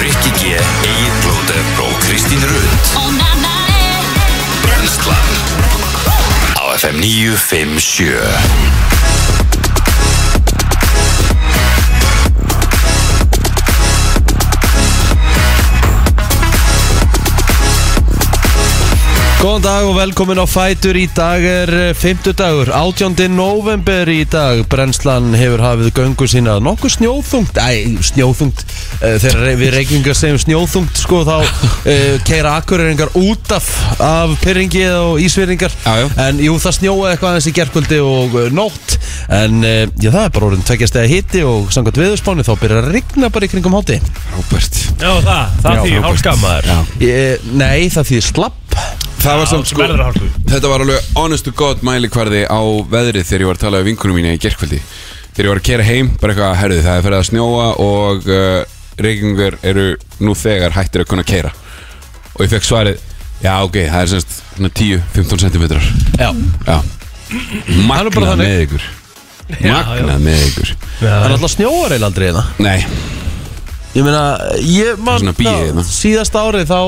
Rikki G, Egil Blóter og Kristín Rund Brenslan Á FM 957 Góðan dag og velkomin á Fætur í dag er eh, fymtudagur, 18. november í dag Brennslan hefur hafið göngu sína nokkuð snjóþungt, æ, snjóþungt eh, Þegar re- við reykingar segjum snjóþungt sko þá uh, keira akkureringar út af, af pyrringi og ísvýringar Já, já. En jú það snjóaði eitthvað aðeins í gerkvöldi og eh, nótt En uh, já, það er bara orðin tveggjast eða hitti og samkvæmt viðurspáni þá byrjar að rigna bara í kringum háti Robert Já, það, það Já, því Robert. hálskammaður Já. Eh, Nei, það þýðir slapp Það var samt sem sko verður að hálku. Þetta var alveg honest to god mælikvarði á veðrið þegar ég var að tala við vinkunum mína í gerkvöldi Þegar ég var að kera heim, bara eitthvað, herðu það er ferið að snjóa og uh, reykingur eru nú þegar hættir að kunna keira Og ég fekk svarið, já ok, það er semst svona 10-15 cm Já, Já er nú bara Magnað þannig. með ykkur já. Magnað með ykkur það er alltaf snjóar eiginlega aldrei hérna Nei, Ég meina, ég man Svona bíið þá- hérna. Síðasta árið þá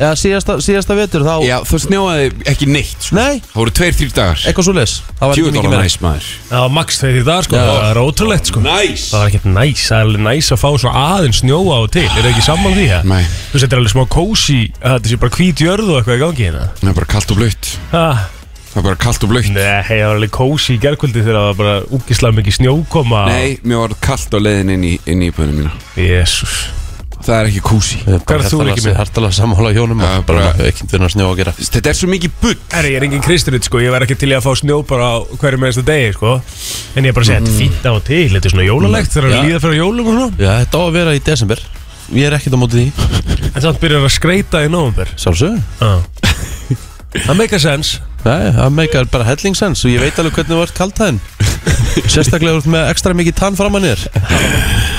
Eða síðasta, síðasta vetur þá já það snjóaði ekki neitt sko. Nei, Það voru tveir-þýr dagar eitthvað svo les Það var ekki mikið Tjúðdóla meira næs maður Það var max þegar í dag sko, Já. það er ótrúlegt sko Næs Það var ekkert næs, það er alveg næs að fá svo aðeins snjóa á til, eru ekki saman því það? Nei. Þú veist, þetta er alveg smá kósi, þetta sé bara hvít jörð og eitthvað í gangi hérna Það er bara kalt og blöytt ah. Það er bara kalt og blöytt Nei, það var alveg kósi í gerkvöldi þegar það var bara úkislega mikið Ah. snjókoma Nei, mér var kalt á leiðin inn í, inn í íbúðinu mína Jésús Það er ekki kúsi Hvað er þú ekki með? Hartalega sammála hjónum Já, og bara bara- ekki þurfa að snjó að gera Þetta er svo mikið bull Herri, ég er engin kristurinn sko, ég væri ekki til í að fá snjó bara á hverju meðasta degi sko En ég er bara að segja, þetta er fínt á og til, þetta er svona jólalegt, þegar Já. það líða fyrir jólum og svona Já, þetta á að vera í desember Ég er ekkert á móti því En samt byrjar að skreita í nóvumber Sjálfsög Það make a sense Nei, það meikar bara hellingsens og ég veit alveg hvernig þú ert kaltæðin Sérstaklega út með ekstra mikið tann framan í þér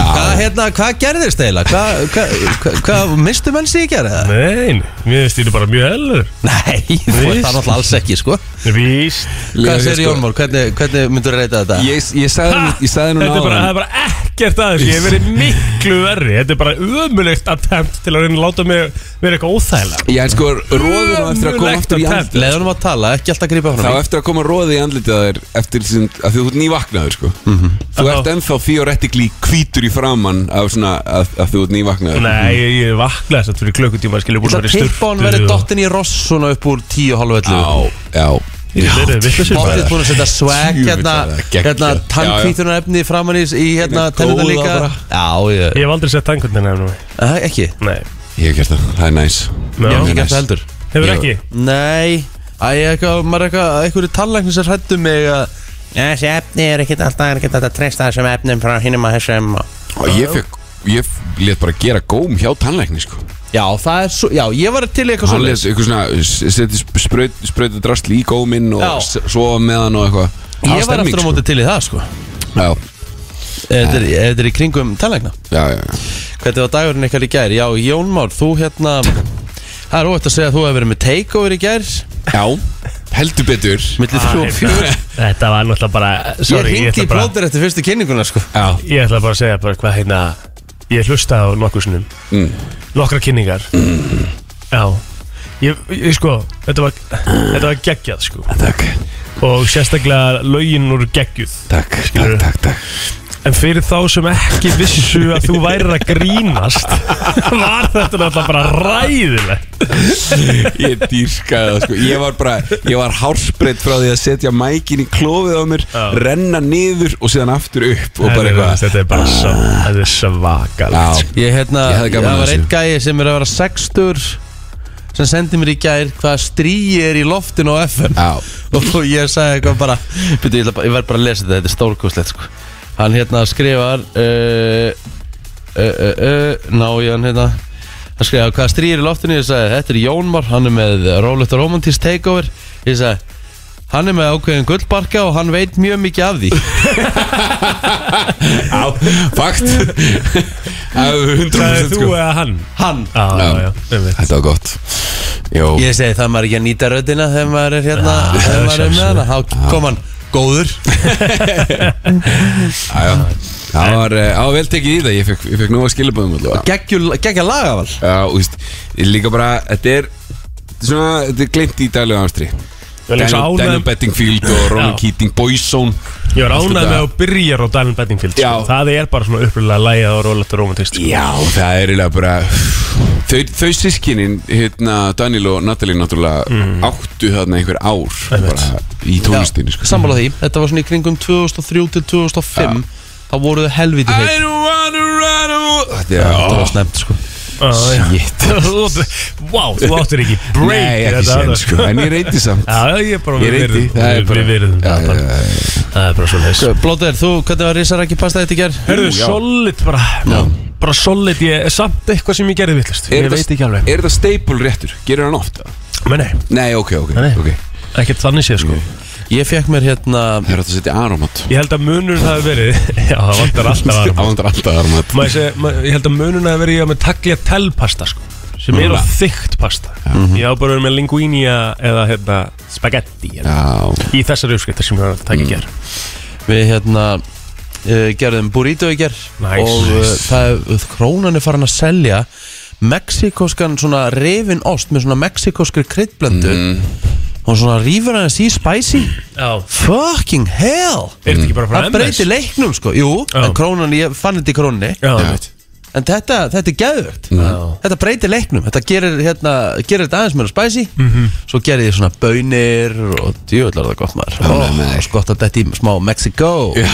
Hvað, hérna, hvað gerðist eiginlega? Hvað, hvað, hvað, hvað, mistu menn sig í gera? Nein, mér finnst þetta bara mjög helur Nei, þú ert það náttúrulega alls ekki, sko Víst Hvað Ég- segir sko- Jón Már? Hvernig, hvernig myndur þú reyta þetta? Ég, ég sagði, nú- ég sagði núna Þetta er bara, það áðan er bara ekkert aðeins Ég hef verið miklu verri Þetta er bara ömulegt attempt til að reyna að láta mig vera eitthvað óþægilega Ég er sko róður á eftir að koma Ömurlegt aftur í attempt. andlitið Leða honum Mm. að tala, ekki alltaf grípa Það honum á eftir að koma róði í andlitið að þér Eftir sem, að því þú ert nývaknaður sko Mhm. Þú Já. ert ennþá theoretically hvítur í framann Af svona að, að þú ert nývaknaður Nei, ég, ég vaknaði þess að fyrir klukkutíma Skilur Ég búin ætla að að vera í tippa styrtu hann verið dottin í ross svona upp úr 10 og halv 11 Já, já Þetta er vitlausir Bóttið bara. búin að setja swag Djöfull hérna, er það geggjað. hérna tannkvítunar efni framan í, í hérna Góða tennuna líka bara. Já, ég, Ég hef aldrei sett tannkvöndina ennum Æ, ekki Ég Nei, Ég hef gert það, það er næs Já. hef Mjög ekki gert næs. það heldur hefur Ég- ekki Nei, Æ, ég eitthvað, maður eitthvað, einhverju tallæknir sem hrættu mig að Þessi efni er ekkert alltaf, er ekkert alltaf að treysta þessum efnum frá hinum að þessum og Og ég fekk, ég let bara gera góm hjá tannleikni sko Já, það er svo, já, ég var til í eitthvað Hann svo les eitthvað svona eh, s- Seti spraut, sprautu drastl í góminn Já. Og s- sofa með hann og eitthvað Það Ég var stemning, aftur á sko. móti til í það, sko Já, Ef Eh, þetta er- ef þetta er í kringum tallækna já, já, já. Hvernig var dagurinn ykkar í gær? Já, Jón Már, þú hérna Það er óvægt að segja að þú hefur verið með takeover í gær Já, heldur betur Millir þrjú og fjör Þetta var náttúrulega bara Ég Sorry, ég hringdi ætla í bara plóter eftir fyrstu kynninguna sko Já, Ég ætla bara að segja bara hvað hérna Ég hlustaði á nokkur sinnum Nokkra kynningar Já ég, ég sko, þetta var, þetta var geggjað sko takk, Og sérstaklega lögin úr geggjuð takk, Skilurðu? takk, takk, takk. En fyrir þá sem ekki vissu að þú værir að grínast Var þetta náttúrulega bara ræðilegt Ég dýrkaði það sko Ég var bara, ég var hársbreytt frá því að setja mækin í klófið á mér Já. Renna niður og síðan aftur upp Og bara eitthvað Þetta er bara svo, þetta er svakalegt Já, sko. Ég hérna, Ég hefði gaman það að var þessu. einn gæi sem er að vera sextur sem sendi mér í gær hvaða stríi er í loftinu á FM já, og ég sagði eitthvað bara Býtu, ég, ætla bara- ég verð bara að lesa þetta, þetta er stórkostlegt sko Hann hérna skrifar uh, uh, uh, uh, Ná ég hann hérna Hann skrifar hvaða stríi er í loftinu Ég sagði þetta er Jónmar, hann er með Rólegt og Romantísk Takeover Ég sagði Hann er með ákveðin gullbarka og hann veit mjög mikið af því já, fakt Það er 100% Sagði þú sko eða hann? Hann Já, já, Já. já, einmitt. Þetta var gott Jó, Ég segi það maður ekki að nýta röddina þegar maður er hérna Þegar maður er með hana Þá kom hann Góður Ah. já, já Það var, eh, það var vel tekið í það, ég fekk, ég fekk nóga skilabóðum allavega Gekkja lagavall Já, og þú veist, líka bara, þetta er þetta er svona, þetta er glint í dælu amstri Ég var líka svo ánægður- Daniel Bettingfield og Ronan Já. Keating, Boyzone Ég var Allt ánægð þetta. með að byrja á Dylan Bettingfield sko. Já. Það er bara svona uppröðlega lægið og rólegt og romantist sko. Já, það er eiginlega bara Þau, þau sískinin, hérna Daniel og Natalie náttúrulega Mhm. áttu þarna einhver ár bara, í tónlistinni sko. Sammála því, þetta var svona í kringum 2003 til 2005 Þá voru þau I helviti heitt don't wanna run away Það Já, var snemt sko Ah, já. shit Þú átt- Vá, þú áttir ekki break Nei, í ekki þetta, sen þetta, sko, en ég reyndi samt Já, já, ég er bara Ég reyndi, virðum- það er bara- Við Já, verðum það já, bara já, já. Það er bara svo leys Sko, Blóter, þú, hvernig var risarækki pasta þetta í gerð? Hörðu, já. solid bara Bara solid, ég er samt eitthvað sem ég gerði villast Er Ég þetta- veit ekki alveg Er þetta staple réttur? Gerir hann ofta? Men nei, Nei, ok, ok, Nei, nei. ok ekkert þannig séð sko Ég fekk mér hérna Það er hægt að setja aromat Ég held að munur það hafi verið Já, það vantar alltaf aðra Avantar alltaf aromat Má ég segja, ma- ég held að munur það hafi verið í að með taglia telpasta sko sem er á þykkt pasta Mhm. Ég á bara verið með linguínia eða hérna, spagetti hérna. Já, Mm. í þessari uppskrifta sem ég var að taka í ger Við hérna eh, uh, gerðum burrito í gerð Nice. Og uh, það er, krónan er farin að selja Mexikoskan svona reyfin ost Með svona mexikoskri kryddblöndu Og svona rífur hann í spicy Já, Fucking hell er þetta ekki bara frá Það breytir leiknum sko, jú Já. En krónan, ég fann þetta í krónni Já, já, Mhm. En þetta, þetta er geðvögt Já. Þetta breytir leiknum Þetta gerir, hérna, gerir þetta aðeins meira spæsi Mhm. Svo gerir því svona bönir Og djöðlar það gott maður Ó, Og skott að þetta í smá Mexico já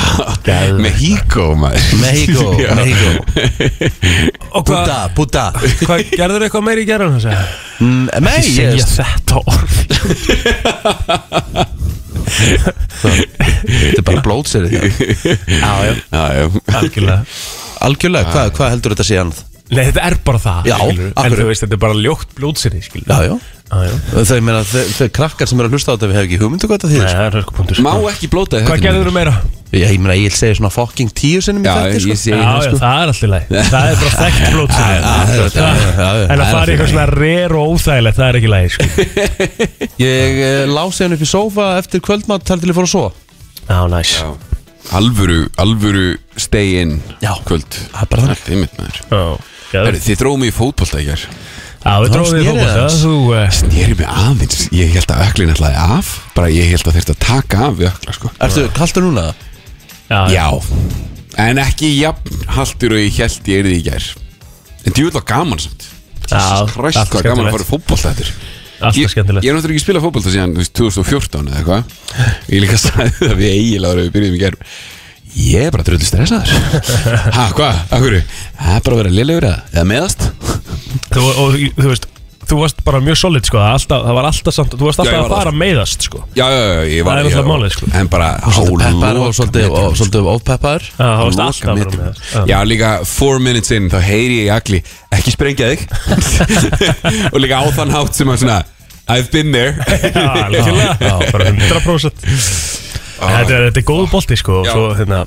Mehíkó, maður Mexico, Já. Mexico og hvað Buddha, Buddha hva, gerður eitthvað meiri í gerðan þess að Mm, Nei, ég þetta orð Þetta er bara blótserið Já, já, Já, já algjörlega Algjörlega, hvað hva heldur þetta sé annað? Nei, þetta er bara það Já, skilurðu. af En hverju? þú veist, þetta er bara ljótt blótseri, skilur Já, já já, já. Þau meina, þau, þau krakkar sem eru að hlusta á þetta Við hefum ekki hugmyndu hvað það Nei, þýðir sko. það er hörkupunktur Má ekki blóta þetta Hvað gerður þú meira? Ég ég meina, ég segi svona fucking tíu sinnum í Já, þetta sko. ég segi Já, það já, sko það er alltaf læg Það er bara þekkt blótseri já, já, já, já. En að fara í eitthvað svona rare og óþægilegt, það er ekki læg, sko Ég eh, lási hann upp í sófa eftir kvöldmatt þar til ég fór að sofa Já, næs Já, Alvöru, alvöru stay in Já. Kvöld Það er bara þannig. Allt einmitt maður Herri, geðveikt. þið dróðum mig í fótbolta í gær Já, við Það dróðum snerið því fókbalt Það aðeins. þú, eh, Ég er mig aðeins Ég held að öklin ætlaði af Bara ég held að þurfti að taka af við ökla sko Ertu, kaltu núna? já, Já En ekki jafn haldur og ég held ég er því í gær En djúvel var gaman samt Já, Kræst allt hvað gaman að skemmtilegt. fara í fótbolta þetta er. Ég, alltaf ég er skemmtilegt náttúrulega ekki að spila fótbolta síðan þú veist, 2014 eða eitthvað Ég líka sagði það við eiginlega ára við byrjuðum í gerð Ég er bara dröldi stressaður Ha, hvað? Akkur? Það er bara að vera liðlegur eða, eða meðast þú, og, þú veist, þú varst bara mjög solid, sko alltaf, Það var alltaf samt, þú varst Já, ég alltaf var að fara að meiðast, sko Já, já, já, ég var Það er ég náttúrulega var- málið, sko. En bara Svolítið hálf- loka peppaður og svolítið, metrum, og sko. svolítið ofpeppaður Já, það varst Loka alltaf að metrum. fara að meiðast Já, líka four minutes in þá heyri ég í agli Ekki sprengja þig Og líka á þann hátt sem að svona I've been there Já, algjörlega, já, bara 100% Þetta er, þetta er góð bolti sko og Já. svo, hérna,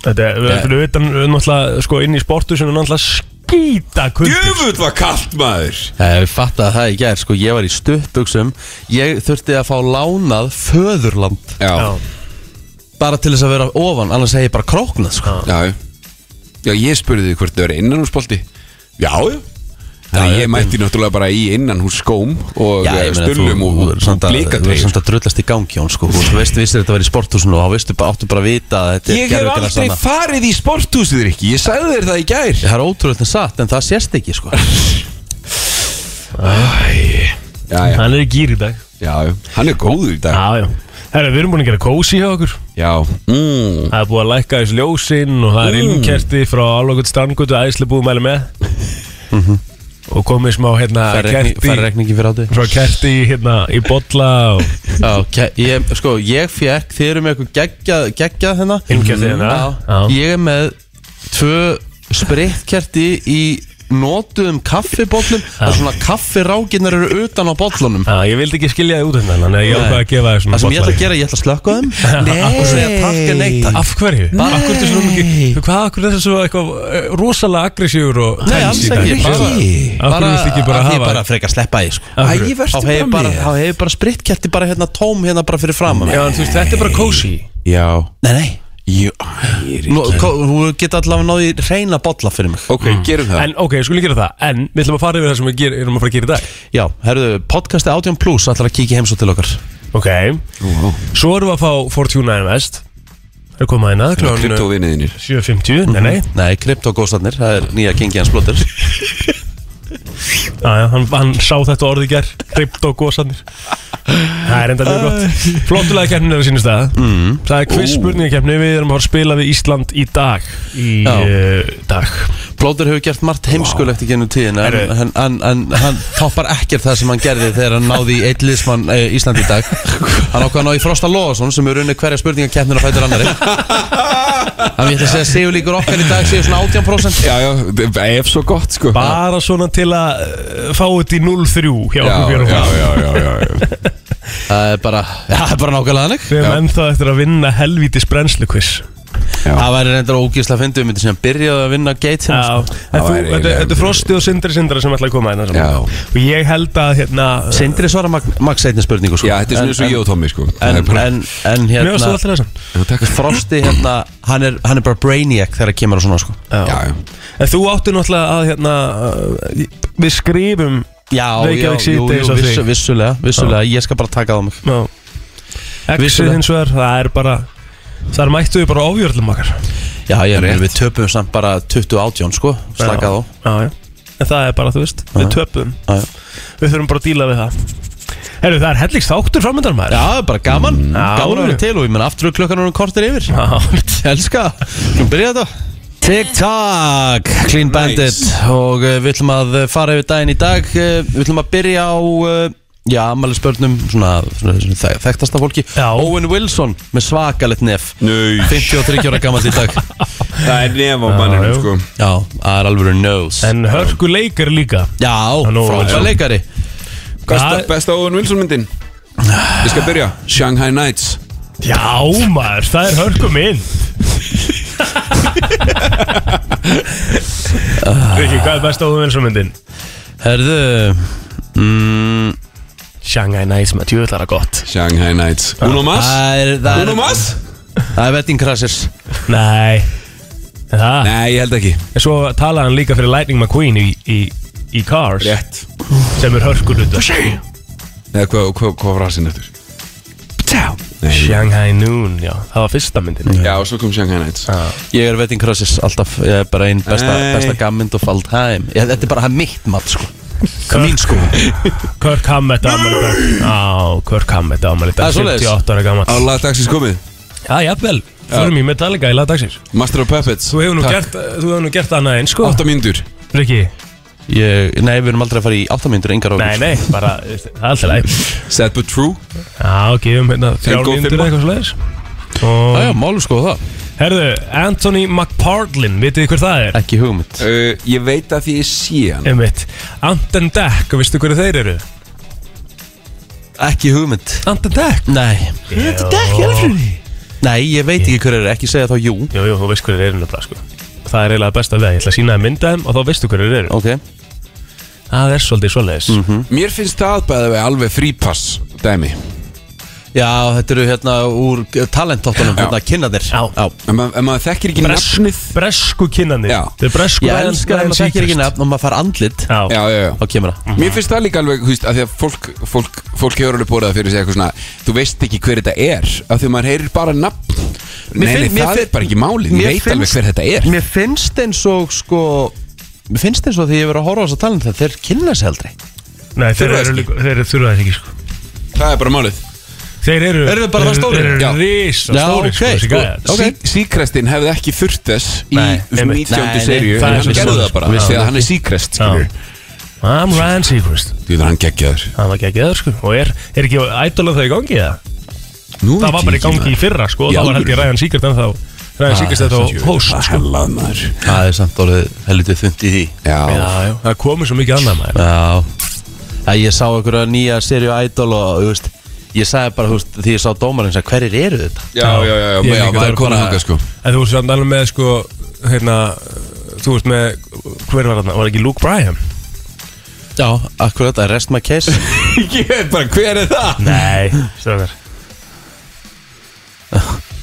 Þetta er, við erum utan við erum náttúrulega sko, inn í sportu sem er náttúrulega skýta kundir Djöfull var kallt maður Eh, Ég fatt að það í gær, sko, ég var í stuttugsum Ég þurfti að fá lánað föðurland Já, Já, Bara til þess að vera ofan, annars hef ég bara króknað, sko Já. Já, já. já ég spurði þig hvort það var innanhúsbolti Já, já Þannig að ég mætti náttúrulega bara í innanhús skóm og Já, eh, ég meina, stullum þú- og, þú og, verður og samt að- Þú verður blikatreyjum samt að drullast í gangi, Jón, sko Þú veist, vissir þetta var í sporthúsinu og þá veistu bara, áttu bara að vita að þetta er Ég hef gervigras aldrei annað. farið í sporthúsið Rikki, ég sagði þér það í gær Það er ótrúlega satt, en það sést ekki, sko Já, já, hann er í gýr í dag já, já. hann er góður í dag Já, já Herra, við erum búin að gera kósi hjá okkur Já, mm. Það er búið að lækka þessu ljósinn og það er innkerti frá álokut strandgötu æsli búið mæli með Mhm. og komið smá hérna Færi kerti rekningi fyrir átti frá kerti hérna í bolla og Já, ke- ég, sko, ég fekk, þið eru með eitthvað geggjað geggja hérna Ilmkerti hérna. Já, Já. ég er með tvö sprittkerti í notuðum kaffibóllum og svona kaffirákinnar eru utan á bóllunum Já, ég vildi ekki skilja þið út hérna þannig að ég ákvað að gefa þér svona Það sem ég ætla bollar. að gera, ég ætla að slökka á þeim og segja takk en neitt takk Af hverju? Nei. Af hverju ertu svona mikið Hvað, af hverju er þetta svo eitthvað eh, rosalega aggressífur og Nei, alls ekki Bara, af hverju viltu ekki að bara ég hafa bara frekar sleppa því sko. Af hverju? Æ, vertu bara mér Þá hefur bara sprittkerti bara hérna tóm hérna bara fyrir fram Já, en þú veist, þetta er bara kósi já Nei, nei Jú, æ, ég er Nú, ekki ko- Hún geta allavega náði reyna bolla fyrir mig Ok, gerum það Mm. En ok, skulum gera það En við ætlum að fara yfir það sem við ger- erum að fara að gera í dag Já, herruðu, podcasti 18 plus ætlar að kíkja heimsó til okkar Ok Svo erum við að fá Fortuna Invest Það er komað hérna Klipt og klón vinniðinir 7.50 Nei, nei Nei, kryptogóstarnir, það er nýja gengi hans blóttur Ah, Já, já, hann, hann sá þetta orð í ger Krypt og góðsannir Það er enda mjög gott Flottulega keppnin er að sínast það mm. Mhm. Það er quiz spurningakeppni Við erum að fara að spila við Ísland í dag Í Já. uh, dag Blóttur hefur gert margt heimskulegt í gennum tíðina en, Herru. en, en, en hann toppar ekkert það sem hann gerði þegar hann náði í eitt liðsmann e, Íslandi í dag Hann ákvað að ná í Frosta Lóðarsson sem er unni hverja spurningakeppnir að fætur annari Hann veit að segja segjum líkur okkar í dag segjum svona 18% Já, já, ef svo gott sko Bara svona til að uh, fá þetta í 0-3 Hjá Já, já, okkur fjörum já, já, já, já. Það er bara, já, það er bara nákvæmlega þannig Við erum ennþá um eftir að vinna helvítis brennslu quiz Það væri reyndar ógísla fyndið myndi sem byrjaði að vinna sko. geit sem Já, en Það þú, væri þetta eiginlega- þetta er Frosti og Sindri Sindra sem ætla að koma hérna saman. Já. Og ég held að hérna Sindri svara Mag- Max einni spurningu sko. já, þetta er svona En- eins og ég og Tommy sko Það En, er bara- en, en Mjög hérna stóð alltaf þessan Frosti hérna, hann er, hann er bara brainiac þegar kemur á svona sko Já, já En þú áttu náttúrulega að hérna uh, Við skrifum Já, já, Reykjavík jú, jú, síðdegis á þig. vissu, vissulega, vissulega, ég skal bara taka það á mig Já Exið Vissulega. hins vegar, það er bara Það er mættu við bara ofjörlum okkar Já, ég meina við töpum samt bara 2018, sko, slakað á Já, já En það er bara, þú veist, við töpum Já, já. Við þurfum bara að díla við það Herru, það er helligst þáttur framöndan maður Mm. Já, það er bara gaman, Já, gaman að vera já. til og ég menn aftur er klukkan orðin kortir yfir Já. Elska, við byrja þetta TikTok, Clean Bandit og uh, við ætlum að eh, fara yfir daginn í dag uh, Við ætlum að byrja á, uh, já, amæli spörnum, svona, svona, svona þek- þekktasta fólki Já. Owen Wilson með svakalett nef Nei, 53 ára gammal í dag það er nefn á manninum já. sko Já, það er alveg nose En hörku leikar líka Já, nú- frábæra já. leikari Besta, besta Owen Wilson myndin Ég skal byrja Shanghai Nights Já maður, það er hörku minn Rikki, hvað er besta óðuminsumyndin? Herðu mm, Shanghai Nights með tjóðlara gott Ah. Shanghai Nights Uno Mas Það er Það Uno er, Mas það er Wedding Crashers Nei En Það Nei, ég held ekki En svo talaði hann líka fyrir Lightning McQueen í, í, í Cars Rétt sem er hörkunutur Nei, hvað hva, hva var rasinn eftir? Nei Shanghai Noon, já, það var fyrsta myndin Já, og svo kom Shanghai Nights Ég er Wedding Crashers alltaf Ég er bara einn besta, Nei. besta gammynd of all time ég, Þetta er bara hann mitt mat sko Mín sko Kirk Hammett ámæli dag Já, Kirk Hammett ámæli Það dag er svoleiðis. 58 ára gammal Á sko. lagdagsins komið Já, jafnvel, förum í Metallica í lagdagsins Master of Puppets Þú hefur nú Takk. gert, Eh, þú hefur nú gert annað eins sko Átta mínútur Rikki, ég, Nei, við erum aldrei að fara í 8 mínútur Engar nei, okkur nei, bara, eh, það er alltaf læg Sad but true Já, gefum hérna þrjár góð mínútur fimma. eitthvað slags Og, Já, málum sko það herðu, Anthony McPartlin, vitið þið hver það er? Ekki hugmynd uh, Ég veit að því ég sé hann Einmitt, Ant and Deck, og veistu hverju þeir eru? Ekki hugmynd Ant and Deck Nei Ant and Deck, er það fyrir því? Nei, ég veit ekki hver er Ekki segja þá jú Jú, jú, þú veist hverju þeir eru nefnilega, sko Það er eiginlega besta við það, ég ætla að sína þeim mynda þeim og þá veistu hverju þeir eru Ok Mm. Það er svolítið svoleiðis Mhm. Mér finnst það bæðið við alveg frípass Dæmi Já, þetta eru hérna úr talentáttunum Hérna kynnaðir Já. En ma- en maður þekkir ekki Bress- nafnið Bresku kinnanir Já. Þeir bresku Ég elskar að maður þekkir ekki nefn og maður fara andlit Já, Já, já, já Þá kemur það Mér finnst það líka alveg, þú veist, að því að fólk, fólk, fólk hefur alveg borðað fyrir sig eitthvað svona Þú veist ekki hver þetta er, af því að maður heyrir bara nafn Nei, nei, finn- mér það finn- er bara ekki málið, ég mér veit finnst- alveg hver þetta er Mér finnst eins og sko Mér finnst eins og því ég verið að horfa á þess að tala um það Þeir kynna sig aldrei Nei, þeir Þurfa þess eru ekki. líka- þeir eru þurfa þess ekki, sko Það er bara málið Þeir eru Eru þeir bara það stórir? Þeir Já. eru risa Já, stórir, sko, ok, þessi sko. gæjar. Ok. sí, Síkrestin hefði ekki þurft þess í Nei, einmitt. 19. Nei, nei, seríu það en er Hann svo gerði svoleiðis, það bara, sko. því Já. að hann er síkrest, skilur I'm Ryan Seacrest Því það er hann geggjaður Það var ekki ekki það sko Og er, er ekki ædolan það í gangi það? Nú Það veit var bara í ég ekki, gangi í maður. fyrra sko og Í Það var held ég alvöru? Ryan Seacrest en þá Ryan Seacrest er þá host Það er sko hellað maður Það er samt orðið helvitið þund í því Já, Já, já, það komið svo mikið annað maður Já Það ég sá einhverja nýja serið Idol og þú veist Ég sagði bara, þú veist, því ég sá dómarins að hverjir eru þetta? já, já, já, já, Ég já, líka, það maður er konar bara- hanga sko En þú veist samt alveg með sko Hérna Þú veist með Hver var þarna? Var ekki Luke Bryan? Já, akkurat, I rest my case Ég veit bara, hver er það? Nei Stöðar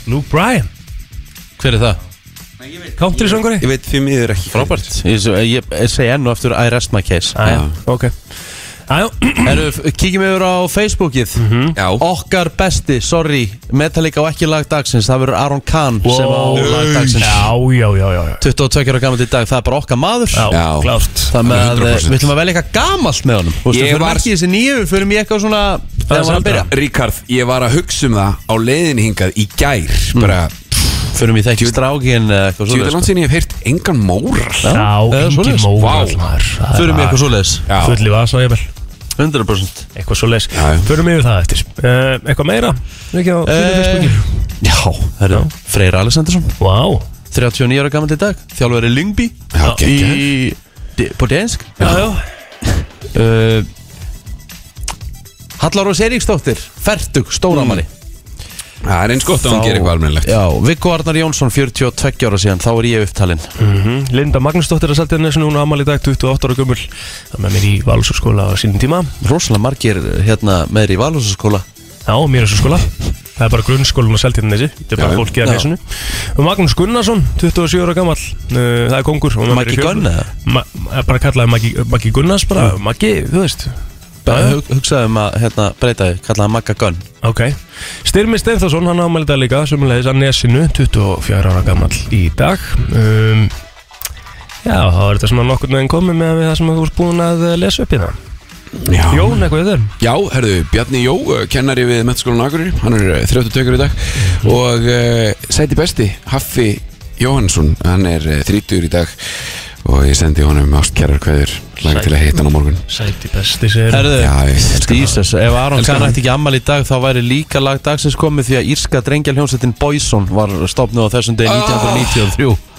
Luke Bryan Hver er það? Country söngari? Ég veit því miður ekki Frábært Ég, ég, ég segi enn og aftur I rest my case Æja, ok Æja, Mhm. Herru, f- kíkjum yfir á Facebookið Já. Okkar besti, sorry Metallica og ekki lag dagsins Það verður Aron Kahn sem á lag dagsins Já, já, já, já, já 22 ára gammal í dag, það er bara okkar maður Já, Já. klárt Það með að eh, 100%. við ætlum að velja eitthvað gamalt með honum Þú Ég veist, við fyrir var- ekki í þessi nýju, við fyrir mér eitthvað svona Það Þegar er var að eldra. byrja Ríkard, ég var að hugsa um það á leiðinni hingað í gær Hmm. Bara, Fyrir mér þekki strákin eða þú veit eitthvað svoleiðis sko. land sinni ég hef heyrt engan móral Já, eða Ingi svoleiðis. Vá. Móvall maður Það Fyrir er mér eitthvað bara svoleiðis Ah, Já. Fulli vasa, ég vel 100% Eitthvað svo les Já, já. Förum yfir það eftir uh, Eitthvað meira? Ekki á þínu Eh, Facebooki Já, herru, Freyr Alessandarsson Vá 39 ára gammal í dag, þjálfari Lyngby Já, geggjaður. í, di- På Densk Já, já uh, Hallar og Seríksdóttir Fertug, stóramari Það er eins Hmm. gott að hún gerir eitthvað almennilegt Já, Viggo Arnar Jónsson, 42 ára síðan Þá er ég upptalinn Mhm. Linda Magnúsdóttir að selja nessun hún amal í dag 28 ára gummul Það með mér í Valsúskóla á sínum tíma Rosalega margir hérna meðri í Valhúsaskóla Já, mér er svo skóla Það er bara grunnskólan og seltinn þessi Þetta er bara Já, já. fólkið að Já. nesunu Og Magnús Gunnarsson, 27 ára gammal Það er kongur og með mér í Maggi fjölbreytni. Gunn, eða? Ma- ma- Bara kallaði Maggi, Maggi Gunnars bara Maggi, þú veist Hug- Hugsaðum að hérna, breyta þig, kallaði Magga Gunn Ok Styrmi Steinþórsson, hann ámæli dag líka Sumulegis að nesinu, 24 ára gammal í dag um, Já, þá er þetta svona nokkur meðan komið með það sem þú ert búin að eh, lesa upp í það Já, Jón, eitthvað þau Já herðu, Bjarni Jó, uh, kennari við Mettskólan Akureyri Hann er uh, 32 í dag Og uh, sæti besti, Haffi Jóhannsson Hann er uh, 30 í dag Og ég sendi honum ástkjærar kveður Lagi til að heita hann á morgun Sæti besti sér Herðu, Já, ég elska það. Jesus, ef Aron Elska Kahn það. ætti ekki ammal í dag þá væri líka lag dagsins komið því að írska drengjalhjónsettin Boyson var stopnuð á þessum Ah. degi 1993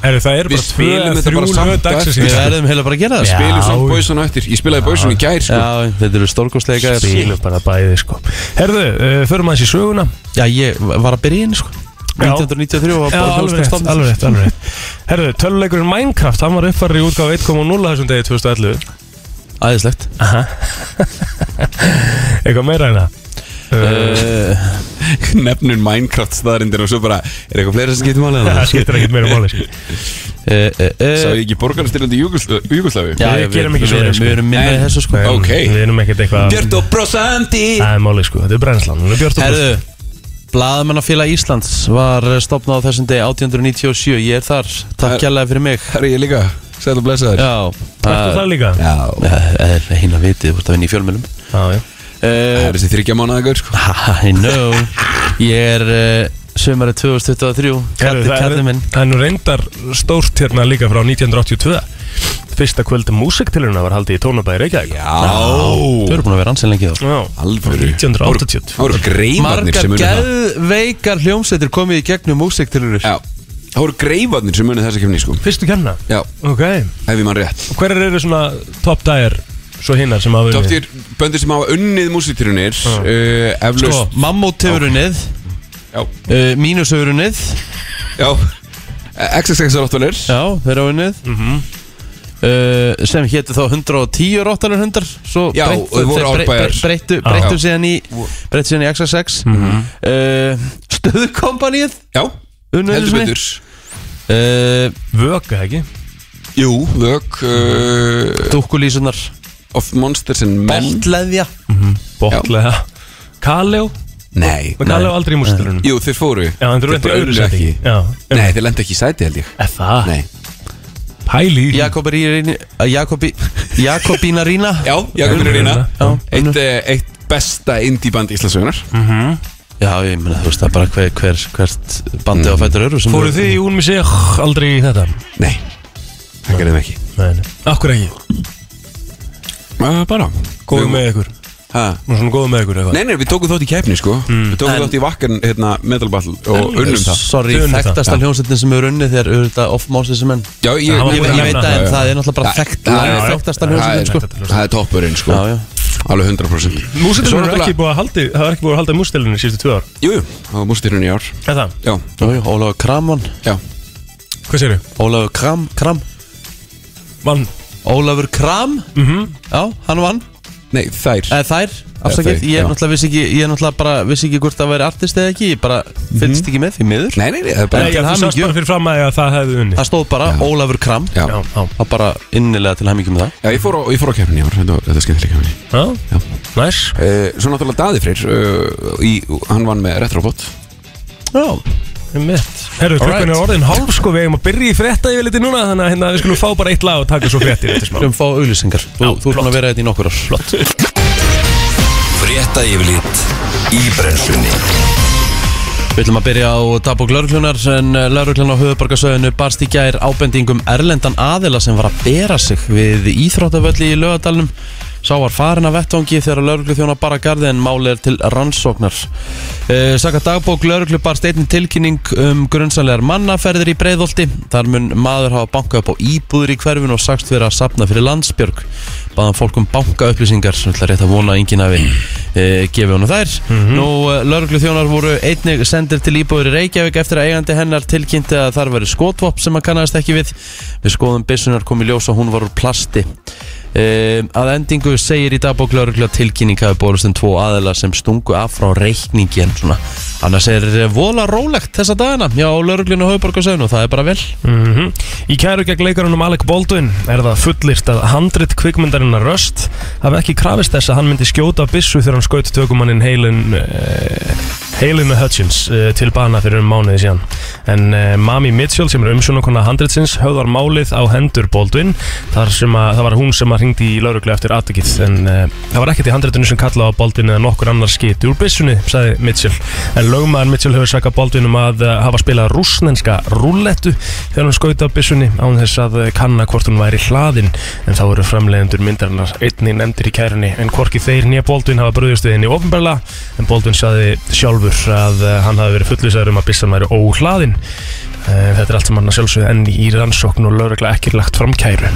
Herðu, það er Við bara tvö spilum eða þetta bara þrjú samt lög dagsins í Við dag. verðum heila bara að gera það Já. sko. Spilum samt bóisun á eftir Ég spilaði bóisun í gær sko. Já, þetta eru stórkostlega gæjar. Spilum bara bæði sko Herðu, uh, förum aðeins í söguna Já, ég var að byrja inn sko. Já. 1993 var bara alveg rétt, alveg rétt Herðu, töluleikurinn Minecraft, hann var uppfarið í útgáf 1.0 á þessum degi 2011 Æðislegt Eitthvað meira en það Uh, uh, Eh, Nefnun Minecraft staðarindir og svo bara Er eitthvað fleira sem skiptir málið það það? skiptir ekkert meira máli sko. uh, uh, Sá uh, ég ekki borgarstyrjandi Júgoslavi Já, Við já, gerum ekki við- svoleiðis, sko. Við erum minnaði Nei. þessu sko En Ok. Við erum ekkert eitthvað Björto Brosandi Það er máli sko, þetta er brennslan Hún er björt og Herðu Blaðamannafélag Íslands var stopnað á þessum degi 1897 Ég er þar, takk Það- kjærlega fyrir mig Það er ég líka, sæl og blessaður Já Ertu það líka? Já, Það er hinn að vitið, þú ert að vinna í fjölmjölum Já, já það uh, er þessi þryggja mánuðagur sko I know Ég er uh, sömarið 2023 Herðu, Kallið það, kallið er, minn það er nú reyndar stórt hérna líka frá 1982 Fyrsta kvöld músiktilurna var haldið í tónabæði Reykjavík Þau Já, eru búin að vera ansið lengi þá Já, alvöru 1982 Það voru greifarnir Margar sem munið það geðveikar hljómsveitir komið í gegnum músiktilurur Já, það voru greifarnir sem munið þessa kemni sko Fyrstu kemna? Já, Ok ef ég mann rétt Hverjar eru svona top dæjar svo hinnar sem hafa Tóftir böndir sem hafa unnið músitrunir Ah. uh, Sko, Eflaust Mammót hefur unnið Já, uh, Mínus hefur unnið já XXX ráttunir Já, þeir hafa unnið Mhm. uh, Sem hétu þá 110 rottanur hundar Svo Já, breyttu- og þau voru þeir brey- árbæjar. brey- Breyttu, Já. breyttu síðan í Breyttu síðan í XXX mm Mhm. -hmm. uh, Stöðukompanið Já, Unnið heldur einu sinni. betur uh, Vöka ekki Jú, vök uh, Dúkkulísunar Of Monsters and Men Beltleðja Botlega Mhm, Kaleo Nei Var Kaleo aldrei í músiktilurna? Jú, þeir fóru Já, en þú Þeir reyndi bara öðru unnu sæti ekki. Já Nei, þeir lendi ekki í sæti held ég Er það? Nei Pæli í því. Jakob Rína Jakobi, Jakobína Rína Já, Jakobin Rína Já, Eitt, eh, eitt besta indie band Íslandsögunar Mhm. Já, ég meina þú veist það er bara hver, hver, hvert bandi á fætur öru sem Fóruð þið í Unmi Sig aldrei í þetta? Nei, það gerðum ekki Nei, nei Akkur ekki uh, Bara Góðu með ykkur Ha? Nú svona góðu með ykkur Mm. eitthvað Nei, nei, við tókum þátt í keppni sko Við tókum En- þátt í vakkan hérna, Metal Battle og unnum það Sorry, Þau unnu það. þekktasta hljómsveitin sem hefur unnið þér auðvitað off Moses menn Já, ég, Það var Ég, búin ég veit nefna það, en já, það já. er náttúrulega bara þekkt það er- Þekktasta það er- hljómsveitin, sko Það er toppurinn sko Já, já. Alveg 100% Svo Músitilurna er náttúrulega- ekki búið að haldi Það er ekki búið að halda músitilurna í síðustu tvö ár Jú, jú, það var mústirinn í ár Er það? Já, Jú, jú, Ólafur Kramon já Hvað segir þau? Ólafur Kram, Kram Vann Ólafur Kram Mhm. Já, hann vann Nei, þær Eða þær, þau, afsakið, ég já. náttúrulega vissi ekki Ég náttúrulega bara vissi ekki hvort það væri artist eða ekki Ég bara fylgst ekki með því miður Mhm. Nei, nei, nei, það er bara Nei, já, til þú sást hamingju. bara fyrir fram að að það hefði unni Það stóð bara Ólafur Kram Já, Já, já. já, Það bara innilega til hæmingjum það ég fór á, ég fór á keppinni í ár Þetta var- þetta er skemmtileg keppinni já, Já. næs uh, Svo náttúrulega Daði Freyr uh, í, Hann vann með Retrobot Já, Mitt. Herru, klukkan er orðin hálf sko, við eigum að byrja í frétta yfirliti núna Þannig að hérna, við skulum fá bara eitt lag og taka svo frétti eftir smá við fá auglýsingar Þú, þú er búin að vera þetta í nokkur ár Flott Frétta yfirlit í brennslunni Við ætlum að byrja á Dabbo Glörglunar en lauruglan á höfubarkasöðinu barst í gær ábendingum erlendan aðila sem var að bera sig við íþróttavölli í lögadalunum. Sá var farin af vettvangi þegar lauruglu þjóna bara garði en máli er til rannsóknar. Eh, Saka dagbók lauruglu barst einnig tilkynning um grunnsanlegar mannaferðir í Breiðolti. Þar mun maður hafa bankað upp á íbúður í hverfinu og sagst vera að sapna fyrir landsbjörg. Baðan fólk um bankaupplýsingar sem ætla rétt að vona að enginn hafi e, gefið honum þær. Nú, lauruglu þjónar voru einnig sendir til íbúður í Reykjavík eftir að eigandi hennar tilkynnti að þar veri skotvop sem hann kannast ekki við. Við skoðum byssunar kom í ljós og hún var úr plasti. Um, að endingu segir í dagbók laurugla tilkynning hafi borist um tvo aðila sem stungu af frá reikningi en svona annars er eh, vola rólegt þessa dagina já, lauruglinu hauðborgarsöðinu, það er bara vel mm Í kæru gegn leikarunum Alec Baldwin er það fullirt að handrit kvikmyndarinnar Röst hafi ekki krafist þess að hann myndi skjóta af byssu þegar hann skaut tökumannin Heilin uh, Heilin Hutchins uh, til bana fyrir um mánuði síðan en uh, Mami Mitchell sem er umsjónakona handritsins höfðar málið á hendur Baldwin þar sem að það var hún sem að ringdi í lauruglu eftir atvikið en uh, það var ekkert í handritinu sem kallaði á Baldwin eða nokkur annar skiti úr byssunni, sagði Mitchell en lögmaður Mitchell hefur sakað Baldwin um að uh, hafa spilað rúsnenska rúllettu þegar hann skauta á byssunni án þess að eh, kanna hvort hún væri hlaðin en þá eru framleiðendur myndarinnar einni nefndir í kærunni en hvorki þeir nýja Baldwin hafa bröðist við henni ofinbarlega en Baldwin saði sjálfur að eh, hann hafi verið fullvisaður um að byssan væri óhlaðin Eh, Þetta er allt saman að sjálfsögðu enn í rannsókn og lögregla ekki lagt fram kæru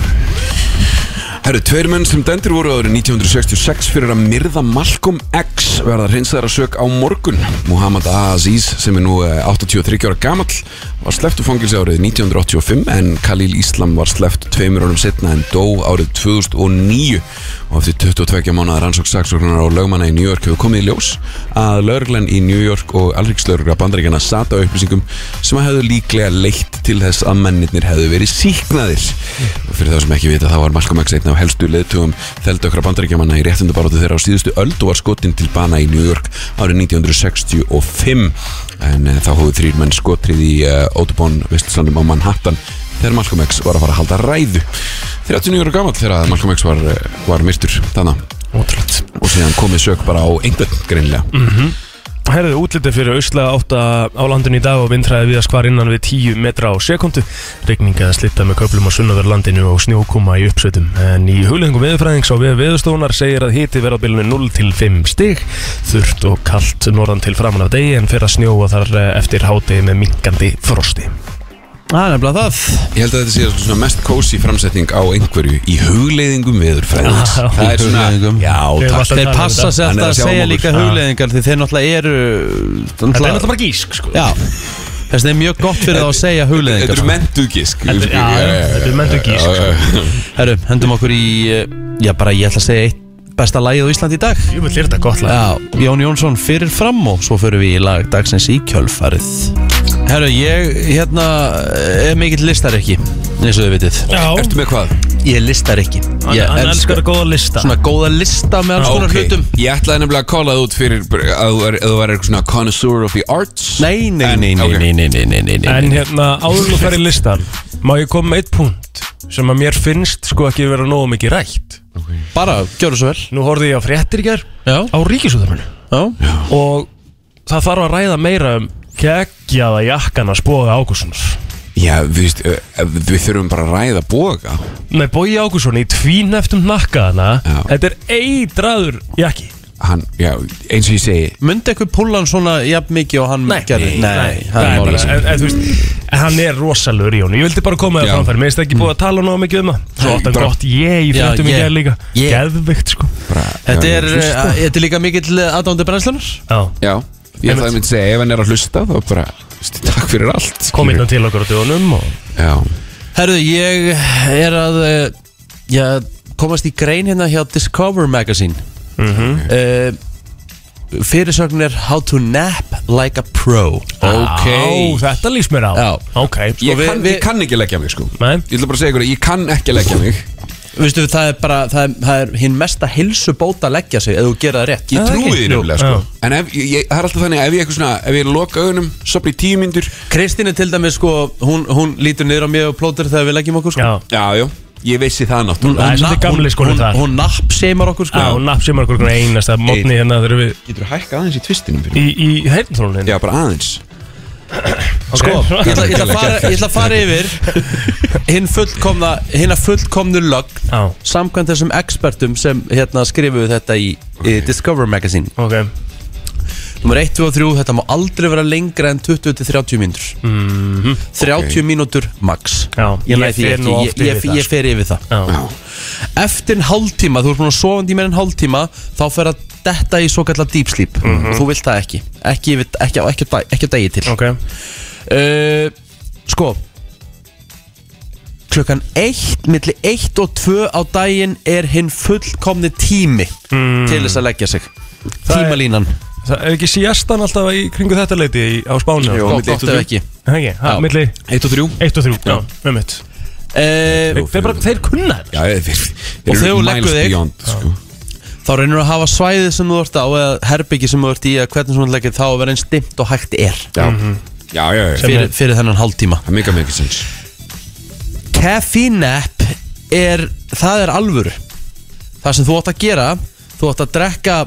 Herru, tveir menn sem dændir voru árið 1966 fyrir að myrða Malcolm X verða hreinsaðar að sök á morgun Muhammad A. Aziz sem er nú eh, 83 ára gamall var sleppt úr fangilsi árið 1985 en Khalil Islam var sleppt tveimur árum setna en dó árið 2009 og eftir 22 mánuðar rannsók saksóknar og lögmanna í New York hefur komið í ljós að lögreglan í New York og alríkslögregla bandaríkjana sata á upplýsingum sem hefðu líklega leitt til þess að mennirnir hefðu verið síknaðir og fyrir þá sem ekki vita þá var Malcolm X einn af helstu leðtugum þeldökra bandaríkjamanna í réttundabarótu þeirra á síðustu öld og var skotin til bana í New York árið 1965 en eh, þá hóðu þrýr menn skotrið í uh, Autobahn, Vistlandum og Manhattan þegar Malcolm X var að fara að halda ræðu 39 ára gamall þegar að Malcolm X var, eh, var myrtur þannig Ótrúlega og síðan komið sök bara á einhvern greinlega Mhm. Herðu útlitið fyrir auslega átta á landinu í dag og vindræði við að skvar innan við 10 metra á sekundu. Regninga að slitta með köplum á sunnaverlandinu og snjókuma í uppsveitum. En í huglingum veðurfræðings á við veðurstónar segir að hiti verða á bylunni 0 til 5 stig. Þurft og kalt norðan til framan af degi en fer að snjóa þar eh, eftir hátegi með minkandi frosti. það er nefnilega það Ég held að þetta sé svona mest kósi framsetning á einhverju í hugleiðingum viður fræðins Já, Það er í svona, hugleiðingum. Ég já hef takk alltaf- þeir passa sig Hann er alltaf að að sjá segja um okkur. líka hugleðingar því þeir náttúrulega eru Þetta er náttúrulega bara gísk sko. já, þess að það er mjög gott fyrir þá að segja sko. Þetta hugleðingar eru mentugisk Þetta er- já, já, þetta eru mentuð gísk, sko. herru, hendum okkur í eh, já bara ég ætla að segja eitt besta lagið á Íslandi í dag Ég vil lirta gott lag. Já, Jón Jónsson fyrir fram og svo fyrir við í lag dagsins í kjölfarið Herru, ég hérna er mikill listar ekki eins og þið vitið Já, Ertu með hvað? Ég er listar ekki Ég hann elskar að góða lista. svona góða lista með alls konar Ok. hlutum Ég ætlaði nefnilega að kóla það út fyrir að þú væri- að þú væri eitthvað svona connoisseur of the arts Nei, nei, En- nei, nei, ok. nei, nei, nei, nei, nei, nei. En hérna, áður nú fær í listan Má ég koma með eitt punkt Sem að mér finnst sko ekki vera nógu mikið rætt Bara, gjöru svo vel Nú horfði ég á fréttir í ger Já, Á ríkisúðarminu já, Og það þarf að ræða meira um Kekjaða jakkan að spóða Ágússunus Já, við, veist, eh, við þurfum bara að ræða boga Nei, Bói Ágússon í tvíneftum nakkaðana Já. Þetta er eitraður jakki Hann, já, eins og ég segi Myndi eitthvað púlan svona jafn mikið og hann gerði? Nei, það er bara málið. sko. en, en þú veist, en hann er rosalur í honum Ég vildi bara koma það Já. framfæri Mér finnst ekki Mm. búið að tala nógu mikið um það Svo átt hann Bara- gott ég í Já, fréttum í ég- ger líka ég- Geðveikt sko bara, Þetta já, er, hlusta. eh, þetta er líka mikill eh, aðdándi brennslunar Já Já, ég ætlaði að myndi segja ef hann er að hlusta þá bara, veist, takk fyrir allt kom inn til okkur á dögunum og Já, Herru, ég er að eh, Já, komast í grein hérna hjá Discover Magazine mm Mhm. -hmm. Fyrirsögn er How to nap like a pro Ok Á, þetta líst mér á Já. Ok sko, Ég við- kann, við- ég kann ekki leggja mig sko Nei. Ég ætla bara að segja ykkur að ég kann ekki leggja mig Vistu, það er bara, það er, það er hinn mesta hilsu bóta að leggja sig ef þú gera það rétt Ah, Ég það trúi ekki? því Jú, nefnilega sko já. En ef, ég, ég- það er alltaf þannig að ef ég eitthvað svona Ef ég loka augunum, sopna í tíu myndur Kristín er til dæmis sko, hún, hún lítur niður á mig og plótur þegar við leggjum okkur sko. Já Já, já, ég vissi það hún, náttúrulega Það er hún- svolítið gamli skólinn hún, þar. hún nappseimar okkur sko. Já, hún napp sem er okkur einasta mótni hérna þegar við Getur þú hækka aðeins í tvistinum fyrir í, í heyrnþrónin Já, bara aðeins Sko, ég ætla, ég ætla að fara, ég ætla að fara yfir hinn fullkomna hinn að fullkomnu lögn Já, samkvæmt þessum expertum sem hérna skrifuðu þetta í, í Discover Magazine ok Númer 1, 2 og 3, þetta má aldrei vera lengra en 20-30 mínútur mm 30 mínútur max Mhm. Já, ég, ég ég, fer ekki, nú ég, oft ég, yfir það, sko. ég, ég fer yfir það Já, Eftir en hálftíma, þú ert búin að sofa í meira en hálftíma þá fer að detta í svo kallar deep sleep og þú vilt það ekki ekki, yfir- ekki, á- ekki, á dag- ekki að degi til Mhm. ok uh, Sko Klukkan eitt, milli eitt og tvö á daginn er hinn fullkomni tími til þess að leggja sig Mm. Það er- Tímalínan, Það er ekki síastan alltaf í kringu þetta leiti í, á Spáni Jó. Jó gott, milli eitt gott og ef þrjú. ekki Ekki, Já. það milli Eitt og þrjú 1 og 3 Já, með mitt uh, Þeir bara, þeir kunna þetta Já, þeir, þeir, Og eru þegar þú miles leggur þig- beyond, sko. Þá reynir að hafa svæðið sem þú ert á eða herbyggi sem þú ert í eða hvernig sem þú leggir þá að vera eins dimmt og hægt er Já, Mhm. Mhm. já, já, já. fyrir, fyrir þennan hálftíma Það meika mikið sens Caffeine nap er, það er alvöru Það sem þú átt að gera Þú átt að drekka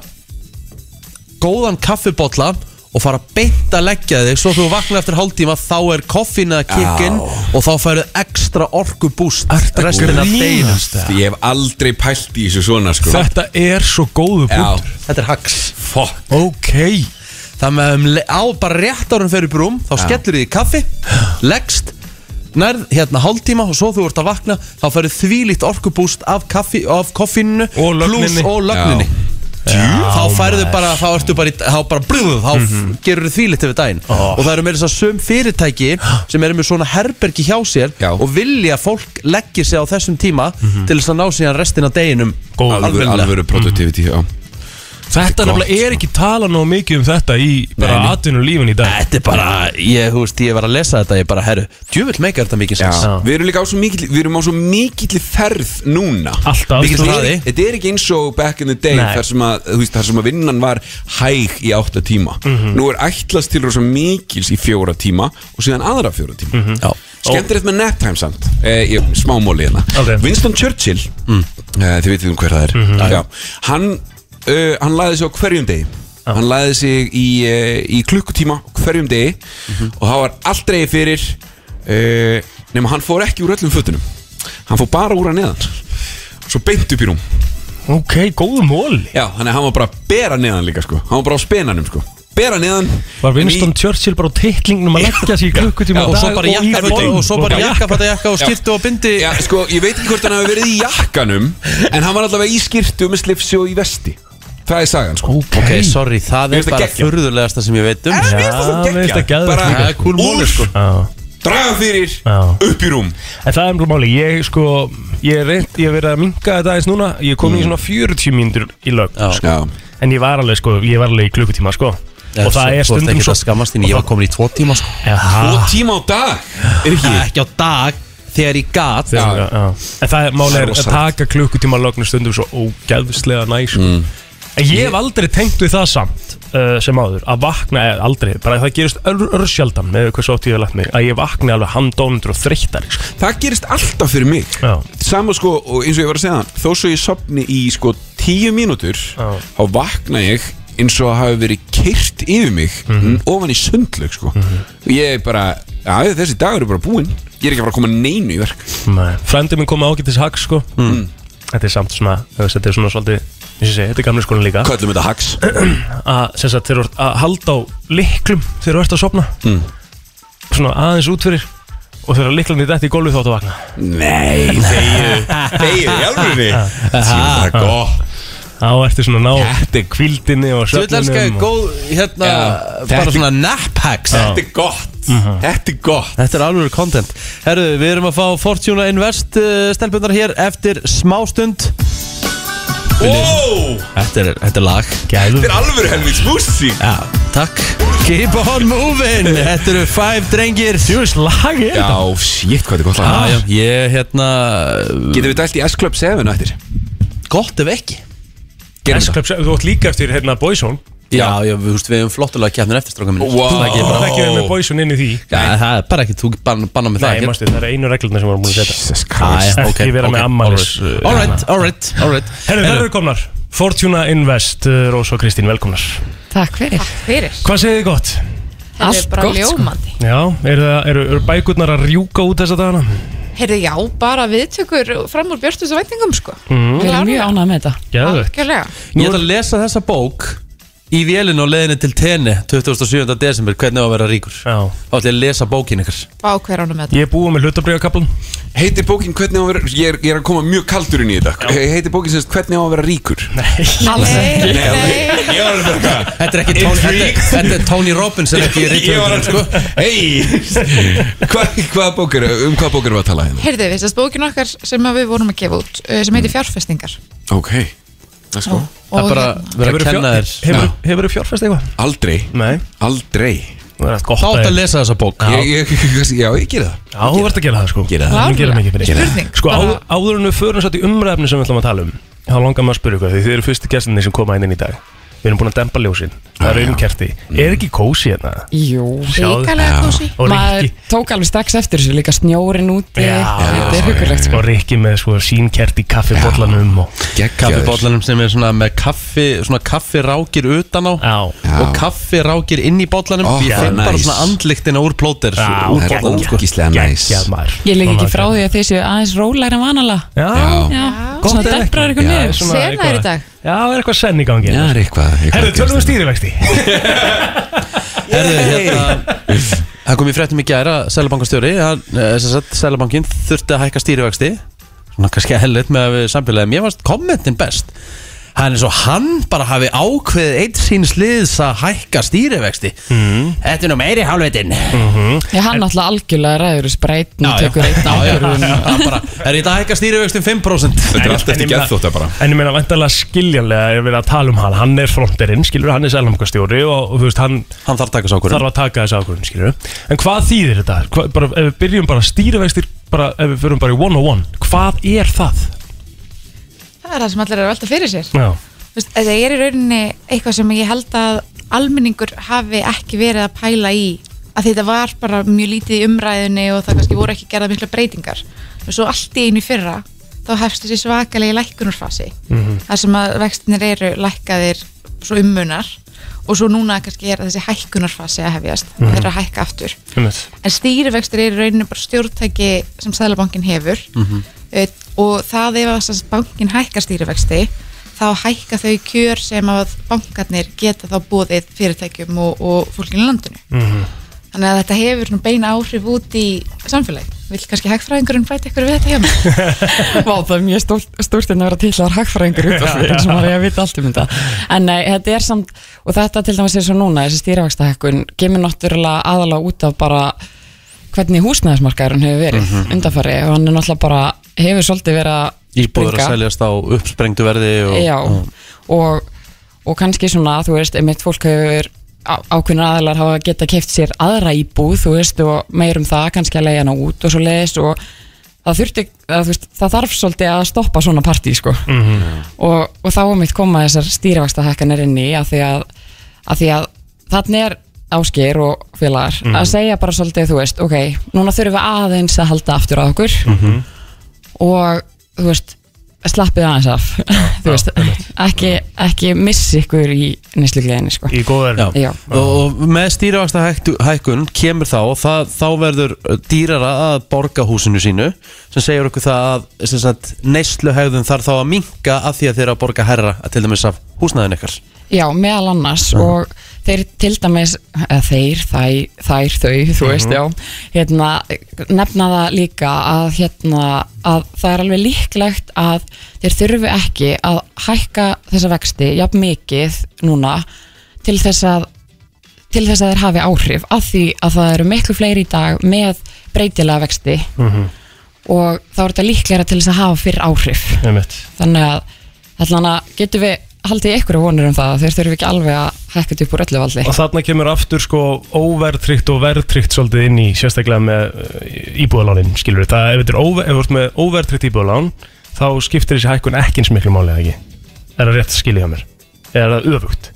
góðan kaffibotla og fara beint að leggja þig svo þú vaknar eftir hálftíma þá er koffin að kikkin og þá færðu ekstra orku búst restina af deginum Því Ég hef aldrei pælt í þessu svona sko Þetta er svo góðu Já, punktur Þetta er hacks fuck Ok Það með um le- á bara rétt árum fyrir brúm þá skellur þið í kaffi, leggst nærð hérna hálftíma og svo þú ert að vakna þá færðu þvílíkt orkubúst af, kaffi, af koffinu Og lögninni. og lögninni þá færðu bara, þá ertu bara, í- þá bara brúðu, þá mm Mhm. gerur þið þvílíkt yfir daginn og það eru meira þess að sum fyrirtæki sem eru með svona herbergi hjá sér Já. Mhm. og vilja að fólk leggja sig á þessum tíma til þess að ná síðan restin af deginum Góð. Alvöru, almennilega. Mhm. alvöru productivity, já Þetta nefnilega er ekki tala nóg mikið um þetta í bara Nei, nei. atvinnum lífin í dag Þetta er bara, ég, þú veist, ég var að lesa þetta, ég bara, herru, djúvill meikar þetta mikið sens. Já. Við erum líka á svo mikill Við erum á svo mikill ferð núna Mikill Alltaf. Mikill hraði. hraði. Þetta er ekki eins og back in the day Nei. þar sem, að, þú veist, þar sem að vinnan var hæg í átta tíma Mhm. Nú er ætlast til rosa mikils í fjóra tíma Og síðan aðra fjóra tíma mm -hmm. Mhm. Já. Skemmtilegt með naptime samt eh, ég- Smámóli hérna Ok. Winston Churchill Mm. eh, Þið veitum hver það er Mhm. Já, Hann, uh, hann laði sig á hverjum degi Hann laði sig í, uh, í klukkutíma á hverjum degi Og það var allt reyði fyrir uh, Nefnum hann fór ekki úr öllum fötunum Hann fór bara úr að neðan Svo beint upp í rúm Ok, góðu móli Já, þannig að hann var bara að bera neðan líka sko Hann var bara á spenanum sko Bera neðan Var Winston Churchill bara á titlingnum að leggja sig í klukkutíma á og svo dag bara og í jakka borð? og svo bara Ok. jakka fæta jakka og skiptu og bindi Já, sko, ég veit ekki hvort hann hafi verið í jakkanum En hann var allavega í skirtu með slipsi og í vesti Það er sagan sko Ok, ok, sorry, það Mér er finnst það bara geggjað. furðulegasta sem ég veit um En mér finnst það Já, svo mér finnst það geggjað geðveikt Bara líka. Það er cool móli, sko. Já. draga fyrir, Já. upp í rúm En það er umlað máli, ég sko, ég er reynd, ég hef verið að minga þetta aðeins núna, ég kom í Mm. svona 40 mínútur í lög, Já. sko. En ég var alveg, sko, ég var alveg í klukkutíma, sko. og það er Þú ert stundum ekki að skammast þín, ég var komin í tvo tíma sko. Já, Tvo tíma á dag, er ekki Ekki á dag, þegar ég gat já, Já. já. En það er máli Það er er að rosalegt. taka klukkutíma lögnu stundum svo ógæðslega næs, sko. Mm. En ég hef aldrei tengt við það samt uh, sem áður, að vakna, eh, aldrei, bara það gerist ör, ör sjaldan með hversu átt ég hef lagt mig, að ég vakna alveg handónundur og þreytari, sko. Það gerist alltaf fyrir mig Já. Sama sko, og eins og ég var að segja það Þó svo ég sopni í sko tíu mínútur Já. Þá vakna ég eins og hafi verið kyrt yfir mig Mhm. Ofan í sundlög sko Ég er bara, já þessi dagur er bara búinn Ég er ekki að fara að koma neinu í verk Mm. Frændið minn kom með ágættis hag sko Þetta er samt svona þú veist, Þetta er svona svolítið eins og ég segi, Þetta er gamlega skólan líka Kallum þetta hax að, sem sagt, Þeir eru að halda á liklum Þeir eru eftir að sopna Mm. Svona aðeins út fyrir Og þegar liklunni dætt í gólfið þá áttu að vakna Nei, þegið, þegið, í alvörunni Það er gott Þá ertu svona að ná Þetta er kvildinni og Þú vil elska svefninum og... góð, hérna, Já, bara þetta- svona nap hacks Já. Þetta er gott Mhm. Þetta er gott Þetta er alveg eh, content Herru, við erum að fá Fortuna Invest uh, stelpunar hér eftir smástund Wow! Þetta er, þetta er lag Gæðum Þetta er alvöru helvíts músík Já, takk Keep on moving Þetta eru five drengir Djúvis lag er Já, þetta shit, hvað þetta er gott Já, já, lag ég hérna Getum við dælt í S-Club 7 á eftir? Gott ef ekki Gerum S-Clubs, þú átt líka eftir hérna Boyzone Já, já, við, húst, við hefum flottulega kjæftin eftir stráka minni Wow. Það er ekki Það er bara ekki verið með Boyzone inn í því Já, það er bara ekki, þú banna, banna með það Ah, Nei, mástu, það er einu reglurnar sem vorum múin að setja Jesus Æ, Christ Ekki vera með afmælis. Alright, uh, alright, alright Herru, það eru komnar Fortuna Invest, uh, Rós og Kristín, velkomnar Takk fyrir Fyrir Hvað segir þið gott? Þetta Allt er bara gott, sko. ljómandi Já, eru, það, eru, eru bækurnar að rjúka út þessa dagana? Heyrðu, já, bara viðtökur fram úr björnstus og væntingum, sko Við mm, erum Mm. mjög ánægð með þetta Geðvegt Algjörlega Ég ætla að lesa þessa bók Í vélinu og leiðinu til tenni 27. desember, hvernig á að vera ríkur Já Þá ætla ég að lesa bókin ykkar Vá, hver ánum með þetta Ég er búið með hlutabriðakablan Heitir bókin hvernig á að vera Ég er, ég er að koma mjög kaldur inn í þetta Heitir bókin sem sagt, hvernig á að vera ríkur Alls ekki Nei, Ég var alveg bara eitthvað Þetta er ekki Tony, þetta, er- þetta er Tony Robbins en ekki Ég var rítið sko. alveg Hei Hva, Hvað bók er Um hvað bók erum við að tala hérna? heyrðu, við sérst bókin okkar sem að við vorum að gefa út eh, sem heitir fjárfestingar Ok Let's go Það er Og bara hérna, að vera að kenna þér Hefur, hefur fjárfest eitthvað? Aldrei Nei Aldrei Það er allt Þá gott ætla að þér. lesa þessa bók ég, ég, Já, ég gera það Já, þú verður að gera það sko Gera það. Við gerum klárlega. ekki fyrir. Ekki spurning Sko á, Bara- áður en við förum satt í umræfni sem við ætlum að tala um þá langar maður að spyrja ykkur því þið eru fyrstu gestinni sem koma hérna inn í dag Við erum búin að dempa ljósin Það er raunkerti Mm. Er ekki kósi hérna? Jú Ríkalega kósi Og Maður Rikki tók alveg strax eftir þessu líka snjórin úti Þetta er hugulegt sko Og Rikki með sko sínkert í kaffibollanum og Gekkjaður Kaffibóllanum sem er svona með kaffi Svona kaffi rákir utan á Já Og kaffi rákir inn í bóllanum Ó, Ég það er finn bara nice. svona andlíktina úr plóter Já, Úr það er bollanum sko ógíslega næs Geggjað maður Ég leik ekki frá því að þeir séu aðeins rólæri en vanalega Já Já, Já, Gott svona er ekki. debrar ykkur Já. niður svona Sena er í eitthvað- dag. Já, er eitthvað senn í gangi Já, það er eitthvað eitthvað Herðu, að tölum við gerast. stýrivexti Herðu, hérna Það kom í fréttum í gæra Sælabankastjóri eh, Sælabankin þurfti að hækka stýrivexti Svona kannski hellit með samfélagi Mér fannst kommentin best Hann er svo hann bara hafi ákveðið eitt síns liðs að hækka stýrivexti Mhm. Þetta er nú meiri hálfveitin Ég hann alltaf algjörlega ræður þessu breytn og já, tekur einn já, já, ákvörðun og- Það er bara, er þetta að hækka stýrivexti um 5%? Þetta En- er allt en ég eftir meina- geðþótt bara En ég meina vantarlega skiljanlega er verið að tala um hann Hann er fronterinn, skilur, hann er selhamkastjóri og, og þú veist, hann Hann þarf að taka svo okkur þarf að taka þessi ákvörðun, skilur En hvað þýðir þetta? Hva, bara, ef við byrjum bara stýrivextir bara, ef við förum bara í 101 Hvað er það? Það er það sem allir eru að velta fyrir sér Já, Þú veist, Það er í rauninni eitthvað sem ég held að almenningur hafi ekki verið að pæla í að þetta var bara mjög lítið í umræðunni og það kannski voru ekki gerða mikla breytingar og svo allt í einu í fyrra þá hefst þessi svakalegi lækkunarfasi þar sem að vextinir eru lækkaðir svo ummunar og svo núna kannski er þessi hækkunarfasi að hefjast, það er að hækka aftur um en stýrivextir eru í rauninu bara stjórntæki sem Sælabankin hefur Mhm. eh, og það ef að sem sagt bankin hækkar stýrivexti þá hækka þau kjör sem að bankarnir geta þá bóðið fyrirtækjum og, og fólkinu í landinu Mhm. þannig að þetta hefur nú beina áhrif út í samfélagi vill kannski hægfræðingurinn bæta ykkur við þetta hjá mig Vá, það er mjög stórt, stórt en að vera titlaðar hagfræðingur út af því eins og maður er að vita allt um þetta en nei, þetta er samt, og þetta til dæmis er svo núna þessi stýrifækstahækkun kemur náttúrulega aðalega út af bara hvernig húsnæðismarkaðurinn hefur verið undanfari og hann er náttúrulega bara hefur svolítið verið að Íbúður að springa. seljast á uppsprengdu verði og, Já, og- og, og kannski svona, þú veist, einmitt fólk hefur á- ákveðnir aðlar hafa geta keft sér aðra íbúð, þú veist, og meirum það kannski að leiða hana út og svo leiðist og það þurfti, að, þú veist, það þarf svolítið að stoppa svona partí, sko Mhm. og, og þá um eitt koma þessar stýrivakstahækkanir inn í að því að, að, því að þannig er ásker og félagar Mhm. að segja bara svolítið, þú veist, ok núna þurfum við aðeins að halda aftur á okkur Mhm. og þú veist slappið aðeins af þú veist, ekki, ekki missi ykkur í nýslugleginni sko. Í góðar Já. Já. Og, og með stýrivaksta hækkun kemur þá, það, þá verður dýrara að borga húsinu sínu sem segir okkur það að sem sagt, neysluhegðun þarf þá að minka af því að þeir eru að borga herra til dæmis af húsnæðin ykkar já, meðal annars og þeir til dæmis eða þeir, þær, þær þau þú veist, já, hérna nefna það líka að hérna að það er alveg líklegt að þeir þurfi ekki að hækka þessa vexti, jafn mikið núna, til þess að til þess að þeir hafi áhrif af því að það eru miklu fleiri í dag með breytilega vexti og þá er þetta líklega til þess að hafa fyrir áhrif Einmitt. þannig að Þannig að getum við haldið ykkur að vonur um það þeir þurfum ekki alveg að hækka þetta upp úr öllu valdi Og þarna kemur aftur sko óverðtrygt og verðtrygt svolítið inn í sérstaklega með eh, íbúðalánin, skilur við. Það, ef þetta er óver, ef þú ert með óverðtrygt íbúðalán, þá skiptir þessi hækkun ekki eins miklu máli, eða ekki? Er það rétt skiljað mér? Eða er það öfugt?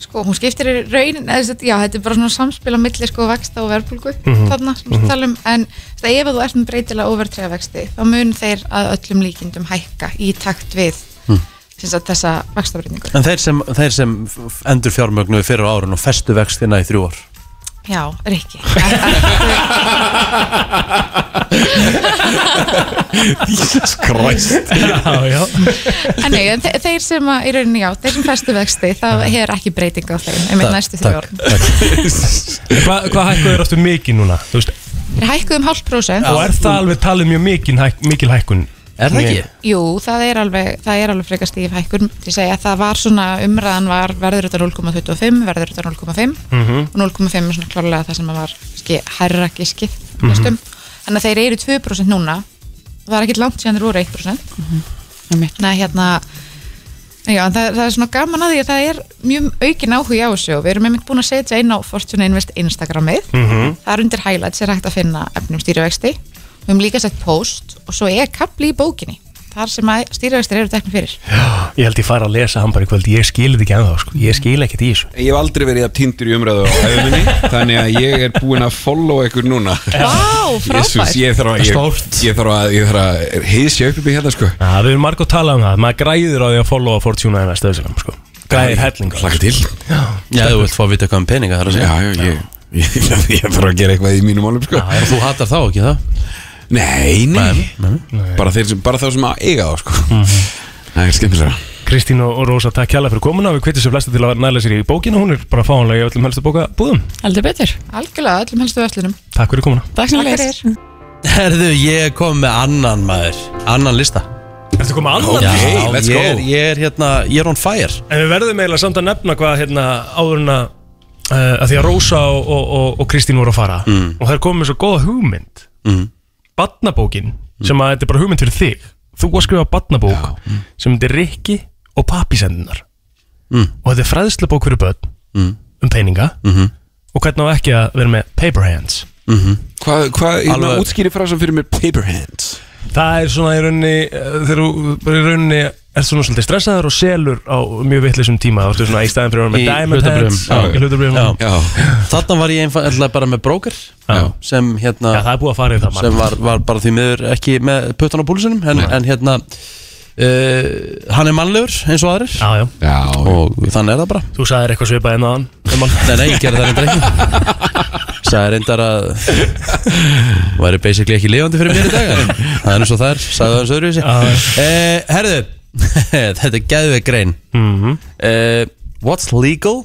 sko, hún skiptir í raunin eða, þess að- já, þetta er bara svona samspil á milli sko, vexta og verðbólgu Mhm. þarna sem við Mhm. talum en það, ef þú ert með breytilega overtræða vexti þá mun þeir að öllum líkindum hækka í takt við Mm. mm. að, þessa vextabreytingu En þeir sem, þeir sem f- endur fjármögnuði fyrir árun og festu vextina í þrjú ár já, Rikki Jesus Christ Já, já en, nei, en þe þeir sem að, í rauninni já, þeir sem festu vexti það hefur ekki breytinga á þeim um Takk, einn næstu þrjú takk. árum En Hvað hva hækkuð er aftur mikið núna? Þú veist, þeir hækkuð um hálft prósent og er það alveg talið mjög mikil, hæk, mikil hækkun? Er það ekki? Jú, það er alveg, það er alveg frekar stíf hækkun til að segja að það var svona umræðan var verður þetta 0,25, verður þetta 0,5 Mhm. og 0,5 er svona klárlega það sem að var kannski hærra giskið Mhm. næstum. þannig að þeir eru 2% núna það er ekki langt síðan þeir voru 1% þannig að hérna Já, en það, það er svona gaman að því að það er mjög aukin áhugi á þessu og við erum einmitt búin að setja inn á Fortuna Invest Instagramið Mhm. Það er undir highlights er hægt að finna efnum stýrivexti. Við höfum líka sett post og svo er kapli í bókinni þar sem að stýrivextir eru teknir fyrir. Ég held ég fara að lesa hann bara í kvöld, ég skilði ekki ennþá, sko. Ég skil ekkert í þessu. Ég hef aldrei verið að tindur í umræðu á æðuminni Þannig að ég er búinn að follow ykkur núna Vá, Jesus, ég þarf að ég, ég þarf að, ég þarf að heiðsja upp upp í hérna sko Já, við erum margótt talað um það, maður græðir á því að followa Fortuna en að stöðsum, sko. Græðir hellinga. Hlaka til. Já. Já, þú vilt fá að vita hvað um peninga þar að segja Já, já, ég, ég, ég þarf að gera eitthvað í mínum álum sko já, Þú hattar þá ekki það? Nei, nei, Bara, þeir sem, bara þá sem að eiga þá sko Mhm. Það er skemmtilega Kristín og og Rósa, takk hérlega fyrir komuna Við kvittum sem flestu til að næla sér í bókina Hún er bara fáanlega í öllum helstu bóka búðum Heldur betur Algjörlega, öllum helstu öllunum. Takk fyrir komuna Takk sem leys Herðu, ég kom með annan maður Annan lista Ertu kom með annan? Já, Ok, let's go. ég, er, ég er hérna, ég er on fire En við verðum eiginlega samt að nefna hvað hérna áður en að uh, að Því að Rósa og, og, og, og Kristín voru að fara mm. Og þær komið með svo góða hugmynd mm. Batnabókin Sem að þetta er bara hugmynd fyrir þig Þú að skrifa batnabók Sem þetta er Rikki og pappisendunar Mm. Og þetta er fræðslubók fyrir börn Mm. Um peninga Mm-hmm. Mhm. Og hvernig á ekki að vera með paper hands Mm -hmm. Hvað, hvað, hérna, ég Alveg- maður útskýri frá sem fyrir mér paper hands Það er svona í rauninni eh, þegar þú bara í rauninni ert svona svolítið stressaður og selur á mjög vitleysum tíma þá ertu svona í staðin fyrir að vera með Í diamond hlutabréfum, hands já. í hlutabrifum Þarna var ég einfallega bara með bróker Já. sem hérna Já, það er búið að fara í það margt. sem var, var bara því miður ekki með puttan á búlisunum en, en hérna uh, hann er mannlegur eins og aðrir já, já. Já, og þannig er það bara Þú sagðir eitthvað svipað hérna enn á hann Nei, nei, ég gerði það reyndar ekki Sæði reyndar að væri basically ekki lifandi fyrir mér í dag en Það er eins og það er, sagði það eins og öðruvísi eh, Herðu, þetta er geðveik grein Mhm. eh, What's legal,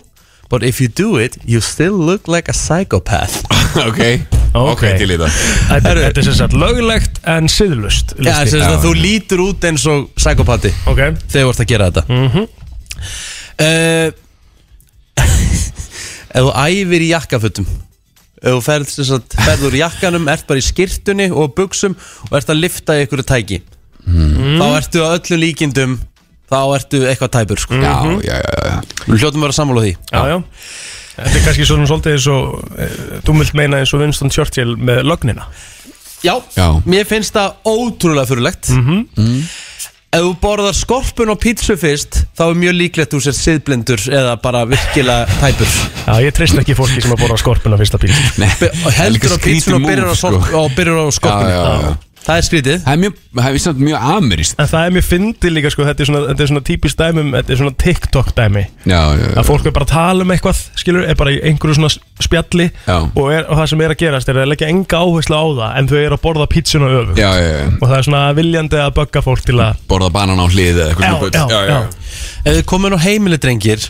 but if you do it You still look like a psychopath Ok, ok, til í það Þetta er- þetta er sem sagt löglegt en siðlust Já, sem sagt að þú lítur út eins og psykopati okay. Þegar þú ert að gera þetta Eh, mm -hmm. Ef þú æfir í jakkafutum Ef þú ferð, sem sagt, ferð úr jakkanum Ert bara í skirtunni og buksum Og ert að lifta í ykkur tæki Þá ertu að öllu líkindum Þá ertu eitthvað tæpur sko. Já, já, já, já Við hljótum að vera sammála því Já, já Þetta er kannski svona svolítið eins og eh, þú vilt meina eins og Winston Churchill með lögnina Já, mér finnst það ótrúlega fyrirlegt Mhm. Ef þú borðar skorpun og pítsu fyrst Þá er mjög líklegt þú sér siðblindur Eða bara virkilega tæpur Já, ég treyst ekki fólki sem að borða skorpuna fyrsta bíl Be- og heldur á pítsun og byrjar á, sko. á, byrjar á skorpunni Það er skrítið Það er mjög, það er samt mjög amirist En það er mjög fyndið líka sko, þetta er svona, þetta er svona típist dæmum, þetta er svona TikTok dæmi Já, já, já að fólk er bara að tala um eitthvað skilur, er bara í einhverju svona spjalli Já. og, er, og það sem er að gerast er að leggja enga áherslu á það en þau eru að borða pítsuna öfugt Já, já, já og það er svona viljandi að bögga fólk til að Borða banan á hlið eða eitthvað svona bull. já, já. Ef þið komin á heimili drengir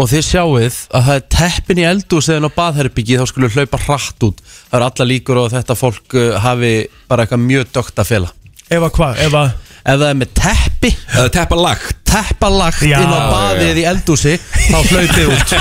og þið sjáuð að það er teppin í eldús eða á baðherbyggi þá skulle hlaupa hratt út það eru alla líkur á að þetta fólk uh, hafi bara eitthvað mjög dögt að fela ef að hvað, ef að ef það er með teppi Eða teppa lagt teppalagt Já, inn á já, baðið í eldúsi þá hlaupið út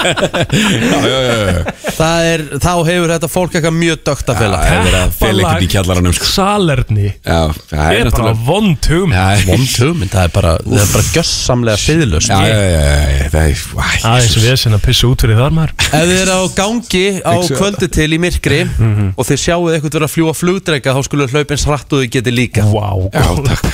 Já, já, já, já. það er, Þá hefur þetta fólk eitthvað mjög dögt að fela Það er verið að fela ekkert í kjallaranum sko. Salerni Já, það er er bara náttúrulega vond hugmynd Já, Vond hugmynd, það er bara, það er bara gjössamlega siðlust já, já, já, já, já, það er Æ, Aðeins Jesus. við sinna að pissa út fyrir þar maður Ef þið eru á gangi á Fixu- kvöldu til í myrkri Mhm. og þið sjáu eitthvað vera að fljúa flugdreika þá skulle hlaupin sratt og þið geti líka Vá, Já, góð. takk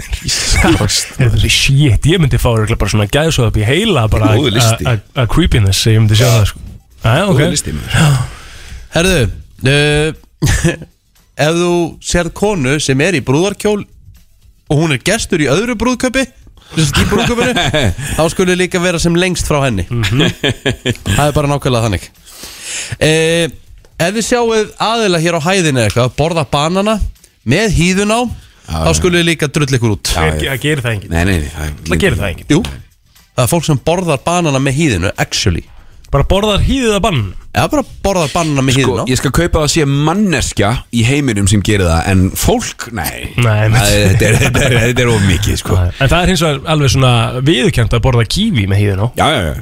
Jesus. Heyrðu, Shit, ég myndi fá örugglega bara svona gæðsóð upp í heila bara Góður listi. a- a- a creepiness, ég myndi sjá það sko Æja, ok Góður listi, maður. Herðu, uh, ef þú sér konu sem er í brúðarkjól og hún er gestur í öðru brúðköpi sem sagt í brúðköpinu þá skulle líka vera sem lengst frá henni Mhm. Það er bara nákvæmlega þannig uh, Ef þið sjáuð aðila hér á hæðinu eitthvað borða banana með hýðun á Já, þá já. skulle líka drull ykkur út Já, Ég- já. Það gerir það enginn Nei, nei, nei, það Það gerir það enginn Jú, það er fólk sem borðar banana með hýðinu, actually Bara borðar hýðið að bann Eða bara borðar banana með Sko, hýðinu ég skal kaupa það að sé manneskja í heiminum sem gerir það En fólk, nei Nei, Það men- er- Þetta er, þetta er, þetta er of mikið, sko Nei, En það er hins vegar alveg svona viðurkjönd að borða kífi með hýðin á Já, já, já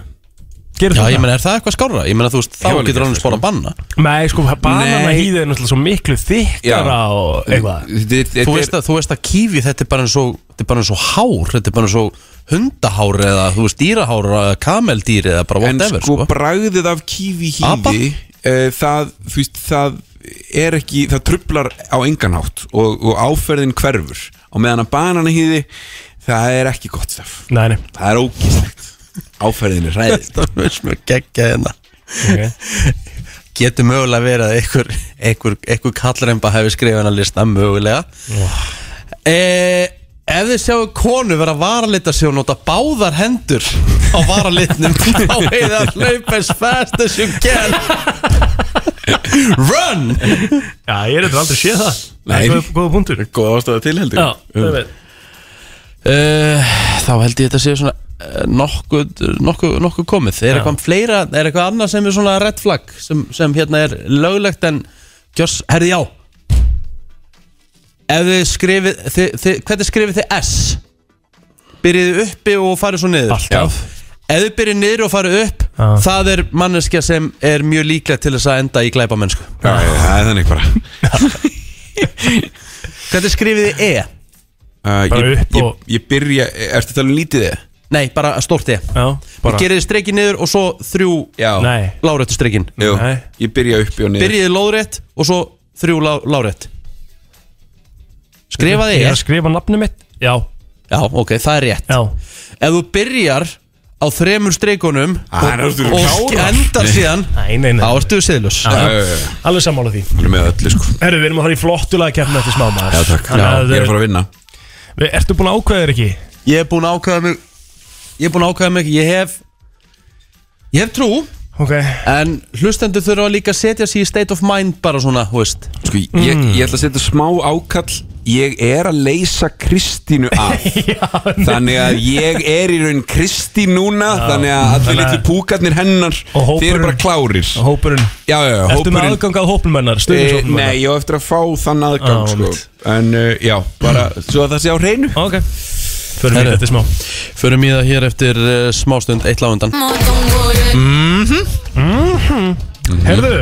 Gerir Já, það? ég meina, er það eitthvað skárra? Ég meina, þú veist, þá Ég var líka getur hann sko. spora banna Nei, sko, banana Nei. hýðið er náttúrulega svo miklu þykkara og eitthvað Þú Þú veist, að, þú veist að kífi, þetta er bara eins og þetta er bara eins og hár, þetta er bara eins og hundahár eða, þú veist, dýrahár eða kameldýr eða bara En whatever, sko, sko, bragðið af kífi Apa? hífi uh, það, þú veist, það er ekki, það trublar á enganhátt og, og áferðin hverfur og meðan að banana hífi það er ekki gott staf Nei, nei það er ógislegt áferðin er ræðið Það er sem er geggja hérna okay. Getur mögulega verið að einhver, einhver, einhver kallremba hefur skrifað hennar lista mögulega eh, Ef þið sjáu konu vera varalita sig og nota báðar hendur á varalitnum þá hefur það hlaupa as fast as you can Run! Já, ég er þetta aldrei séð það Nei. Það er góð- Góða punktur Góð ástæða til heldur Um. Já, það veit Eh, þá held ég þetta séu svona eh, nokkuð, nokkuð, nokkuð komið Er Já. eitthvað fleira, er eitthvað annað sem er svona red flag sem, sem hérna er löglegt en gjörs, herði já Ef þið skrifið, þið, þið, hvernig skrifið þið S? Byrjið uppi og farið svo niður Alltaf Ef þið byrjið niður og farið upp Já. Það er manneskja sem er mjög líklega til þess að enda í glæpa mennsku Já, já, það er þannig bara Hvernig skrifið þið E? uh, Bara ég, upp ég, og- ég byrja, ertu að tala um lítið þið? Nei, bara stórt E Já, bara Gerið streikið niður og svo þrjú Já, Nei, láréttu streikin Jú, Nei. ég byrja uppi og niður Byrjiði lóðrétt og svo þrjú lá, lárétt Skrifaði ég er ég að skrifa nafnum mitt Já, Já, ok, það er rétt já Ef þú byrjar á þremur streikunum Ah, það er og, náttúrulega og klárar. endar síðan Nei, nei, nei Þá ertu siðlus Já, já, já, já, Alveg sammála því alveg með öllu sko Herru, við erum að fara í flottulega keppna eftir smá maður Já, takk, Þannig að, ég er að fara að vinna við- Ertu búin að ákveða þér ekki? Ég hef búin að ákveða mig Ég hef búin að ákveða mig Ég hef Ég hef trú Ok En hlustendur þurfa líka að setja sig í state of mind bara svona, hú veist Sko, ég, ég ætla að setja smá ákall Ég er að leysa Kristínu af Þannig að ég er í raun Kristín núna Þannig að allir Þannig að- litlu púkarnir hennar Og hópurinn- Þeir eru bara klárir Og Hópurinn Já, já, já, Ertu með aðgang að hópum hennar? Eh, Stöðningshópum Nei, ég á eftir að fá þann aðgang Já, sko. mitt. En uh, já, bara Svo að það sé á hreinu Ok Förum við Herru. þetta smá Förum í það hér eftir uh, smástund, eitt lag undan Mhm. Mhm. Herðu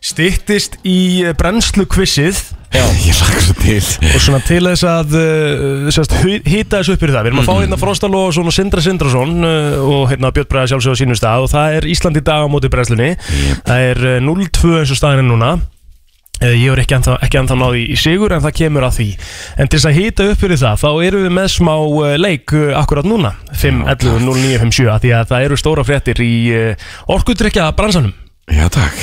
Stittist í brennslu kvissið Ég lakka svo til Og svona til þess að uh, sérst, hu- hita þessu upp fyrir það Við erum að fá hérna Frosta Lóðarsson og Sindra Sindrason uh, Og hérna Björn Bræða sjálfsög á sínum stað Og það er Ísland í dag á móti brennslunni Það er uh, 0-2 eins og staðin er núna uh, Ég er ekki ennþá, ekki ennþá náði í sigur En það kemur að því En til þess að hita upp fyrir það Þá erum við með smá uh, leik uh, akkurat núna 5-11-09-57 af Því að það eru stóra fréttir í uh, orkudrykja bransanum Já, takk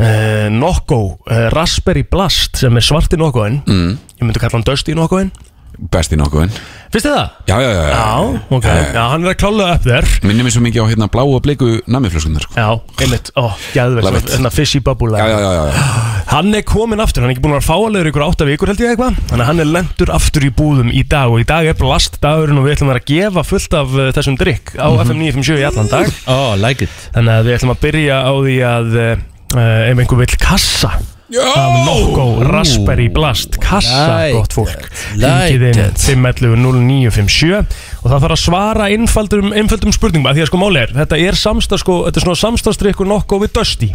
uh, Nokko, uh, Raspberry Blast sem er svarti nokkoinn mm. ég myndi kalla hann Dusty nokkoinn Besti nokkuðin finnst þið það? Já, já, já, já. Já, ok, já, hann er að klálega upp þér Minnir mér svo mikið á hérna blá og bleiku namiflöskunar sko. Já, einmitt, ó, Love gæðvegt it. Þannig að fishy bubble Já, já, já, já, já. Hann er komin aftur, hann er ekki búin að vera fáalegur ykkur átta vikur held ég eitthvað Þannig að hann er lendur aftur í búðum í dag Og í dag er blast dagurinn og við ætlum að vera að gefa fullt af uh, þessum drikk Mhm. Á FM 957 í allan dag Oh, like it Þannig að við ætlum að byrja á því að eh, Ef einhver eh, vill kassa af Nokko Raspberry Blast kassa Light gott fólk light hringið inn it. 511-0957 og það þarf að svara einfaldum, einfaldum spurningum af því að sko máli er, þetta er samstar sko, þetta er svona samstarstrykkur Nokko við Dusty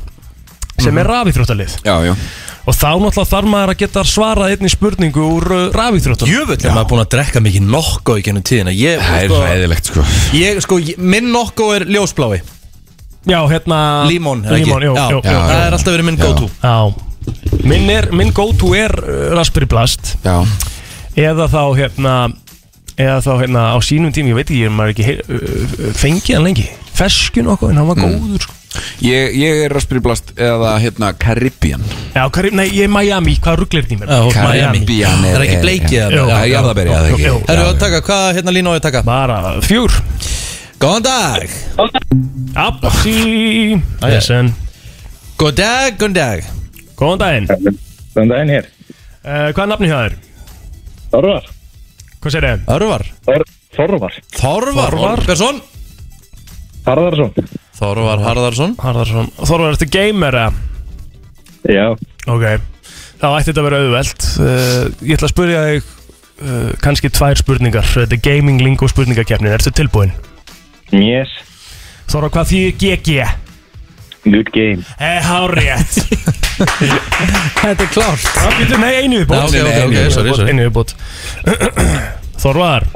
sem Mhm. er rafíþróttalið Já, já og þá náttúrulega þarf maður að geta svarað einni spurningu úr uh, rafíþróttalið Jöfull er maður búin að drekka mikið nokko í gennum tíðina Ég, Það er sko, ræðilegt sko ég, sko, ég- minn nokko er ljósblái Já, hérna Límón, er það ekki? Límón, jú, já, jú, já, jú. Það er alltaf verið minn Já. go-to Já Minn, er, minn go-to er uh, Raspberry Blast Já, eða þá hérna eða þá hérna á sínum tími, ég veit ekki, ég maður ekki heyr, uh, uh, fengið hann lengi, feskun okkur en hann Mhm. var góður sko Mm. ég, ég er Raspberry Blast eða hérna Caribbean Já, hvað er, nei, ég er Miami, hvað rugglir því mér? Já, þú ert Miami. er, Það er ekki bleikið Jú, það Það er jarðaberi, það er jú, jú. ekki Herru, að taka, hvað hérna lína á ég að taka? Bara fjúr Góðan dag Apsi Æ, Þessan Góð dag, góðan dag Góðan daginn uh, Þannig að einn hér Hvað er nafni hjá þér? Þorvar Hvað sér þið? Örvar Þor, Þorvar Þorvar Þorvar. Olbersson Harðarsson Þorvar Harðarsson Harðarsson Þorvar, ertu gamer eða? Já Ok, þá ætti þetta að vera auðvelt uh, Ég ætla að spyrja þig uh, kannski tvær spurningar Þetta er gaming lingo spurningakefnin, ertu tilbúin? Yes Þóra, hvað því GG? Good game Eh, hárétt Þetta er klárt Það býttu, nei, einu Já, viðbót ok, ok, ok, sorry, sorry Einu viðbót Þorvar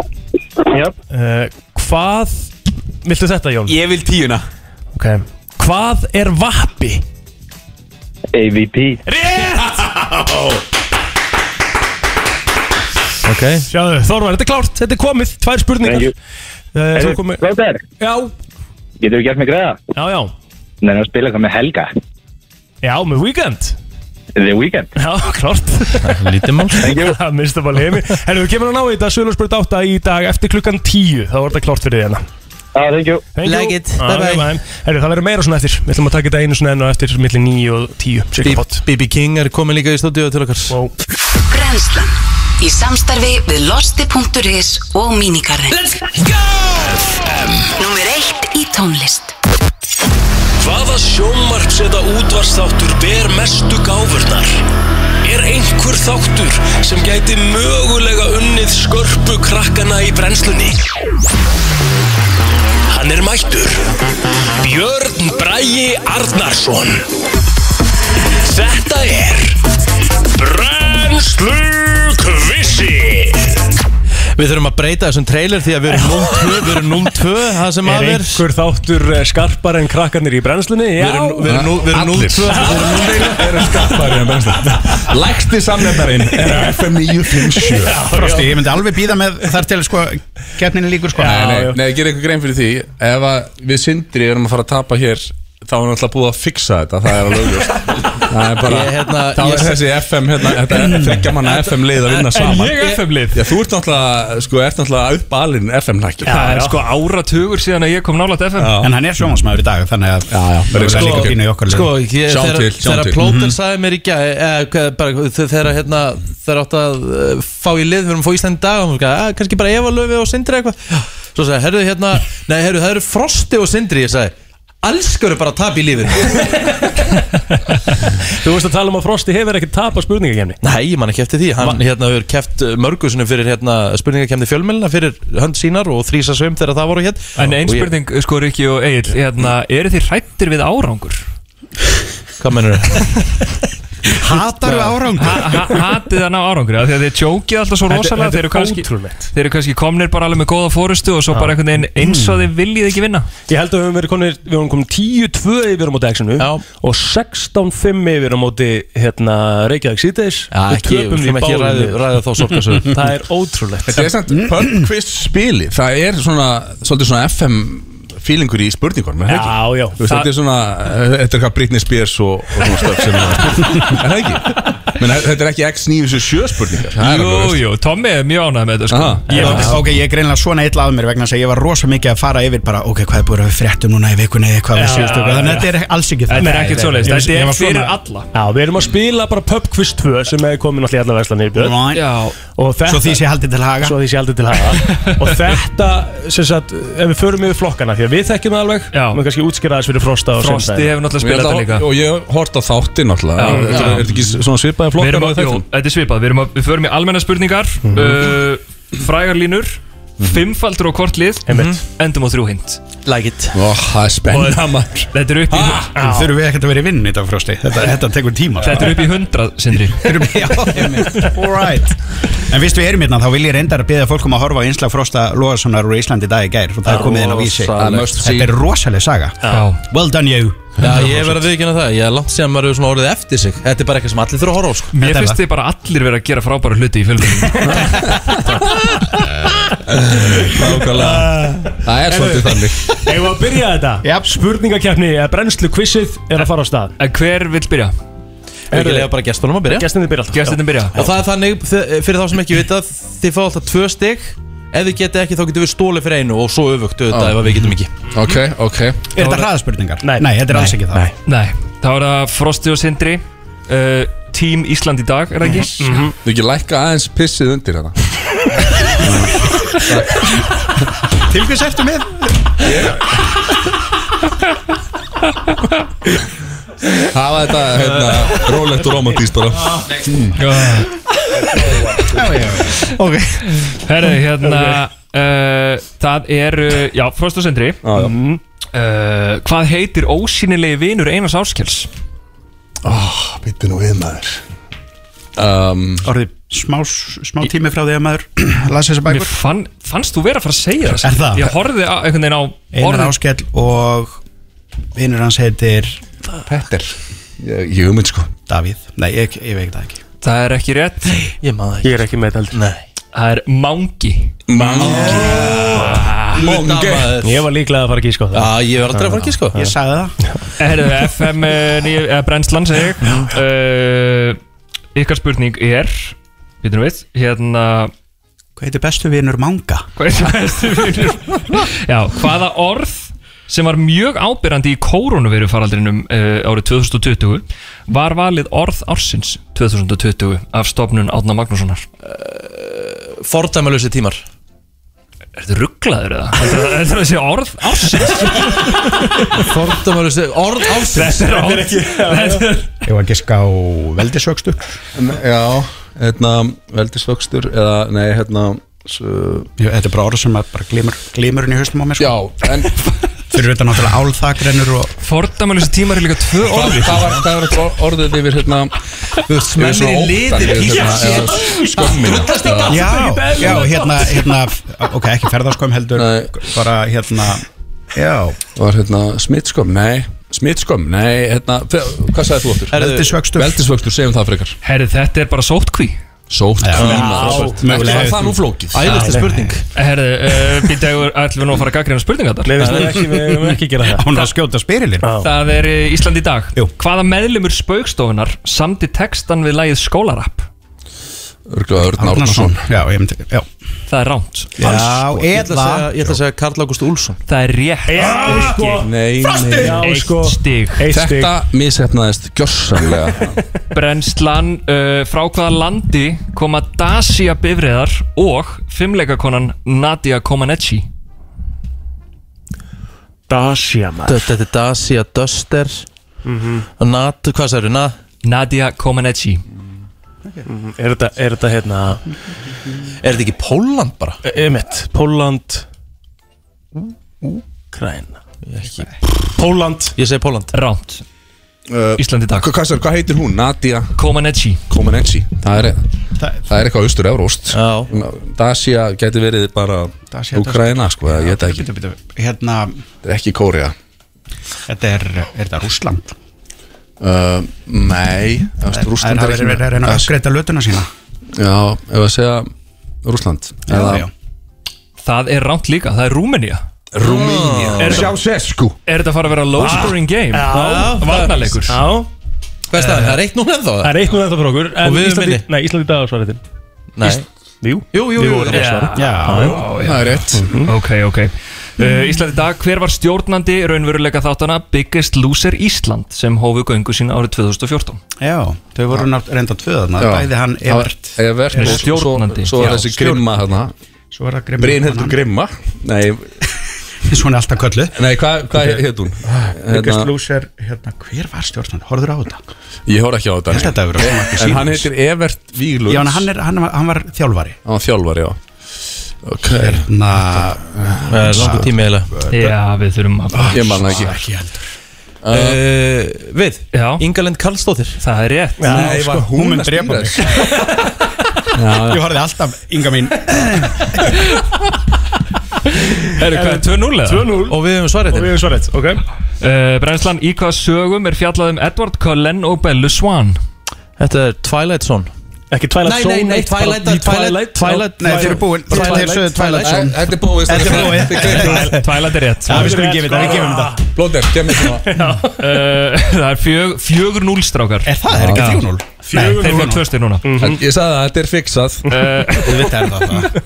Já uh, Hvað Viltu þetta, Jón? Ég vil tíuna Ok Hvað er vappi? AVP Rétt! Ok Sjáðu, Þorvar, þetta er klárt, þetta er komið Tvær spurningar Thank you. Eh, Svo komið Flóter Já, Getur við gert mig greiða? já, já Nei, að spila eitthvað með Helga Já, með Weekend The Weekend Já, klart Lítið mál Minnstu bara heimi Herru, við kemur að ná í þetta Sölurspurt 8 í dag eftir klukkan 10 Það var þetta klart fyrir þig hérna Ah, thank you Thank you. Like it. Ah, Bye bye. Herru, það verður meira svona eftir Við ætlum að taka þetta einu svona enn og eftir Millir 9 og 10 Cirka pott BB King er komin líka í stúdíu til okkar Wow. Brennslan Í samstarfi við losti.is og mínikarðin Let's go! Númer eitt í tónlist Hvaða sjónvarps eða útvarstáttur ber mestu gáfurnar? Er einhver þáttur sem gæti mögulega unnið skörpu krakkana í brennslunni? Hann er mættur. Björn Bragi Arnarsson. Þetta er Brennslu Kvissið. Við þurfum að breyta þessum trailer því að við erum 0-2 Við erum 0-2, það sem Er að er einhver þáttur eh, skarpar en krakkarnir í brennslunni? Já Við erum- við erum nú- við erum 0-2 eru skattari en bensla Lægsti samnefnarinn er FM 957 Frosti, ég myndi alveg býða með þar til sko keppninni líkur sko Já, Nei, já. nei. Nei, gera eitthvað grein fyrir því Ef að við sindri erum að fara að tapa hér Þá er náttúrulega búið að fixa þetta Það er alveg augljóst. Það er bara Ég, hérna, Þá ég- er þessi FM hérna, Þetta er þryggja manna FM lið að vinna En saman ég Mm. er FM-lið Já, þú ert náttúrulega Sko, ert náttúrulega uppalinn FM-nækjum Það er sko áratugur síðan að ég kom nálægt FM En hann er sjónvarsmaður í dag, þannig að já, það er sko- líka pínu í okkar Sko, liði. ég- Sjáum þegar til, sjáum þegar Mhm. til. plóter Mhm. sagði mér í eh, gæð Þegar hérna Þegar átt að eh, fá í lið Við erum að fá Íslandi í dag og hún sagði, "Ah, Kannski bara Eva Löfi og Sindri eitthvað Svo sagði, herru hérna Nei, herru, það eru Frosti og Sindri Ég sagði, allskur bara að tapa í lífinu Þú veist að tala um að Frosti hefur ekki tapað spurningakefni Nei, ég man ekki eftir því Hann hérna hefur keft mörgusunum fyrir hérna spurningakemni fjölmjölna fyrir hönd sínar og þrýsa söm þegar það voru hér En ein Og ég- spurning, eh, sko Rikki og Egil hérna, Eru þið hrættir við árangur? Hvað mennur það? Hatar við árangur Ha- ha- Hatið að ná árangur? Af Því að þið tjókið alltaf svo rosalega Þeir eru kannski, ótrúlegt þeir eru kannski komnir bara alveg með góða fórustu Og svo bara einhvern veginn eins Mm. og þið viljið ekki vinna Ég held að við höfum verið konir, við höfum komið 10-2 yfir á móti Exinu Já. og 16-5 yfir á móti hérna, Reykjavík síðdeis Já, ekki, við töpum skulum við ekki báðum ræða, liðum. ræða þá sorgarsögur Það er ótrúlegt Þetta er samt pubquiz spili Það er svona, svolítið svona FM feelingur í spurningunum, er það ekki? Já, já, Þú veist, það- þetta er svona, þetta er hvað Britney Spears og, og svona stöf sem er, er það ekki? menn þetta er ekki X977 spurningar Það er alveg Jú, veist. jú, Tommi er mjög ánægð með þetta sko. Ég, Já. ok, ég er greinlega svona illa að mér vegna þess að ég var rosa mikið að fara yfir bara, ok, hvað er búin að við fréttum núna í vikunni eða hvað Já, við síðustu já, okkur þannig já. að þetta er alls ekki Þetta er ekkert svoleiðis, Ég- þetta ég er var fyrir svona- alla Já, við erum að spila bara Pub Quiz 2 sem hefur komin allir allar verslanir í björn Right. Já. Og þetta Svo því sé haldið til haga. Svo því sé haldið til haga Og þetta, sem sagt, ef við förum yfir flokkana Því að við þekkjum það alveg Já Mér kannski útskýra þess fyrir Frosta og Frosti Sindra. hefur náttúrulega spilað Ég þetta ætla- líka. og ég- Ég hort á þátti náttúrulega Já, Þetta já. er- Er þetta ekki svona svipaði Við erum að, flokkar á jú, þættinum? þetta er svipað, við, erum að, við förum í almenna spurningar mm uh, Frægar línur Fimmfaldur á hvort lið Mhm. Einmitt. Endum á þrjú hint Like it Ó, það er spenna maður Þetta er upp í Ha, Já. Þurfum við ekkert að vera í vinn í dag, Frosti Þetta, þetta tekur tíma Þetta er upp í hundrað, Sindri Alright En fyrst við erum hérna, þá vil ég reyndar að beða fólkum að horfa á einslag Frosta Lóðarssonar úr Íslandi í dag í gær og það er komið inn á vísi Rosalegt. Það er must see. Þetta er rosaleg saga Já. Well done you Já, ég verði að viðkynna það, ég er langt síðan maður hefur svona orðið eftir sig Þetta er bara eitthvað sem allir þurfa að horfa á sko. Mér finnst þið bara allir vera að gera frábæra hluti í fjölmunum Nákvæmlega Það er svolítið þannig Eigum við að byrja þetta? Yep. Spurningakeppni, eh, brennslu quizið er að fara á stað En hver vill byrja? Ekki lega bara gestunum að byrja Gestinni byrja alltaf Gestirnir byrja. Og það er þannig, þi- fyrir þá sem ekki vita Þið fá alltaf tvö stygg Ef þið getið ekki þá getum við stólið fyrir einu Og svo öfugt auðvitað ef að við getum ekki Ok, ok Er þetta hraðaspurningar? Nei, þetta er alls ekki það Nei, þá er það Frosti og Sindri uh, Team Ísland í dag, er það ekki? Þú ekki lækka aðeins pissið undir þetta Til hvers ertu með? Það var þetta, hérna, rólegt og romantíst bara Ah, Hmm. Ok Herru, hérna uh, Það eru, já, Frost og Sindri Já, já. Mhm. Uh, Hvað heitir ósýnilegi vinur Einars Áskels? Býtti Ah, nú við maður um, Orðið smá, smá tími frá því að maður las þessa Mér bækur fann, fannst þú vera að fara að segja það Er það? Ég horfði á, einhvern veginn á Einar Áskell og vinnur hans heitir Petter Ég ég hugmynd sko Davíð, nei, ég, ég veit það ekki Það er ekki rétt Ég maður Ég er ekki með þetta heldur Það er Mangi Mangi Mangi Ég var líklega að fara að gíska á það Já, ég var aldrei að fara ekki sko Ég sagði það Herru, FM eh, níu- eða brennslan segi ég uh, Ykkar spurning er Býtum við, hérna Hvað heitir bestu vinnur manga? Hvað er það bestu vinur? Já, hvaða orð sem var mjög ábyrrandi í koronaviru faraldrinum uh, árið 2020 var valið orð ársins 2020 af stofnun Átna Magnússonar Fordæmalösi tímar Er þetta rugglaður eða? Heldur það- Heldur það að sé orð ársins? Fordæmalösi, orð ásins Þetta er orð Þetta er Ég var ekki ská veldisöxtu Já, hérna, veldisvöxtur Eða, nei, hérna svo- Þetta er bara orð sem að bara glimur, glimurinn í haustum á mér sko. Já, en Fyrir þetta náttúrulega álþakrennur og Fordæmalösi tímar er líka tvö Hvað orði hvað var, hvað var þetta orðið yfir hérna Þú veist, Menn eru liðir, hérna, píssi. Skömmina Já, já, hérna, hérna Ok, ekki ferðarskömm heldur Nei. Bara hérna Já, Var hérna smittskömm, nei Smittskömm, nei, hérna þe- Hvað sagði þú áttur? veldisöxtur Veldisvöxtur, segjum það frekar Herri, þetta er bara sótkví Sótt mögulega Ekki var hefur það því. nú flókið Æðislega spurning Herri, uh, býta eða ætlum við nú að fara að gaggrina spurninga þar Leifist við ekki, við erum ekki að gera það Hún er að skjóta spyrilin Það er eh, Ísland í dag Jú. Hvaða meðlumur spaukstofunar samti textan við lagið skólarapp? Örglega Örn Árnason Árnason Já, ég myndi, já Það er ránt Já, Ég ætla að segja, eða ég ætla að segja Karl Ágúst Úlsson Það er rétt Já, sko Nei, nei Já, Eitt sko stig Eitt stig Þetta mishefnaðist gjörsamlega Brennslan uh, Frá hvaða landi koma Dacia bifriðar og fimmleikakonan Nadia Comaneci Dacia maður Þetta er Dacia Duster Nat, hvað sagður, Nat Nadia Comaneci Er þetta, er þetta hérna Er þetta ekki Pólland bara? Emmett, Póland Græna Póland Ég segi Pólland Ránt Uh, Ísland í dag Hvað hvað- hvað heitir hún? Nadia Comaneci Comaneci Það er, það er eitthvað austur evróst Já. Dacia geti verið bara Dacia- Ukraina sko, ég veit það ekki Bíddu, bíddu, Hérna, Þetta er ekki Kórea þetta er, er þetta Rússland? uh, Nei Það er Rúsland að vera að reyna að uppgreita lötuna sína Já, ef að segja Rúsland Já, já Það er ránt líka, það er Rúmenía Rúmínia Er- Sjásesku Ah. Er þetta að fara að vera low scoring game? Já. Varnarleikur Já Hvað er staðan? Það er eitt núna ennþá? Það er eitt núna ennþá fyrir okkur en Og við erum Íslandi- minni? Nei, Íslandi dag svarið til Nei. Jú, Jú, jú, Við jú, vorum að já. svara. Já, Já, Mhm. já. það er rétt Mhm. Ok, ok uh, Ísland í dag, hver var stjórnandi raunveruleika þáttana Biggest Loser Ísland sem hófu göngu sína árið 2014 Já, þau voru Ah. nátt reynda tvö þarna Já. Bæði hann Það var Evert Evert og svo- Stjórnandi. Svo er Já, þessi stjórn- grimma þarna Svo er það grimma konan. Brynhildur grimma Nei, Svona alltaf köllu Nei, hvað hva Ok. Ah, hétt hún? Hérna, Biggest Loser, hérna, hver var stjórnandi? Horður á þetta? Ég horf ekki á þetta Ég held að þetta hafi verið ómarkið En síðans. hann heitir Evert Víglunds Já, en hann, er, hann, var, hann var þjálfari Hann var þjálfari, já Ok Hérna Það Eh, er langur tími eiginlega. Já, við þurfum að Ég man það ekki. Ekki heldur Uh, við, Já. Ingalend Karlsdóttir Það er rétt Já, Nei, sko, var hún hún að mun stýra drepa mig. þessu? Ég horfði alltaf, Inga mín Herru, hvað er 2-0 eða? 2-0 Og við hefum svarið Og við hefum svarið, ok uh, Brennslan, í hvaða sögum er fjallað um Edward Cullen og Bellu Swan? Þetta er Twilight Zone Ekki Nei, nei, nei, Twilight, Twilight, Twilight Nei, þeir eru búin Þeir þeir sögðu Twilight Zone Þetta er búið Þetta er búið. Twilight er rétt Já, við skulum gefa þetta, við gefum þetta Blóter, kemur svona Uh, það er fjög- 4-0 strákar Er það? Er ekki 3-0? Nei, þeir fá 4-0. tvöstir núna Mhm. En Ég sagði það, þetta er fixað Þetta er það það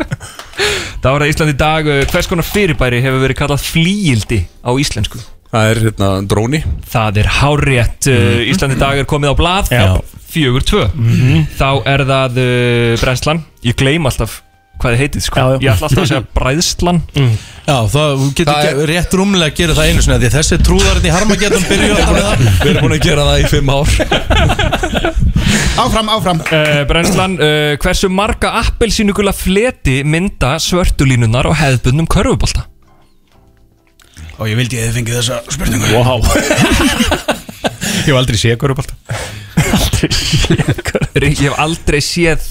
Eh. Það var að Ísland í dag uh, Hvers konar fyrirbæri hefur verið kallað flígildi á íslensku? Það er hérna dróni Það er hárétt Mhm. uh, Íslandi dag er komið á blað Já. Fjögur tvö Mhm. Þá er það uh, brennslan Ég gleym alltaf hvað þið heitið sko. Ég ætla alltaf að segja bræðslan Mhm. Já, það þú getur Það það er- rétt rúmlega að gera það einu sinni af Því að þessi trúðarinn í Harmageddon byrju alltaf með það Við erum búin að gera það í 5 ár Áfram, áfram uh, Brennslan, uh, hversu marga appelsínugula fleti mynda svörtulínunar og hefðbundnum körfubolta? Og ég vildi að þið fengið þessa spurningu Wow Ég hef aldrei séð körubálta Ég hef aldrei séð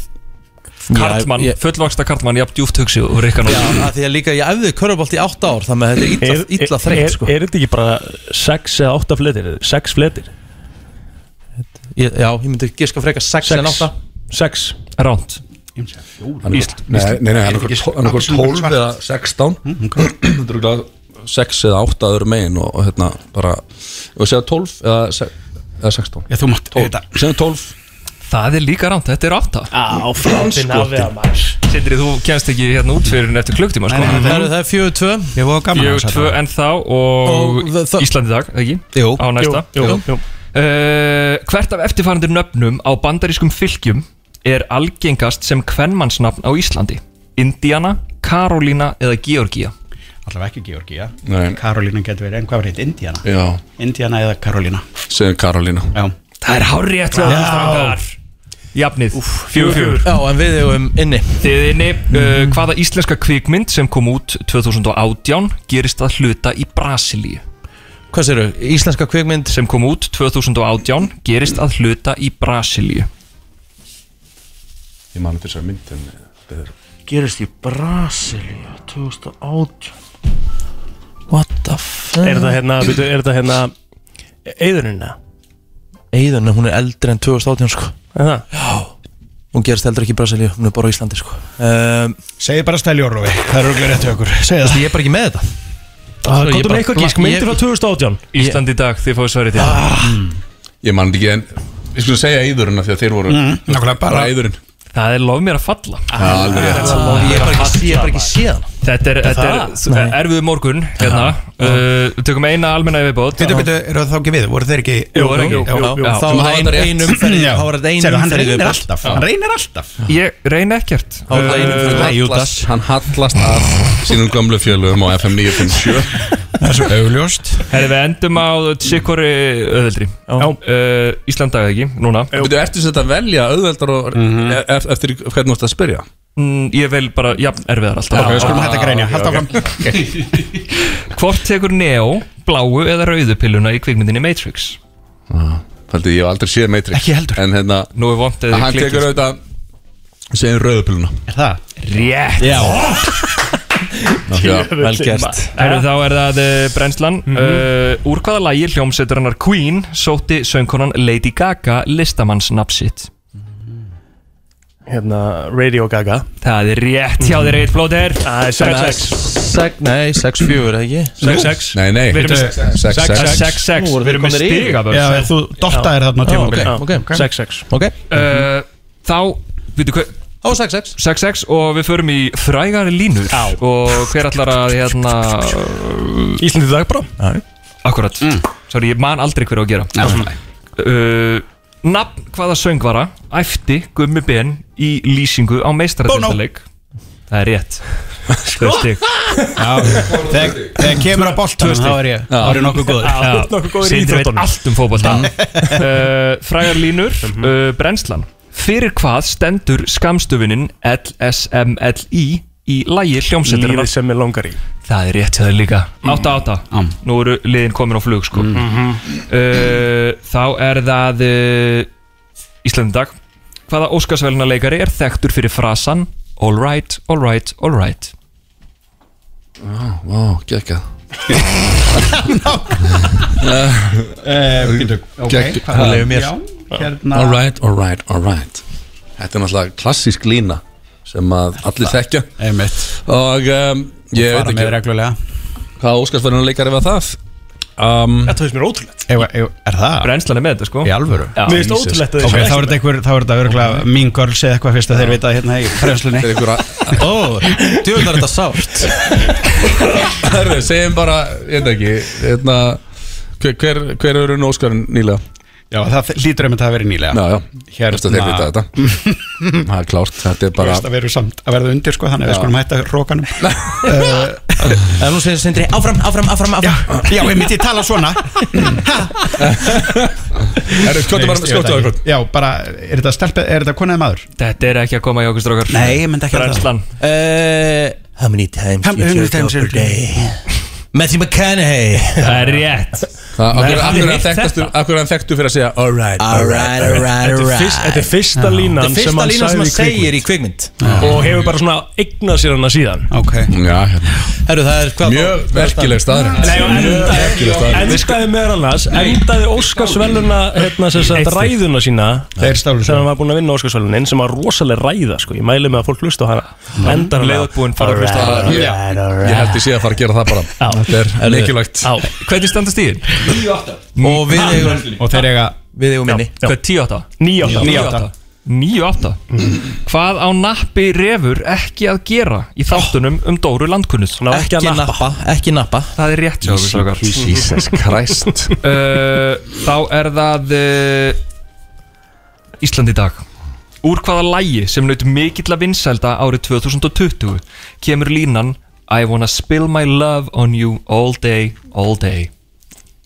kartmann, ég- fullvaksta kartmann jafn djúft hugsi og Rikkan Já, af því að líka ég æfði körfubolt í 8 ár Þannig að þetta er Er- illa, illa er- þreytt er- sko. Er þetta ekki bara 6 eða 8 fletir? 6 fletir? Ég- Já, ég myndi giska freka 6 en 8 6 Ránt Nei, nei, nei, hann er hann er okkur 12 eða 16 Mm, Þetta er okkur 6 eða 8 öðru megin og, og hérna bara Og segja 12 eða, se- eða 16 Já, þú mátt 12, segja 12 Það er líka ránt, þetta er átta Á framskotin. Sindri, þú kemst ekki hérna út fyrir en eftir klukktíma sko. Það eru það 4-2 Ég voru gaman Fjögur tvö enn þá og, Íslandi dag, ekki? Jú. Á næsta Jú, jú, jú. Uh, Hvert af eftirfarandir nöfnum á bandarískum fylgjum er algengast sem kvennmannsnafn á Íslandi? Indiana, Karolína eða Georgía? Allavega ekki Georgía Nei. Karolína getur verið, en hvað var hitt? Indiana Já. Indiana eða Karolína Segja Karolína Já Það er hárétt hjá þér, strákar. Jafnið, fjögur fjögur Já, en við hefum inni Mhm. Þið inni, uh, hvaða íslenska kvikmynd sem kom út 2018 gerist að hluta í Brasilíu? Hvað séru, íslenska kvikmynd? Sem kom út 2018 gerist að hluta í Brasilíu Ég man þetta þessar mynd en eh, þetta er- Gerist í Brasilia 2008 What the fuck Er þetta hérna, byrju, er þetta hérna Eðurinn eða? Eðun, hún er eldri en 2018 sko Er það? Já Hún gerist eldri ekki í Brasilíu, hún er bara á Íslandi sko um, Segði bara stæljórófi, það er auðvitað rétt hjá okkur Segði það Ég er bara ekki með þetta Ah, Komdu með eitthvað gísk, myndir frá 2018 Ísland í Mm. dag, þið fáið svarið til Ah. Ég man þetta ekki en Ég skulle segja Íðurinn af því að þeir voru Mm, nákvæmlega, bara- Íðurinn Það er lof mér að falla Já, alveg rétt Ah. Ég er bara ekki, ég er bara ekki síðan Þetta er, Er þetta það? er erfið morgun hérna. uh, Við tökum eina almenna yfirbót Býtu, býtu, eru það þá ekki við? Voru þeir ekki? Jú, jú, jú, jú, jú. Þá var ein, ein umferð Já. Þá var þetta ein Sérðu, umferð hann reynir viðbót. alltaf, Já. hann reynir alltaf Ég reyni ekkert Þá Uh, var þetta ein umferð Hann hallast- Hann hallast að sínum gömlu fjölugum á FM 957 Það er svo augljóst Herri, við endum á Tsikori öðvöldri uh, Ísland dag ekki, núna Þú ertu sem þetta að velja auðveldar og e- e- eftir hvernig þú ert að spyrja mm, Ég vel bara, jafn erfiðar alltaf Ok, við skulum hætta að greinja. Haltu Hvort tekur Neo bláu eða rauðu pilluna í kvikmyndinni Matrix? Fældi ég hef aldrei séð Matrix Ekki heldur En hérna Nú er vont eða Hann klikkið, tekur sko. auðvitað Segjum rauðupiluna Er það? Rétt Já Vel gert Herru, þá er það uh, brennslan uh, Úr hvaða lægi hljómsveitarinnar Queen sótti söngkonan Lady Gaga listamannsnafn sitt? hérna, Radio Gaga Það er rétt hjá þér eitt blóðir Það er 6-6 Sek, nei, 6-4 ekki 6-6 Nei, nei Við erum með- 6-6 6-6 Við erum með stiga bara. Já, þú dottaðir þarna á tímabili Já, ok, ok. 6-6 Ok Uh, Þá, veitu hvað Á 6-6 6-6 og við förum í frægar línur Já. Og hver allar að hérna Íslandi dag bara Akkurat Sorry, ég man aldrei hver á að gera uh, Nafn hvaða söngvara Æfti Gummi Ben í lýsingu á meistaradildaleik Það er rétt Tvö stig Þegar þegar kemur að boltanum þá er ég þá er ég nokkuð góður Já. Sindri veit allt um fótbolta uh, Frægar línur uh, Brennslan Fyrir hvað stendur skamstöfunin LSMLI í lægi hljómsettir Lífið sem er longar í Það er rétt hjá þér líka 8-8 Mm. Nú eru liðin komin á flug sko uh, Þá er það uh, Íslandag Hvaða Óskarsvelna leikari er þekktur fyrir frasan All right, all right, all right Vá, gekkað Eh, Eh, ok, Gekk- hvað er- já, hérna- All right, all right, all right Þetta er náttúrulega klassísk lína sem að allir þekkja Einmitt Og um, ég Og veit fara með ekki reglulega Hvað óskarsverðinu leikar ef að það? Um, Þetta finnst mér ótrúlegt Er það? Brennslan er með þetta sko Í alvöru Já. Mér finnst Jesus. ótrúlegt að þið séu Ok, þá ekki er þetta einhver, þá er þetta örgulega Mean Girls eða eitthvað fyrst að þeir vita hérna í fremslunni Þeir einhver Ó, djúvöld er þetta sárt Herru, segjum bara, ég veit ekki hérna, hver, hver, hver eru nóskarinn nýlega? Já, það lítur um þetta að vera nýlega Já, já, Hérna- hérna þeir vita þetta Það er klárt, þetta er Bara bara veist að verður samt að verða undir sko Þannig að við Já. skulum hætta rókanum En nú segir Sindri Áfram, áfram, áfram, áfram Já, ég myndi tala svona Herru, Nei, ég skjóttu bara, veit skjóttu ekki. bara Já, bara, er þetta stelpið, er þetta konaðið maður? Þetta er ekki að koma í okkur strókar Nei, ég myndi ekki að Brennslan uh, How many times How many times up you jerk Matthew McConaughey Það er rétt Það, Nei, akkur, hafið akkur, heyrt þekktastu, akkur hann þekktu fyrir að segja All right, all right, all right, all Þetta er fyrst- þetta er fyrsta línan Þetta er sem fyrsta hann línan sem sagði hann í kvikmynd. segir í kvikmynd Og hefur bara svona eignað sér hana síðan Ok Já, hérna Herru, það er hvað Mjög merkileg staðrænt Nei, og merkileg endaði, staðreynd. endaði meðal annars Endaði Óskarsveluna hérna, sem sagt, ræðuna sína Þeir stálu sem hann var búin að vinna Óskarsvelunin sem var rosalega ræða sko. Ég mæli með að fólk hlusta á Mm. hana Endar hann Leðbúinn fara að hlusta á hana. Ég ég held ég sé að fara að gera það bara Þetta er mikilvægt Hvernig standast þið? 9-8 Og við eigum Og þeir eiga Við eigum minni Hvað, 10-8? 9-8. 9-8 9-8 Hvað á nappi refur ekki að gera í þáttunum um Dóru landkunnuð? Ná Ekki nappa, ekki nappa Það er rétt hjá okkur slökar Jesus Christ Þá er það uh, Ísland í dag Úr hvaða lægi sem naut mikill að vinsælda árið 2020 kemur línan I wanna spill my love on you all day, all day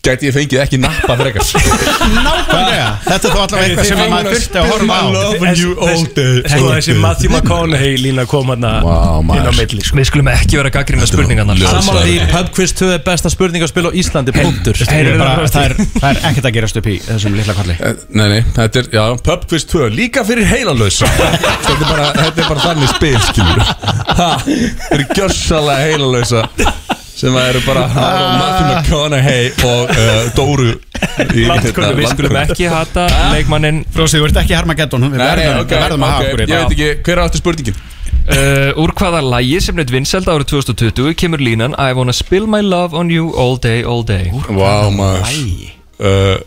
Gæti ég fengið ekki nappa frekar Nákvæmlega Þetta er þá allavega eitthvað sem að maður þurfti að horfa á Sko þessi Matthew McConaughey lína kom hérna Vá, inn á maður milli sko. Við skulum ekki vera að gaggrinna spurningarnar Samála því Pub Quiz 2 er besta spurningarspil á Íslandi Punktur Ég Heyrðu bara- það Það er- það er ekkert að gerast upp í þessum litla kalli Eh, Nei, nei, þetta er, já, Pub Quiz 2 Líka fyrir heilalös þetta, er bara, þetta er bara þannig spil, skilur Það eru gjössalega heilalösa sem að eru bara Matthew McConaughey og uh, Dóru í- hérna Landkunnu, við skulum ekki hata leikmannin Frósi, þú ert ekki Harmageddon Við Nei, nei, verðum ok, við verðum að hafa ok, okkur hérna. í ég veit ekki, hver áttu spurningin? uh, Úr hvaða lægi sem neitt vinseld árið 2020 kemur línan I wanna spill my love on you all day, all day Vá, maður uh,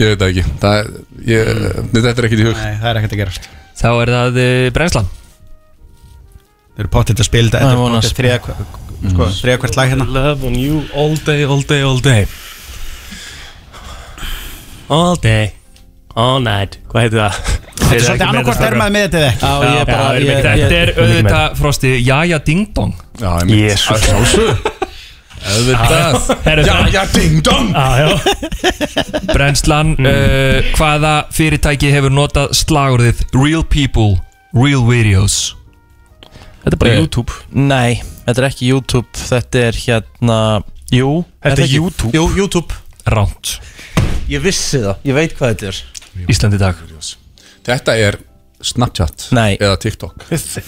Ég veit það ekki það, er- ég, Nei, þetta er ekkert í hug Hmm. Nei, það er ekkert að gerast Þá er það uh, brennslan Þeir eru pottitt að spila þetta Það er Þetta von er að Mm. pottitt þriða Sko, þriða hvert lag hérna Mm. Love on you all day, all day, all day All day All night Hvað heitir það? Þetta Svolítið annarkvort er maður með þetta eða ekki Já, ég Já, bara við erum ég- ekki ég- dæmt. Þetta er Ég- ég- auðvitað frosti Jaja Ding Dong Já, ég mynd Jesús. Auðvitað Herru, Já, það- já, ding dong Ah, Já, Brennslan, Mm. uh, hvaða fyrirtæki hefur notað slagurðið Real people, real videos Þetta er Eh, bara YouTube Nei, þetta er ekki YouTube Þetta er hérna Jú Þetta er ekki- YouTube? Jú, YouTube Ránt Ég vissi það, ég veit hvað þetta er Íslandi dag Þetta er Snapchat Nei. Eða TikTok Þetta-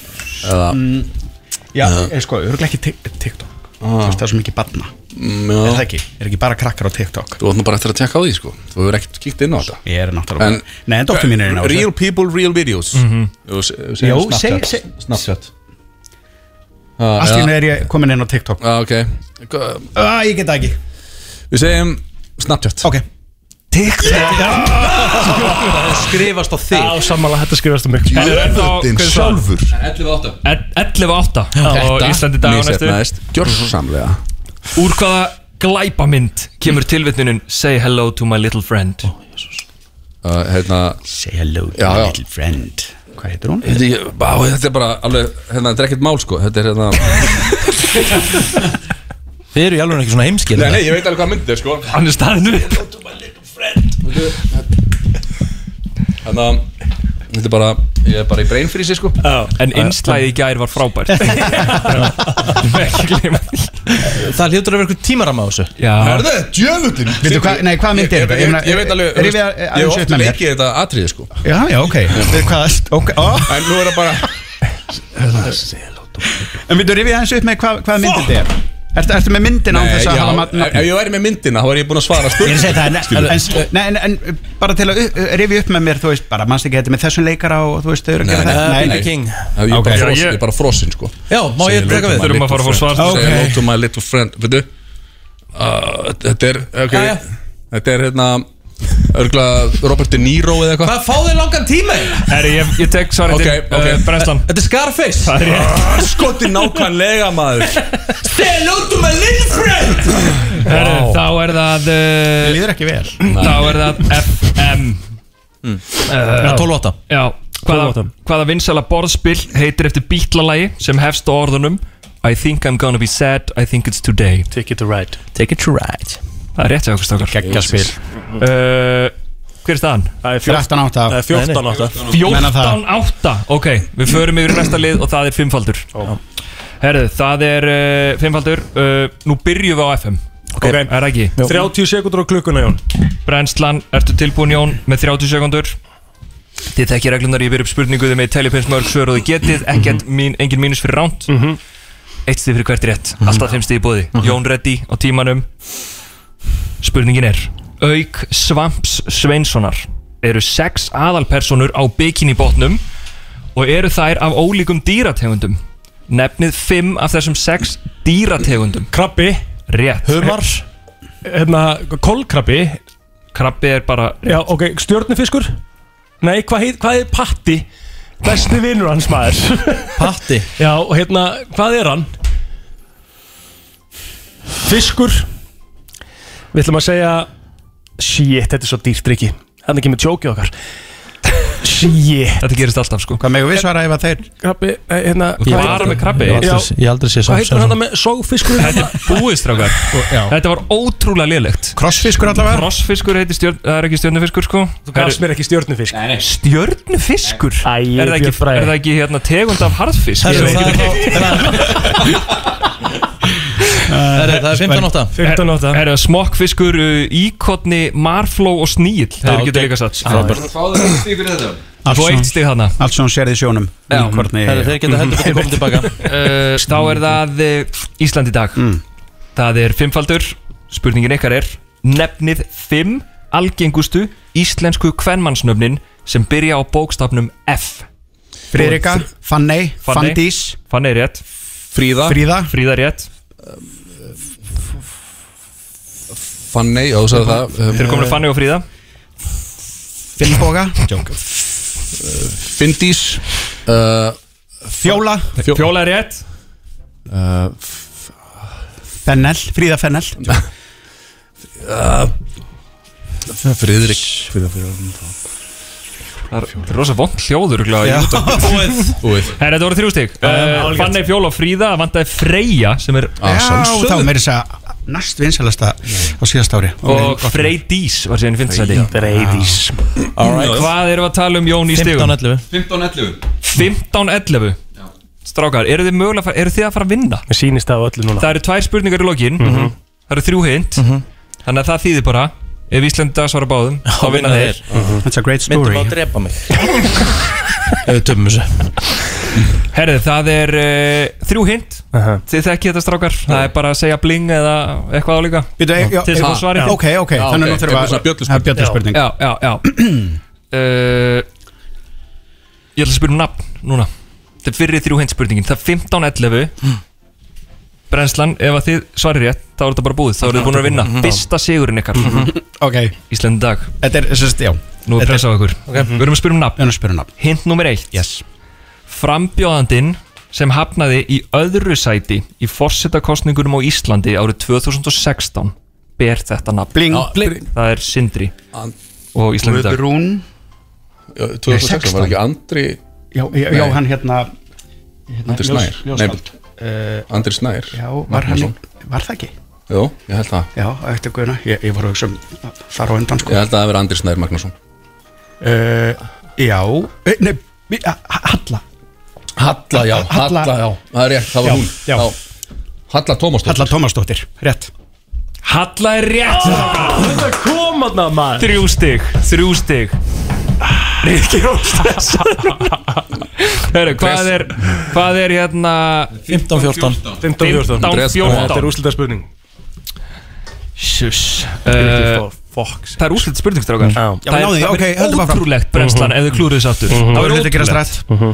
Eða Mm, Ah. Já, eh, sko, örgulega ekki Tik- TikTok Þú veist, Það er svo mikið badna Já. Er það ekki? Er ekki bara krakkar á TikTok? Þú átt nú bara eftir að tjekka á því sko Þú hefur ekkert kíkt inn á þetta Ég er náttúrulega Nei, en dóttir mín er inn á þessu. Real people, real videos Mhm. Jú, se- segðu Jú, Snapchat. seg- seg- Snapchat Allt í hennu er ég komin inn á TikTok Já, ok ah, Ég get það ekki Við segjum Snapchat Ok Ah, Það skrifast á þig Já, sammála, þetta skrifast á mig Jöfullinn sjálfur. 11.8 11.8 og Þetta Íslandi dag á næstu Mhm. misjafnaðist gjörsamlega. Úr hvaða glæpamynd kemur tilvitnunin Say hello to my little friend uh, hérna, Say hello to my little friend Hvað heitir hún? Þetta, ég- bá, þetta er bara alveg, hérna, þetta er ekkert mál sko Þetta er hérna Þið eru í alveg ekki svona heimskil Nei, nei, ég veit alveg hvað myndið er sko Hann er staðinu upp Þannig að þetta er bara, ég er bara í brain freeze sko En innslæði í gær var frábært Það hljótur að vera eitthvað tímaram á þessu Herðu, djöfullin Veitu hvað- nei, hvað mynd er þetta? Ah. Ég, Ég ég, meina, ég, ég veit alveg, er ég við að- ég aðeins upp með hef oft mér? leikið þetta atriði sko Já, já, ok Við hvað Ok, ó En nú er það bara En við þú rifið aðeins upp með hvað, hvað myndin þetta er Ertu, ertu með myndin án Nei, þess að já, hafa ef- ef ég væri með myndina þá er ég búinn að svara Ég er að segja það, en- Skilur. en, nei, en, en bara til að uh, rifja upp með mér, þú veist, bara mannst ekki þetta með þessum leikara og þú veist, þau eru að Nei, gera nei, þetta. nei, nei. Já, Ég er bara frosinn, ég er bara frosinn sko Já, má ég Segir taka little við? Þurfum að my little fara að fá friend. svar. Segir Ok. hello to my little friend Veitu uh, Þetta er, ok Jæja. Þetta er hérna Örgla Robert De Niro eða eitthvað Hvað fá þið langan tíma í? Herri, ég, ég tek svarið Ok, til ok. uh, Brennslan Þetta er Scarface Það er rétt Skoti nákvæmlega maður Say hello to my little friend Herru, þá er það uh, Líður ekki vel Þá er það FM mm. Já, 12.8. Já, hvaða, 12.8. hvaða vinsala borðspill heitir eftir bítlalagi sem hefst á orðunum I think I'm gonna be sad, I think it's today Take it to right Take it to right Það er rétt hjá okkur stakar Gekkja spil. uh, Hver er staðan? er 14.8. Nei, 14.8. Menna það. 14.8 Ok, við förum yfir í næsta lið og það er fimmfaldur Herru, það er uh, fimmfaldur uh, Nú byrjum við á FM Ok, er það ekki? 30 sekundur á klukkuna Jón Brennslan, ertu tilbúin Jón með 30 sekundur Þið þekki reglunar, ég byrja upp spurningu Þið með teljupensmörg svör og þið getið Ekkert, mín, engin mínus fyrir ránt Eitt stið fyrir hvert rétt, alltaf fimm stið í bóði Jón Reddy á tímanum Spurningin er Auk Svamps Sveinssonar Eru sex aðalpersonur á bikinibotnum Og eru þær af ólíkum dýrategundum Nefnið fimm af þessum sex dýrategundum Krabbi Rétt Humar. Hérna, kólkrabbi Krabbi er bara Já, ok, stjórnufiskur Nei, hvað heit, hvað er Patti? Besti vinnur hans maður Patti? Já, og hérna, hvað er hann? Fiskur Við ætlum að segja Shit, þetta er svo dýrt drikki Þannig kemur tjókið okkar Shit Þetta gerist alltaf sko Hvað megum við svara ef að þeir Krabbi, eh, hérna Ég hef aldrei- ég hef aldrei- ég hef aldrei séð Hvað Svamp heitir hann þarna með sófiskur? Þetta er búið strákar Þetta var ótrúlega liðlegt Krossfiskur allavega Krossfiskur heitir stjörn Það er ekki stjörnufiskur sko Þú gafst mér ekki stjörnufisk Nei, nei Stjörnufiskur? Æ, Er það ekki, er það ekki hérna, tegund af harðfisk? Herru, Ég veit það ekki. Herru, það er 15.8. 15.8 Herru, smokkfiskur, uh, íkotni, marfló og sníl Það er Já, ekki ok. okay. líka satt Frábært. Fáðu það stíð fyrir þetta Þú eitt stig þarna Allt sem hún sérði í sjónum Íkorni uh, Þá er það uh, Ísland í dag Mm. Það er fimmfaldur Spurningin ykkar er Nefnið fimm algengustu íslensku kvenmannsnöfnin sem byrja á bókstafnum F Friðrika, Fanney, Fandís Fanney er rétt Fríða Fríða. Fríða er rétt Fanney, já, þú sagði það Ehm, Þeir eru komin að Fanny og Fríða Finnboga Findís Ehm, Fjóla Fjóla er rétt Ehm, Fennel, Fríða Fennel Friðrik Fríða, Fríða Það er- það er rosa vond hljóður Já, Búið Búið Herra, þetta voru þrjú stík já, uh, algjört. Fanney, Fjóla og Fríða það vantaði Freyja sem er Já, þá meiri þess að næst vinsalasta á síðast ári Og Freydís var síðan í fintasæti Freydís Alright. Hvað erum við að tala um Jón í stigum? 15.11. 15.11 15-11 Strákar, eru þið mögulega að fara- Eru þið að fara að vinna? Mér sýnist það á öllu núna Það eru tvær spurningar í lokin Mhm. Það eru þrjú hint Þannig að það þýðir bara Ef Íslandi dag svara báðum Þá vinna þeir That's a great story Myndum að drepa mig Ef við töfum þessu Herðu, það er uh, þrjú hint Þið þekki þetta strákar Það er bara að segja bling eða eitthvað álíka Bíddu, e- já, Til þess að e- fá svarið já, ok, ok, Já, þannig að nú þurfum við að- Eitthvað svona það er bjölluspurning. Já, já, já uh, Ég ætla að spyrja um nafn núna Þetta er fyrir þrjú hint spurningin Það er 15.11 Brennslan, ef að þið svarir rétt Þá er þetta bara búið, þá eru þið búin að vinna Mhm. Fyrsta sigurinn ykkar Mhm. Ok Íslandi dag Þetta er, sérst, já Nú er Þetta er- pressa á ykkur Ok. Við erum að spyrja um nafn, Við erum að spyrja um nafn. Hint nummer eitt yes. Frambjóðandinn sem hafnaði í öðru sæti í forsetakostningunum á Íslandi árið 2016 ber þetta nafn Bling. Já, bling. Það er Sindri og Íslandi dag Guðrún Já, 2016 var ekki Andri Já, já, já hann hérna, hérna Andri ljós- Snær ljóskáld. Nei, Andri Snær Eh, Já, var hann, var það ekki? Jó, ég held það Já, eftir guðuna, ég, ég var að hugsa um þar á undan sko Ég held að það verið Andri Snær Magnússon uh, Já, Eh, nei, mi- a- a- Halla Halla, já, Halla. Halla, já Það er rétt, það var Já, hún já. Halla Tómasdóttir Halla Tómasdóttir, rétt Halla er rétt Þetta kom að maður Þrjú stig, þrjú stig Ríkir og stress Heru, hvað, er, hvað er hérna 15-14 Þetta er 15-14 úslita spurning Sjuss Þetta Eh, Það er úslit spurning strákar Já. Það Já, náðu er- því, það ok, er höldum áfram. Ótrúlegt brennslan Mhm. ef þið klúður þess aftur Mhm. Það Þá verður þetta að gerast rætt. Mhm.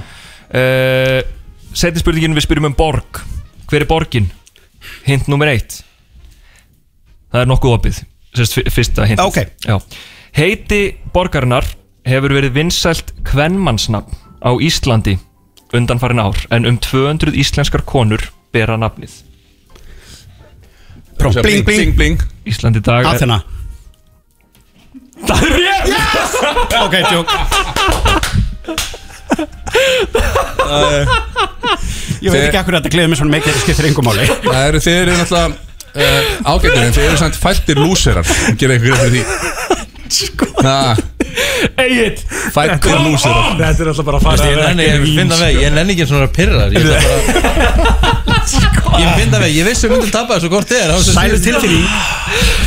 rætt Setjum Eh, spurningin við spyrjum um borg Hver er borgin? Hint nummer eitt Það er nokkuð opið Sérst fyr- fyrsta hint Ok. Já. Heiti borgarinnar hefur verið vinsælt kvenmannsnafn á Íslandi undanfarin ár en um 200 íslenskar konur bera nafnið Pró, bling, bling, bling Íslandi dag Athena Það er rétt yes! Ok, tjók Ég veit ekki akkur að þetta gleður mig svona mikið þetta skiptir engum máli Það eru, þið eru náttúrulega uh, ágættir en þið eru samt fæltir lúserar Gerið eitthvað fyrir því Sko Egil Fæltir lúserar Þetta er alltaf bara að sko. Ég fara nenni, ég finn það veg, ég nenni ekki svona að pyrra þér, Ég ætla bara- Ég finn það veg, ég vissi að myndum tapa þessu hvort þið er Sælu tilfinning.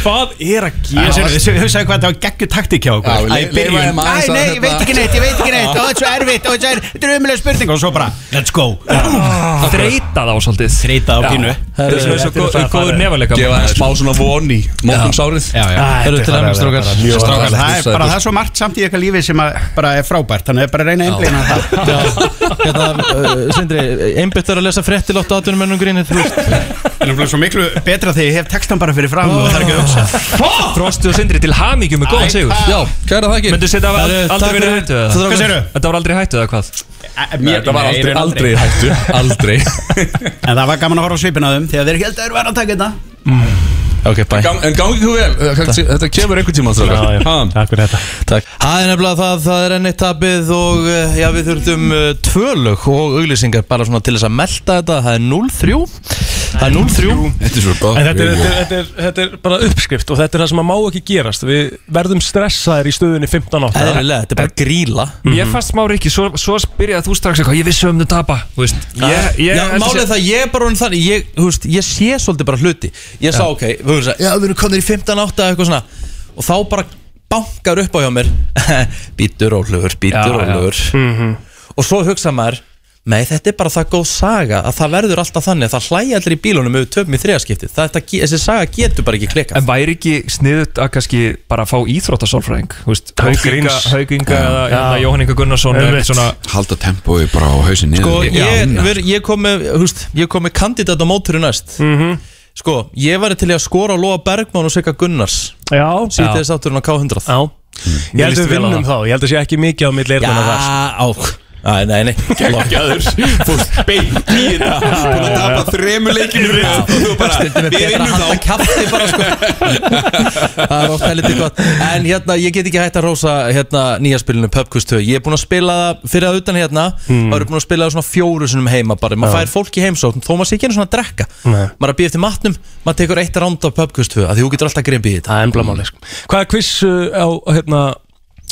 Hvað er að Ég sé, þau hugsaðu hvað þetta var geggju taktík hjá Já, okkur Æ, le- í byrjun. leifa þeim Æ, aðeins að nei, hérna- ég veit ekki neitt, ég veit ekki neitt Ó, þetta er svo erfitt, ó, þetta er- þetta er umulega spurning Og svo bara, let's go Þreita þá svolítið Þreita á pínu. Það er svona svo Þetta er góð- náttúrulega góður farið. nefaleika Gefa það smá svona von í morgunsárið Já, já. Það eru til Þetta er aðeins strókar bara- Strákar, það er bara, það er svo margt samt í ykkar lífi sem að bara er frábært Þannig að bara reyna að einblina á það Hérna, uh, Sindri, einbytt er að lesa frettil 8 átunum ennum grínu Þú veist En það er svo miklu betra þegar ég hef textan bara fyrir fram og það er ekki að hugsa Frosti og Sindri til hamingju með góðan Æ, sigur takk. Já, kæra þakkir. Myndu setja að Það aldrei eru- takk verið fyrir- hættu eða? Hvað segirðu? Þetta var aldrei í hættu eða hvað? mér- Þetta var nei, aldrei, ég er aldrei aldrei. í hættu Aldrei En það var gaman að horfa á svipin á þeim Þegar þeir held að þeir var að taka þetta Ok, bæ Gang- En gangi þú vel, þetta þetta kemur einhvern tíma Já, já. Takk fyrir þetta Takk Það er nefnilega það, það er enni tapið og eh, já, við þurftum eh, tvö lög og auglýsingar bara svona til þess að melta þetta Það er 0-3 Það er 0-3 Þetta er svo En þetta er, þetta, er, þetta, er, þetta er bara uppskrift og þetta er það sem að má ekki gerast Við verðum stressaðir í stöðunni 15 átta Mhm. Eðlilega, þetta er bara Mhm. gríla Ég fannst smá Rikki, svo, svo byrjaði þú strax eitthvað Ég vissi um þau tapa Þú veist ég, ég, já, málið er það, ég er bara orðinn þannig ég, þú veist, ég sé svolítið bara hluti Ég sá, Já. ok, við höfum sagt, já, við erum konir í 15 átta eða eitthvað svona Og þá bara bankar upp á hjá mér Bítur ólugur, Já, Mhm. bítur já. ólugur Og svo hugsa maður Nei, þetta er bara það góð saga að það verður alltaf þannig að það hlæja allir í bílunum ef við töfum í þriðaskipti Þetta, ge- þessi saga getur bara ekki klikkað En væri ekki sniðut að kannski bara fá íþróttasálfræðing Þú veist, Án Haukinga, gríns. Haukinga Já. eða hérna, Já. Jóhann Inga Gunnarsson eða Einmitt. eitthvað svona Halda tempói bara á hausin niður Sko, ég, ver, ég kom með, húst, ég kom með kandidat á móturu næst Mhm. Sko, ég væri til í að skora á Lóa Bergman og Sigga Gunnars Já Sýtið þess átturinn á K100 Já Ég held að við vinnum þá, ég held að sé ekki mikið á milli eyrnanna þar sko. Já, á Æ, nei, nei Geggjaður Fórst beint í þetta Búin að tapa þremur leikinu röð og þú bara, Stundum er Við betra að vinnum halda þá kæfti bara sko Það er oft helviti gott En hérna, ég get ekki hægt að rósa hérna nýja spilinu Pöpkustöð Ég er búinn að spila það fyrir að utan hérna Mm. Það eru búinn að spila það svona fjóru sinum heima bara Maður Já. fær fólk í heimsókn, þó maður sé ekki einu svona að drekka Nei. Maður er að býja eftir matnum, maður tekur eitt ránd á Pöpkustöð Því þú getur alltaf grimpið í þetta Það er emblamáli sko. Hvað er quiz uh, á, hérna,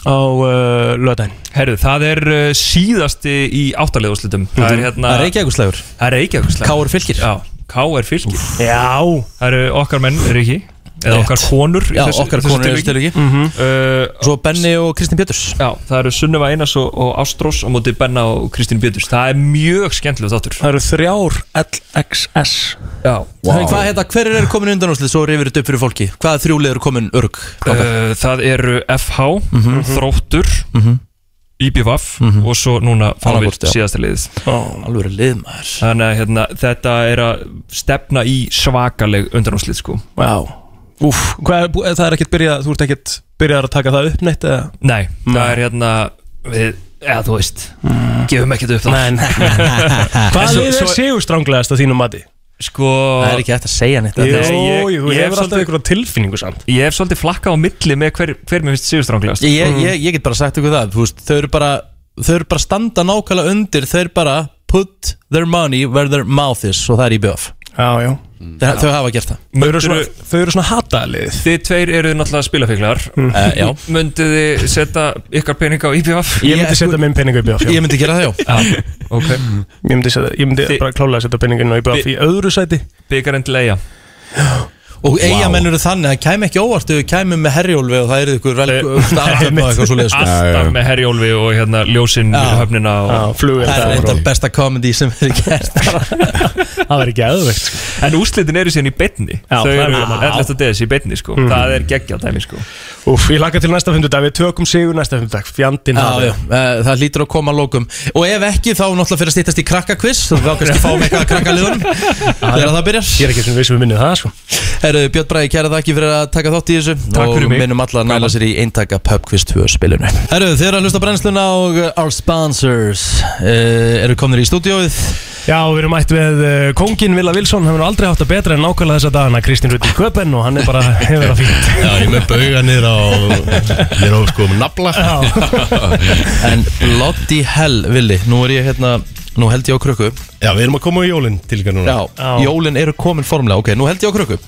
á uh, löðdæn? Herru, það er uh, síðasti í áttalegúslitum Það er hérna Mhm. Það er Reykjavíkurslægur. Það er Reykjavíkuslegur K.R. Fylkir Já, K.R. Fylkir Já Það eru okkar menn, Rikki eða Rétt. okkar konur í Já, þessu- okkar þessu konur í þessu tilviki. tilviki. Mhm. uh, Svo Benni og Kristín Bjöturs Já, það eru Sunneva Einars og, og Ástrós á móti Benna og Kristín Bjöturs Það er mjög skemmtilega þáttur Það eru þrjár LXS Já Hey, Hvað hérna, hver er komin undan úrslið svo rifir þetta upp fyrir fólki? Hvaða þrjúlið eru komin örg? Uh, það eru FH, Mhm. Þróttur Mhm. IBVF og svo núna fáum við Annað hvort, já. síðasta liðið Alveg lið maður Þannig að hérna, þetta er að stefna í svakaleg undanúslið sko Vá Úf, hvað er, bú- eh, það er ekkert byrjað, þú ert ekkert byrjað að taka það upp neitt eða? Nei, það er hérna við, eða þú veist, Mm. gefum ekkert upp það Nei, nei. En Hvað svo- lið er svo- sigurstranglegast að þínu mati? Sko Það er ekki hægt að segja neitt Jú, Nei, ég- jú, þú ég hef hefur alltaf svolítið- einhverja tilfinningu samt Ég hef svolítið flakkað á milli með hver, hver mér finnst sigurstranglegast ég, ég, Mm-hmm. ég, ég get bara sagt ykkur það þú veist, þau, eru bara, þau eru bara standa nákvæmlega undir Þau eru bara put their money where their mouth is Og það er í BF Já, já Þau, þau hafa gert það Þau eru svona, þau eru svona Mm. hatalið Þið tveir eru náttúrulega spilafíklar Eh, já. Mönduð þið setja ykkar pening á IPF? Ég myndi setja minn peningu í BF Ég myndi gera það, já Ok Ég myndi, setja, ég myndi Þi- bara klálega setja peninginu í BF í öðru sæti Byggarinn til eiga Og eigamenn eru þannig að kæmi ekki óvart Þau kæmi með herjólfi og það eru ykkur vel Alltaf Einmitt. eitthvað sko. svo leiðis Alltaf með herjólfi og hérna ljósinn við höfnina og Það er eitt af besta komedi sem hefur gert Það verður ekki aðvegt sko. En úrslitin eru síðan í betni Já, Þau það er eru gaman. 11. DS í betni sko Mhm. Það er geggja dæmi sko Úf, ég laka til næsta fymtudag, við tökum sigur næsta fymtudag Fjandinn Já, já, eh, það lítur að koma að lókum Og ef ekki, þá náttúrulega fyrir að stýttast í krakkakviss Þá kannski fáum eitthvað að krakkaliðunum Þegar það byrjar Ég er ekki sem við sem við minnið það, sko Herru, Björn Bræði, kæra þakki fyrir að taka þátt í þessu Takk fyrir mig. Og minnum alla að nála sér í eintaka pubquiz 2 spilinu Herru, þeir eru að hlusta á brennsluna og uh, our sponsors uh, eru komnir í stúdíóið Já, við erum mætt með uh, kongin Vila Vilsson, hann er aldrei haft að betra en nákvæmlega þessa dagana Kristín Rutti Köpen og hann er bara hefur það fínt Já, ég er með bauga niður á Niður á sko um nafla En bloody hell, Vili, nú er ég hérna Nú held ég á krukku Já, við erum að koma á jólin til ykkar núna Já, jólin eru komin formlega Ok, nú held ég á krukku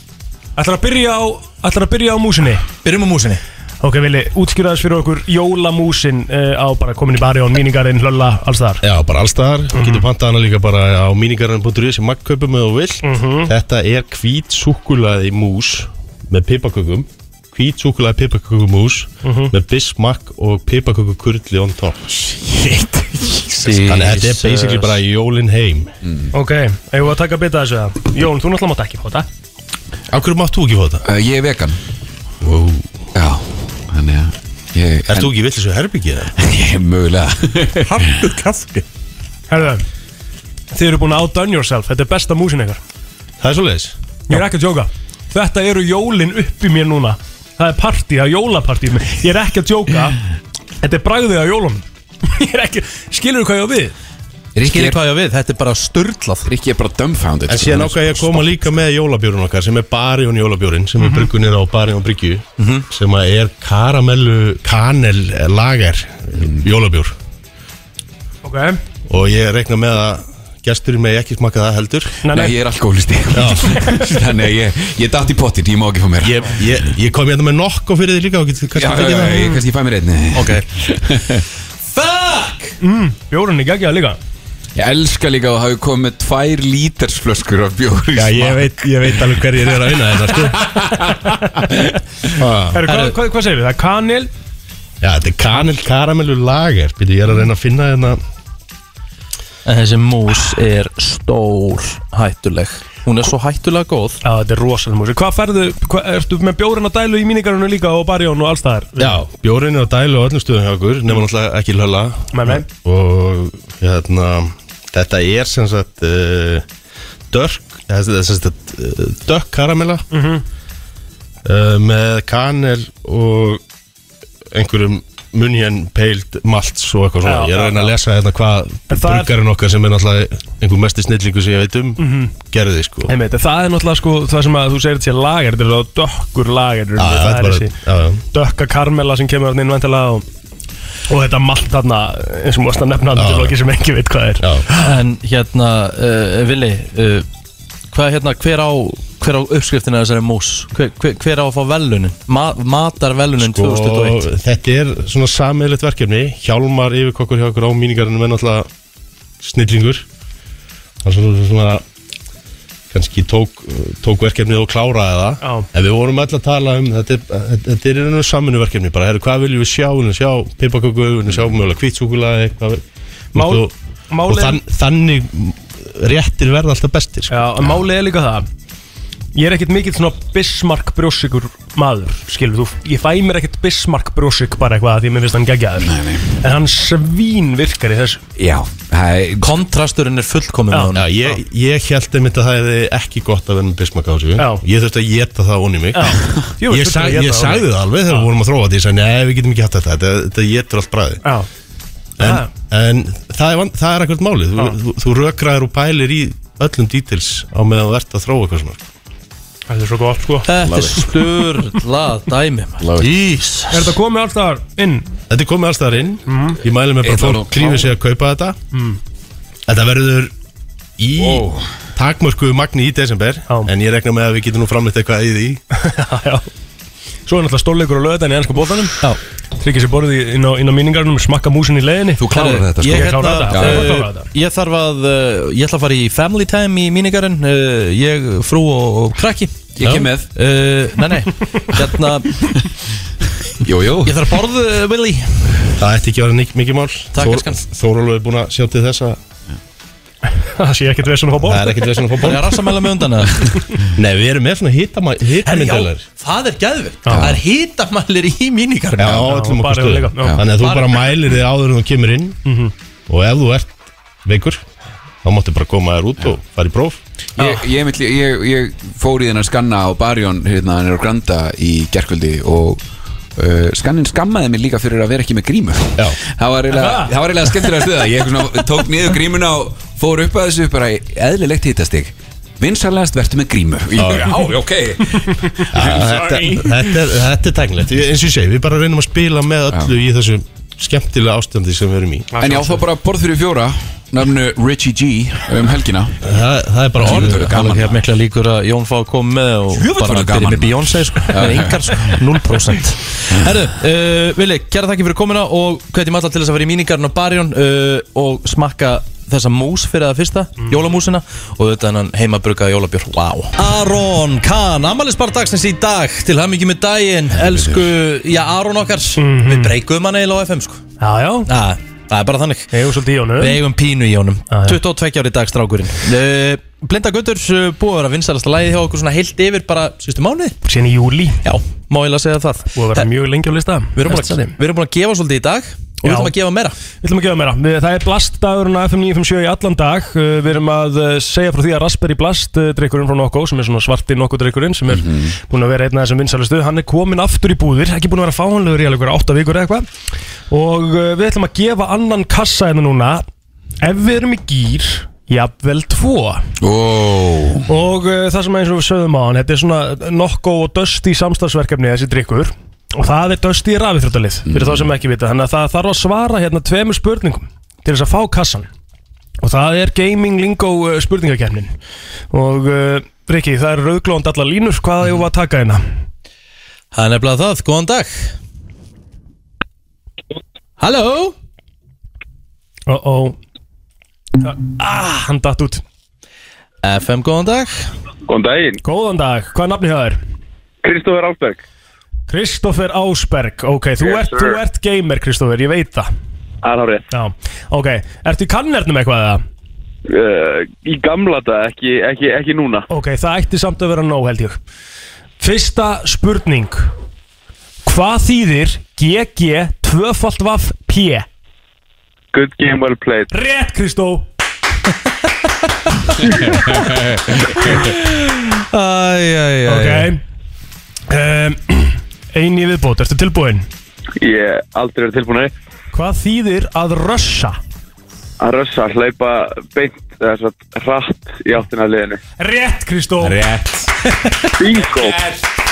Ætlar að byrja á, ætlar að byrja á músinni Byrjum á músinni Ok, Vili, útskjúraðis fyrir okkur jólamúsin uh, á bara komin í barjón, míningarinn, hlölla, alls þar Já, bara allstaðar, mm getur pantað hana líka bara á míningarinn.is í makkaupu með og vill Þetta er hvít súkkulaði mús með pipakökum Hvít súkkulaði pipakökum mús Mhm. með bismak og pipaköku kurli on top Shit, Þannig að þetta er basically bara jólin heim Mm. Ok, eigum við að taka bita þessu það? Jón, þú náttúrulega mátt ekki fóta Af hverju máttu ekki fá þetta? Uh, ég er vegan wow. Já, þannig að ég, Ert þú ekki vill þessu herbyggið? Ég er mögulega Hartu kaffi Herðu, þið eru búin að outdone yourself, þetta er besta músin ykkar Það er svoleiðis Ég er ekki að djóka Þetta eru jólin upp í mér núna Það er partí, það er jólapartí Ég er ekki að djóka Þetta er bragðið á jólunum Ég er ekki, skilur þú hvað ég á við? Skilir hvað ég á við, þetta er bara störtlað Rikki er bara dumbfounded sko. En síðan ákvað ég að koma líka með jólabjórun okkar sem er Barjón jólabjórin sem mm -hmm. Mhm. er bruggunir á Barjón bryggju sem að er karamellu kanel eh, lager jólabjór Ok og ég reikna með að gesturinn með ekki smaka það heldur Nei, ég er alkoholisti Þannig að ég, ég datt í pottin, ég má ekki fá meira Ég, ég, ég kom hérna með nokko fyrir þig líka og getur kannski Já, já, tekið já, það. ég kannski fæ mér einn Ok Fuck! Hmm, Mm, Bjórunni geggjaði líka Ég elska líka að hafa komið með tvær lítersflöskur af bjóri Já, ég veit, ég veit alveg hverjir er að vinna þetta sko. Heru, hvað, hvað, hvað segir við? Það er kanel Já, þetta er kanel karamellu lager Býtu, ég er að reyna að finna hérna En þessi mús er stór hættuleg Hún er svo hættulega góð Já, þetta er rosalega músin Hvað færðu, hvað, ertu með bjórun að dælu í míningarunum líka og barjón og alls allstaðar? Já, bjórin er á dælu á öllum stöðum hjá okkur nema náttúrulega ekki hlölla Nei, nei. Og hérna, þetta er sem sagt uh, Dörk Þetta er sem sagt uh, dökk karamella Mhm. uh, Með kanel og einhverjum munjen peild malts og eitthvað svona Já, Ég er að já, reyna að já. lesa hérna hvað En það er- bruggarinn okkar sem er náttúrulega einhver mesti snillingu sem ég veit um Mhm. gerði sko Einmitt, en það er náttúrulega sko það sem að þú segir þetta sé lager, þetta er þá dökkur lager Já, já, það þetta er bara- þessi já, já. dökka karmela sem kemur þarna inn væntanlega og, og þetta malt þarna eins og múast að nefna þetta til okki sem ekki veit hvað er En hérna, uh, Vili uh, Hvað hérna, hver á Hver á uppskriftina þessari mús Hver, hver, hver á að fá velunin Ma, Matar velunin Sko, 2021 og þetta er svona sammeðlegt verkefni Hjálmar yfirkokkur hjá okkur á míningarinn er náttúrulega snillingur hann er svona, svona hvað kannski tók, tók verkefnið og kláraði það Já. en við vorum öll að tala um þetta, er- þetta er einu saminu verkefni bara, heru, hvað viljum við sjá, viljum við sjá pipaköku, viljum við sjá mögulega kvítsúkulega Mál- og, og málið- þann, þannig réttir verða alltaf bestir sko. Já, en málið er líka það Ég er ekkert mikill svona Bismarck brjósikur maður Skilur þú, ég fæ mér ekkert Bismarck brjósik bara eitthvað af Því að mér finnst hann geggjaður nei, nei. En hann svín virkar í þessu Já, hei, kontrasturinn er fullkomin Já, með honum. ég, ég held einmitt að það er ekki gott að vera með bismak á þessu Já. Ég þurfti að geta það onni mig Jú, Ég, þurfti sag, að éta ég það sagði ofan í. það alveg þegar við vorum að þróa þetta Ég sagði, nei, við getum ekki hatt þetta Þetta, þetta getur allt bræði Já. En, en það, er, vand- það er ekkert málið Þú, þú, þú rökraður og pælir í öllum details á meðan þú ert að þróa eitthvað svona Þetta er svo gott sko Love Þetta it. er sturlað dæmi Love it. Ís Er þetta komið alltaf inn? Þetta er komið allstaðar inn Ég mæli með bara Eitt að alveg fólk klífi klár. sig að kaupa þetta Hmm. Þetta verður í wow. takmörku magni í desember En ég rekna með að við getum nú framleitt eitthvað í því Svo er náttúrulega stórleikur og löðan í ennska bóðanum Tryggir sér borðið í- inn á, inn á míningarnum Smakka músin í leiðinni Þú Ég, sko. Ég hérna, klárar þetta sko. Ég klárar uh, þetta. ég þarf að uh, Ég ætla að fara í family time í mínigarinn uh, Ég, frú og, og krakki Ég kem með. uh, Nei, nei Hérna Jú, jú Ég þarf að borða, uh, Willy Það ætti ekki að vera nik- mikið mál Takk, elskan. Þórólu er búin að sjá til þess að Það sé ekkert vesen að fá borð Það er ekkert vesen að fá borð. Það er rassamæla með undan eða? Nei, við erum með svona hittamyndalar Það er gæðvikt Það er hitamælir í mínigarinn Já, á öllum okkur bara- stöðum Já. Þannig að þú bara mælir þig áður en þú kemur inn Mhm. Og ef þú ert veikur Þá máttu bara koma þér út og fara í próf Ég, ég, mitt, ég, ég, ég fór í þennan skanna á Barjón hérna hann er á Granda í gerkvöldi og uh, skannin skammaði mig líka fyrir að vera ekki með grímu Já. það var eiginlega Aha. það var eiginlega skemmtilega stuða ég eitthvað svona tók niður grímuna og fór upp að þessu bara í eðlilegt hittastig vinsalegast verður með grímu Já. já, já, ok þetta, þetta, er, þetta er tæknilegt Ég- eins og ég segi, við bara reynum að spila með öllu í þessu skemmtilega ástandi sem við erum í en já, þá bara borð fyrir fjóra nafnu Richie G um helgina það, það er bara hérna orð Það er mikla líkur að Jón fá að koma með og Jöfull var bara það byrja gaman. með Beyoncé sko, Já. með yngar sko, 0% Herru, uh, Vili, kæra þakki fyrir komina og hvetjum alla til þess að vera í míningarinn á barjón uh, og smakka þessa mús fyrir það fyrsta, Mm. jólamúsina og þetta hennan heimabrukaða jólabjörn, wow Aron Kahn, amalisbar dagsins í dag til hafði mikið með daginn, elsku já, Aron okkar, við breykuðum hann eiginlega á FM sko Mhm. Já, já Það er bara þannig Eigum svolítið í honum Við eigum pínu í honum 22 ári í dag strákurinn uh, Blinda Guttur uh, búið að vera vinsælasta lagið hjá okkur svona heilt yfir bara síðustu mánuði Sén í júli Já, má ég að segja það Búið að vera mjög lengi á lista Við erum búin að, Eftir. við erum búin að gefa svolítið í dag og við Já. ætlum að gefa meira Við ætlum að gefa meira. Við- Það er blastdagurinn á FM 957 í allan dag. Uh, Við erum að uh, segja frá því að Raspberry Blast uh, drikkurinn frá Nokko, sem er svona svarti Nokko drikkurinn, sem er Mhm. búin að vera einn af þessum vinsælustu, hann er komin aftur í búðir, ekki búin að vera fáanlegur í alveg einhverja átta vikur eða eitthvað. Og uh, við ætlum að gefa annan kassa en núna, ef við erum í gýr, jafnvel tvo. Oh. Og uh, það sem eins og við sögðum á hann Þetta er svona nokko og dösti samstagsverkefni þessi drikkur Og það er dösti í rafithrótalið Fyrir þá sem ekki vita Þannig að það þarf að svara hérna tveimur spurningum Til þess að fá kassan Og það er gaming lingo uh, spurningakefnin Og uh, Rikki, það er rauglónd allar línur Hvað hefur að taka hérna? Það er nefnilega það, góðan dag Halló Uh oh ah, Hann datt út FM, góðan dag Góðan daginn Góðan dag, hvað er nafni hjá þér? Kristófur Álsberg Kristoffer Ásberg, ok, þú, Yes, ert, sir. þú ert gamer Kristoffer, ég veit það Aðhárið Já, ok, ertu í kannernum eitthvað eða? uh, Í gamla dag, ekki, ekki, ekki núna Ok, það ætti samt að vera nóg held ég Fyrsta spurning Hvað þýðir GG tvöfalt vaff P? Good game well played Rétt Kristó Æj, æj, æj Ok um, Einn í viðbót, ertu tilbúin? Ég aldrei verið tilbúin að því. Hvað þýðir að rössa? að rössa, hlaupa beint eða svo hratt í áttina að liðinu Rétt Kristó Rétt Bingo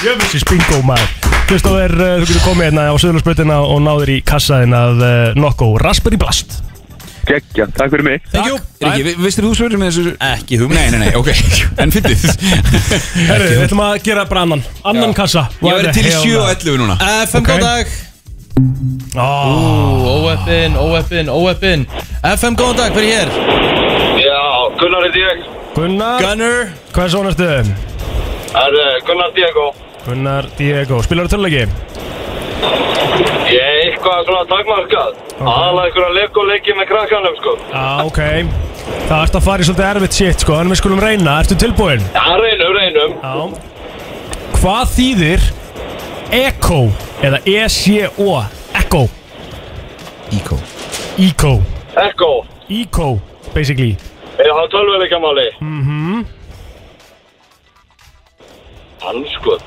Jöfnsis bingo maður Kristó er, uh, þú getur komið hérna á söðlarsprautina og náður í kassaðin að uh, nokko Raspberry Blast Gekkja, takk fyrir mig Thank you Riki, vi- vissir þú svörum með þessu? Ekki hugmynd Nei, nei, nei, ok En fyndið Herru, við ætlum að gera bara annan Annan kassa Ég verði til í 7 og 11 núna FM, Eh, góðan dag Ú, óöppin, óöppin, óöppin FM, góðan dag, hver er hér? Já, Gunnar heiti ég Gunnar Gunnar Hvað er svona ertu? Það er eh, Gunnar Diego Gunnar Diego Spilar þú töluleiki? Ég er eitthvað svona takmarkað Aðalega ykkur að leik og leiki með krakkanum sko Já, ok Það ert að fara í svolítið erfitt shit sko En við skulum reyna Ertu tilbúin? Já, reynum, reynum Já Hvað þýðir Echo Eða E-C-O Echo Echo Echo Echo Echo Basically Ég hafa tölvuleika máli Mhm Hanskot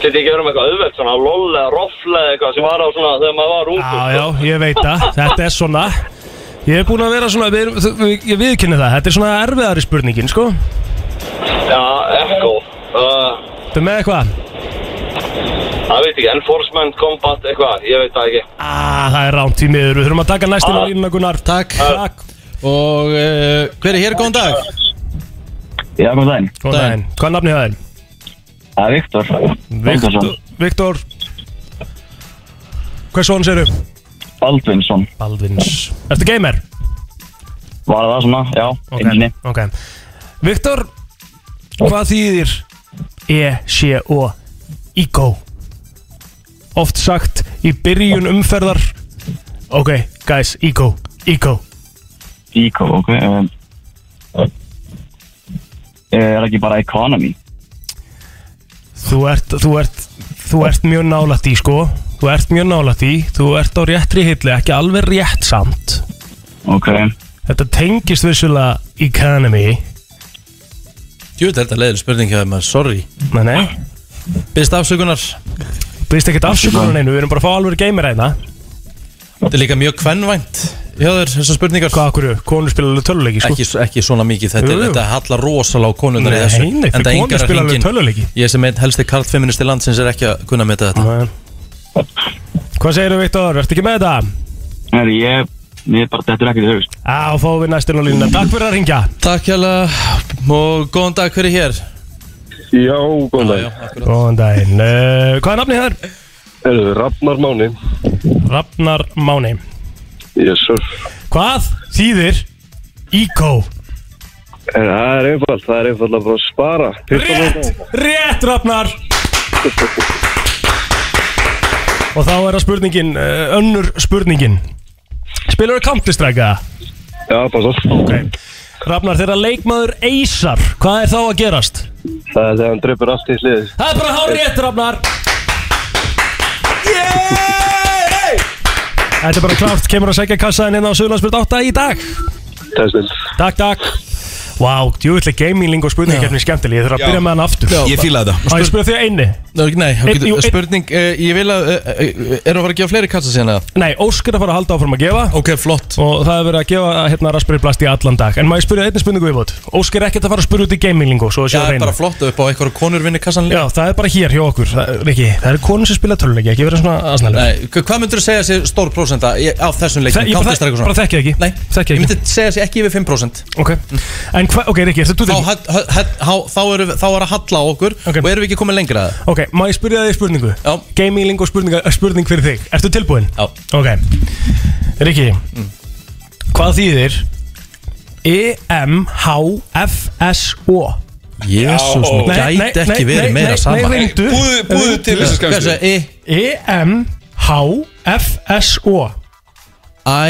Geti ekki verið með eitthvað auðvelt svona LOL eða roffle eða eitthvað sem var á svona þegar maður var ungur Já, já, ég veit það, þetta er svona Ég er búin að vera svona, við, erum- þú- við- ég viðkynni það Þetta er svona erfiðari spurningin, sko Já, Echo uh, Þetta er með eitthvað Það veit ekki, enforcement, combat, eitthvað, ég veit það ekki ah, Það er rámt í miður, við þurfum að taka næstina Ah. ah. línuna Gunnar Takk, Takk. Og uh, hver er hér, góðan dag? Já, góð daginn. Góðan daginn, hvað er nafnið það er? Það er Viktor. Viktor, Baldursson. Viktor Hvers son séru? Baldvinsson. Baldvins Ertu gamer? Var það svona, já, Ok. einu sinni. Ok Viktor, hvað þýðir E, E-C-O Ego Oft sagt í byrjun umferðar Ok, guys, ego Ego Eco, ok. Um, eh, er það ekki bara economy? Þú ert, þú ert, þú ert mjög nálætt í sko Þú ert mjög nálætt í Þú ert á réttri hillu, ekki alveg rétt samt Ok. Þetta tengist vissulega economy Jú, þetta er þetta leiðileg spurning hjá þér maður, sorry Nei, nei Byrst afsökunar Byrst ekkert afsökunar neinu, við erum bara að fá alveg gamer hérna. aðeina Þetta er líka mjög kvennvænt hjá þér, þessar spurningar Hvað okkur, konur spila alveg töluleiki sko ekki, ekki svona mikið, þetta, Jú, er- jú. þetta hallar rosalega á konundar Nei, nei, fyrir konur spila alveg tölvuleiki. Ég sem einn helsti karlfeministi landsins er ekki að kunna meta þetta Nei. Hvað segirðu Viktor, ertu ekki með þetta? Er ég, ég bara dettur ekkert í hugst. Á, fáum við næstina á línuna, takk fyrir að ringja Takk hérlega og góðan dag, hver er hér? Já, góðan dag Góðan daginn, uh, hvað er nafnið það er? Erðu, Ragnar Máni Ragnar Máni Yes, sir Hvað þýðir Eco? En Eh, það er einfalt, það er einfalt að bara spara Rétt, rétt Ragnar Og þá er það spurningin, uh, önnur spurningin Spilur þú Counter-Strike eða? Já, bara svo Ok Ragnar, þegar leikmaður eysar, hvað er þá að gerast? Það er þegar hann dreipur allt í hliðið Það er bara hár rétt, Ragnar Þetta er bara klárt, kemur að segja kassaðin hérna á Suðlandsbyrð 8 í dag Testins Takk, takk Vá, wow, djúvillig gaming og spurningkjarni skemmtileg Ég þarf að Já. byrja með hann aftur Já, Ég fíla þetta. Á, ég spurði því einni Nei, þá Einn- getur- jú, einn- spurning, uh, ég vil að, uh, uh, erum að fara að gefa fleiri kassa síðan að? Nei, Ósk er að fara að halda áfram að gefa Ok, flott Og það er verið að gefa hérna Raspberry Blast í allan dag En maður spyrja einni spurningu viðbót Ósk er ekkert að fara að spyrja út í gaminglingu Svo þessi Já, að það er reyna bara flott upp á eitthvað konur vinni kassan Já, það er bara hér hjá okkur Það er ekki, það eru konur sem spila töluleiki Ekki vera svona aðsnælu Nei, hva- hvað myndur þú segja sér stór prósenda í- á þessum leikum? Ég bara, þek- bara þekki það ekki Nei, Ég þekki það myndi ekki segja sér ekki yfir 5% Ok, en hvað, ok, Rikki, ertu þú Þá, hall- hall- hall- þá, erum við- þá er að halla á okkur og erum við ekki komið lengra að það Ok, má ég spyrja þig spurningu? Já Gaming og spurninga, eh, spurning fyrir þig Ertu tilbúinn? Já Mm. Ok Rikki Hvað þýðir E E-M-H-F-S-O Jésús, nú gæti ekki verið meira sama. Nei, E reyndu Búðu- búðu til þessu skamstu. Hvað sagði E-M-H-F-S-O I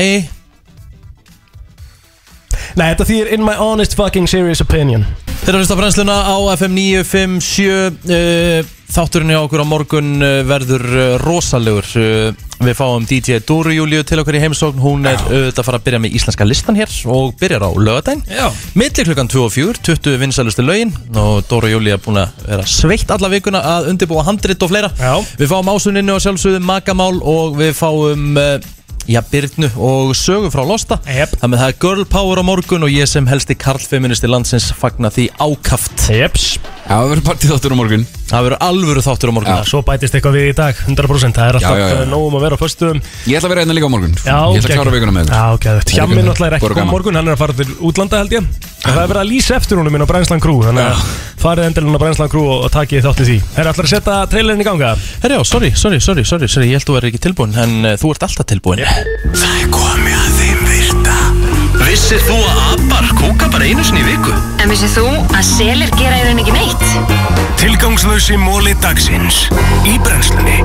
Nei, þetta þýðir In my honest fucking serious opinion Þeirra fyrsta brennsluna á FM 957 uh, Þátturinn hjá okkur á morgun uh, verður uh, rosalegur uh, Við fáum DJ Dóru Júliu til okkur í heimsókn Hún er auðvitað að fara að byrja með íslenska listan hér og byrjar á lögadaginn Milli klukkan 2 og 4, 20 vinsælustu lögin og Dóru Júliu er búin að vera sveitt alla vikuna að undirbúa handrit og fleira Já. Við fáum ásuninnu og sjálfsögðu magamál og við fáum uh, Já, Byrnu og sögu frá Losta yep. Þannig að það er girl power á morgun og ég sem helsti karlfeministi landsins fagna því ákaft Jeps Já, það verður partí þáttur á morgun Það verður alvöru þáttur á morgun Svo bætist eitthvað við í dag, 100% Það er alltaf Já, já, já. eh, nóg um að vera á föstum Ég ætla að vera einna líka á morgun Ég ætla að klára vikuna með þetta Já, geðvægt Hjammi náttúrulega er ekki Bara kom gaman. morgun, hann er að fara til útlanda held ég En það er verið að lýsa eftir húnum minn á Brænslan Crew Þannig að farið endilinn á Brænslan Crew og, og takið þátt í því Herra, ætlar að setja trailerin í ganga? Herjá, sorry, sorry, sorry, sorry, sorry, eh, ég held þú verður ekki tilbúin En uh, þú ert alltaf tilbúin Komið að þeim virta Vissir þú að abar kúka bara einu sinni í viku? En vissið þú að selir gera í rauninni ekki neitt? Tilgangslösi móli dagsins Í brennslunni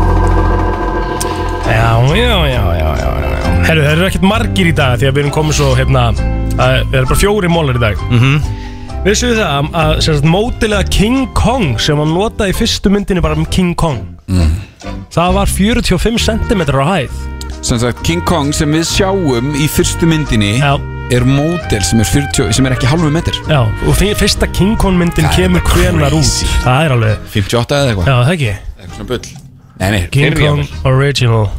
Já, já, já, já, já, já. Herru, það eru ekkert margir í dag því að við erum komið svo, hérna, að, það eru bara fjóri mólar í dag. Mm -hmm. Vissuðu það að- að, sem sagt, mótilega King Kong sem hann notaði í fyrstu myndinni bara um King Kong. Mm. Það var 45 cm á hæð. Sem sagt, King Kong sem við sjáum í fyrstu myndinni Já. er módel sem er, 40, sem er ekki halvu metr Já, og því fyrsta King Kong myndin kemur hvenar út. Það er alveg, 58 eða eitthvað já, það ekki. Eitthvað svona bull Nei, nei, King fyrri Kong jafnvel. Original.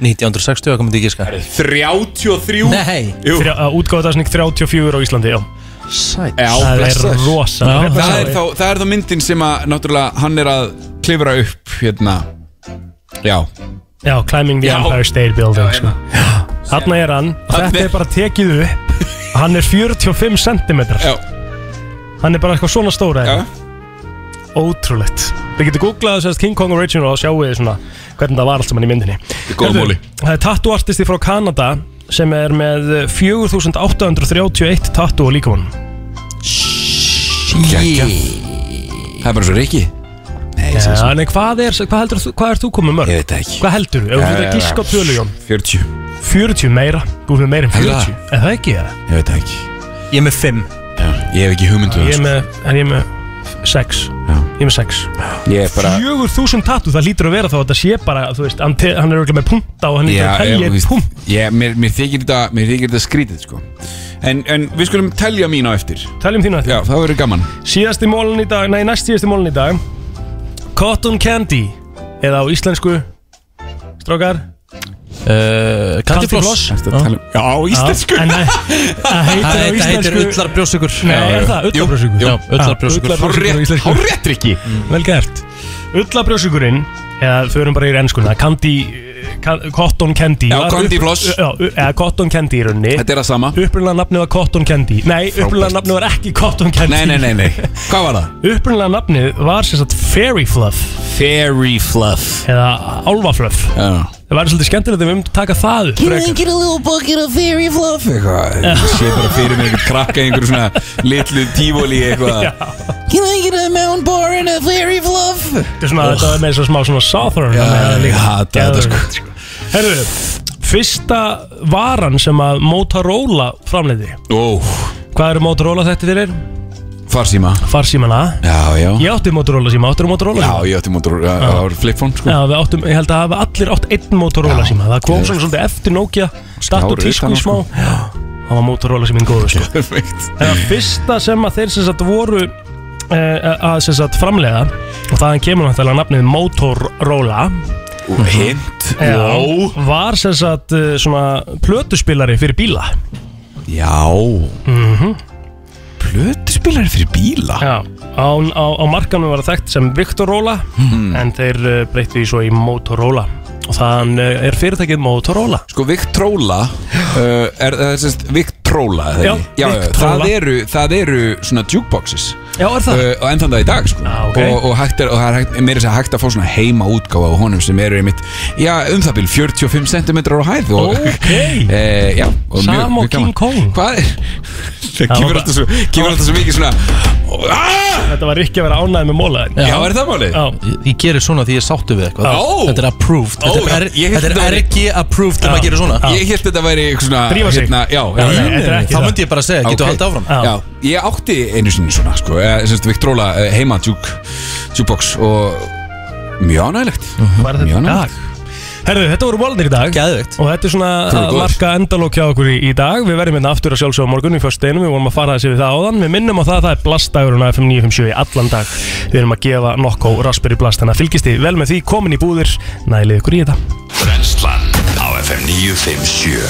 1960 að komið til gíska 33 Nei Útgáða þessning 34 á Íslandi, já. Sæt. Já, það er blessaður. rosa. Já, það, er þá, það er þá myndin sem að náttúrulega hann er að klifra upp hérna Já, Já, Climbing the Já. Empire State Building sko. Þarna er hann og Þetta er bara tekið upp Hann er 45 cm Já. Hann er bara eitthvað svona stóra Já. Ótrúlegt Við getum googlað þess að King Kong Original og sjáu þið svona hvernig það var allt saman í myndinni er góð Herðu, móli. Það er tattoo artisti frá Kanada sem er með 4831 tattoo á líkamann Gekkja. Það er bara svo reiki Nei, sem Já, sem- nei, hvað er, hvað heldur þú, hvað er þú komið mörg? Ég veit ekki Hvað heldur þú? Ef þú þetta gísk á tölu, Jón 40 40 meira, þú fyrir meira en Heldur 40 Er það ekki, eða? Ég veit það ekki Ég er með 5 Já, Ég hef ekki um hugmyndu Ég er með, en ég er með 6 Ég er með 6 Ég er bara 4000 tattu, það lítur að vera þá að þetta sé bara, þú veist, hann, te- hann er auðvitað með punta og hann lítur að ég, telja þú veist, eitt punkt ég, mér, mér þykir þetta Mér þykir þetta skrítið sko En, en við skulum telja mín á eftir Teljum þín á eftir Já, það verður gaman Síðasti mólun í dag, nei, næst síðasti mólun í dag Cotton Candy Eða á íslensku Strákar Uh, Candy Floss Ertu að tala um- Já, á íslensku Já, en það- það heitir á Þetta heitir íslensku- ullarbrjósugur Nei, er það ullabrjósugur? Já, ullarbrjósugur Hárétt ekki Vel gert Ullabrjósugurinn Eða þau erum bara í ennskuna Candy eh, ka- Cotton Candy Já, var Candy upp- Floss. Já, u- eða Cotton Candy í rauninni Þetta er það sama Upprunlega nafnið var Cotton Candy Nei, Frábært. upprunlega nafnið var ekki Cotton Candy Nei, nei, nei, nei Hvað var það? Upprunlega nafnið var sem sagt Fairy Fluff Fairy Fluff Eða Álfafluff Já Það væri svolítið skemmtilegt ef við myndum taka það upp frekar. get a little bucket of fairy fluff Eitthvað, ég sé bara fyrir mér einhvern krakka í einhverju svona litlu tífóli eitthvað Can I get a mountain boar and a fairy fluff? Þetta er svona, þetta er með svo smá svona Oh. southern Já, með það líka. ég hata þetta, sko. Geðveikt, Herru, fyrsta varan sem að Motorola framleiði Ó Hvað eru Motorola þetta fyrir? Farsíma Farsímana Já, já Ég átti Motorola síma, áttur Motorola Já, síma? ég átti mótor Það var flipphone sko Já, við áttum, ég held að hafa allir átt einn Motorola síma Það kom geðveikt. svona svolítið eftir Nokia Datt og Skárið tísku utan á, í smá sko. Já, það var Motorola síminn góður sko Perfekt Það var fyrsta sem að þeir sem sagt voru uh, að sem sagt framleiða og þaðan kemur náttúrulega nafnið Motorola Hint Mhm. Já, var sem sagt eh, svona plötuspilari fyrir bíla Já mm -hmm. Plötuspilari fyrir bíla? Já, á, á, á markanum var það þekkt sem Victorola en þeir uh, breyttu því svo í Motorola og þann uh, er fyrirtækið Motorola Sko Victrola uh, Er það er sérst Victrola eða Já, ekki? já, já Victrola. það, eru, það eru svona jukeboxes Já, er það? Uh, Og enn þann dag í dag sko ah, ok. Og, og, hægt er, og það er hægt, meira sér hægt að fá svona heima útgáfa á honum sem eru einmitt Já, um það bíl 45 cm á hæð og, Ok. uh, Já, og mjög, Sam og mjög gaman King Kong Hvað er? Það var kemur bara- alltaf svo, kemur alltaf svo mikið svona "Ah!" Þetta var ekki að vera ánægð með mólaðin Já, er það málið? Ég, ég gerir svona því ég er sáttu við eitthvað Ó. Þetta er approved Ó, Þetta er, já, ég er, hélt þetta þetta er væri- ekki approved þegar Já. maður gerir svona Ég held þetta væri eitthvað svona Drífa sig. hérna, Já, Já, já, nei, þetta er ekki Þá það. Ah, myndi ég bara segja, getur Ok. haldið áfram. Já. Ég átti einu sinni svona sko, eh, sem sagt Victrola eh, heima djúk, djúkbox og mjög ánægilegt Var þetta í dag? Herðu, þetta voru mólanir í dag Gæðvegt Og þetta er svona Þú eru að góður. marka endalók hjá okkur í, í dag Við verðum hérna aftur að sjálfsögum morgun í fyrsteinu Við vorum að fara þessi við það áðan Við minnum á það að það er blastdagurinn á FM 957 í allan dag Við erum að gefa nokko raspberry blast Þannig að fylgist þið vel með því, komin í búðir Nælið ykkur í þetta Brennslan á FM 957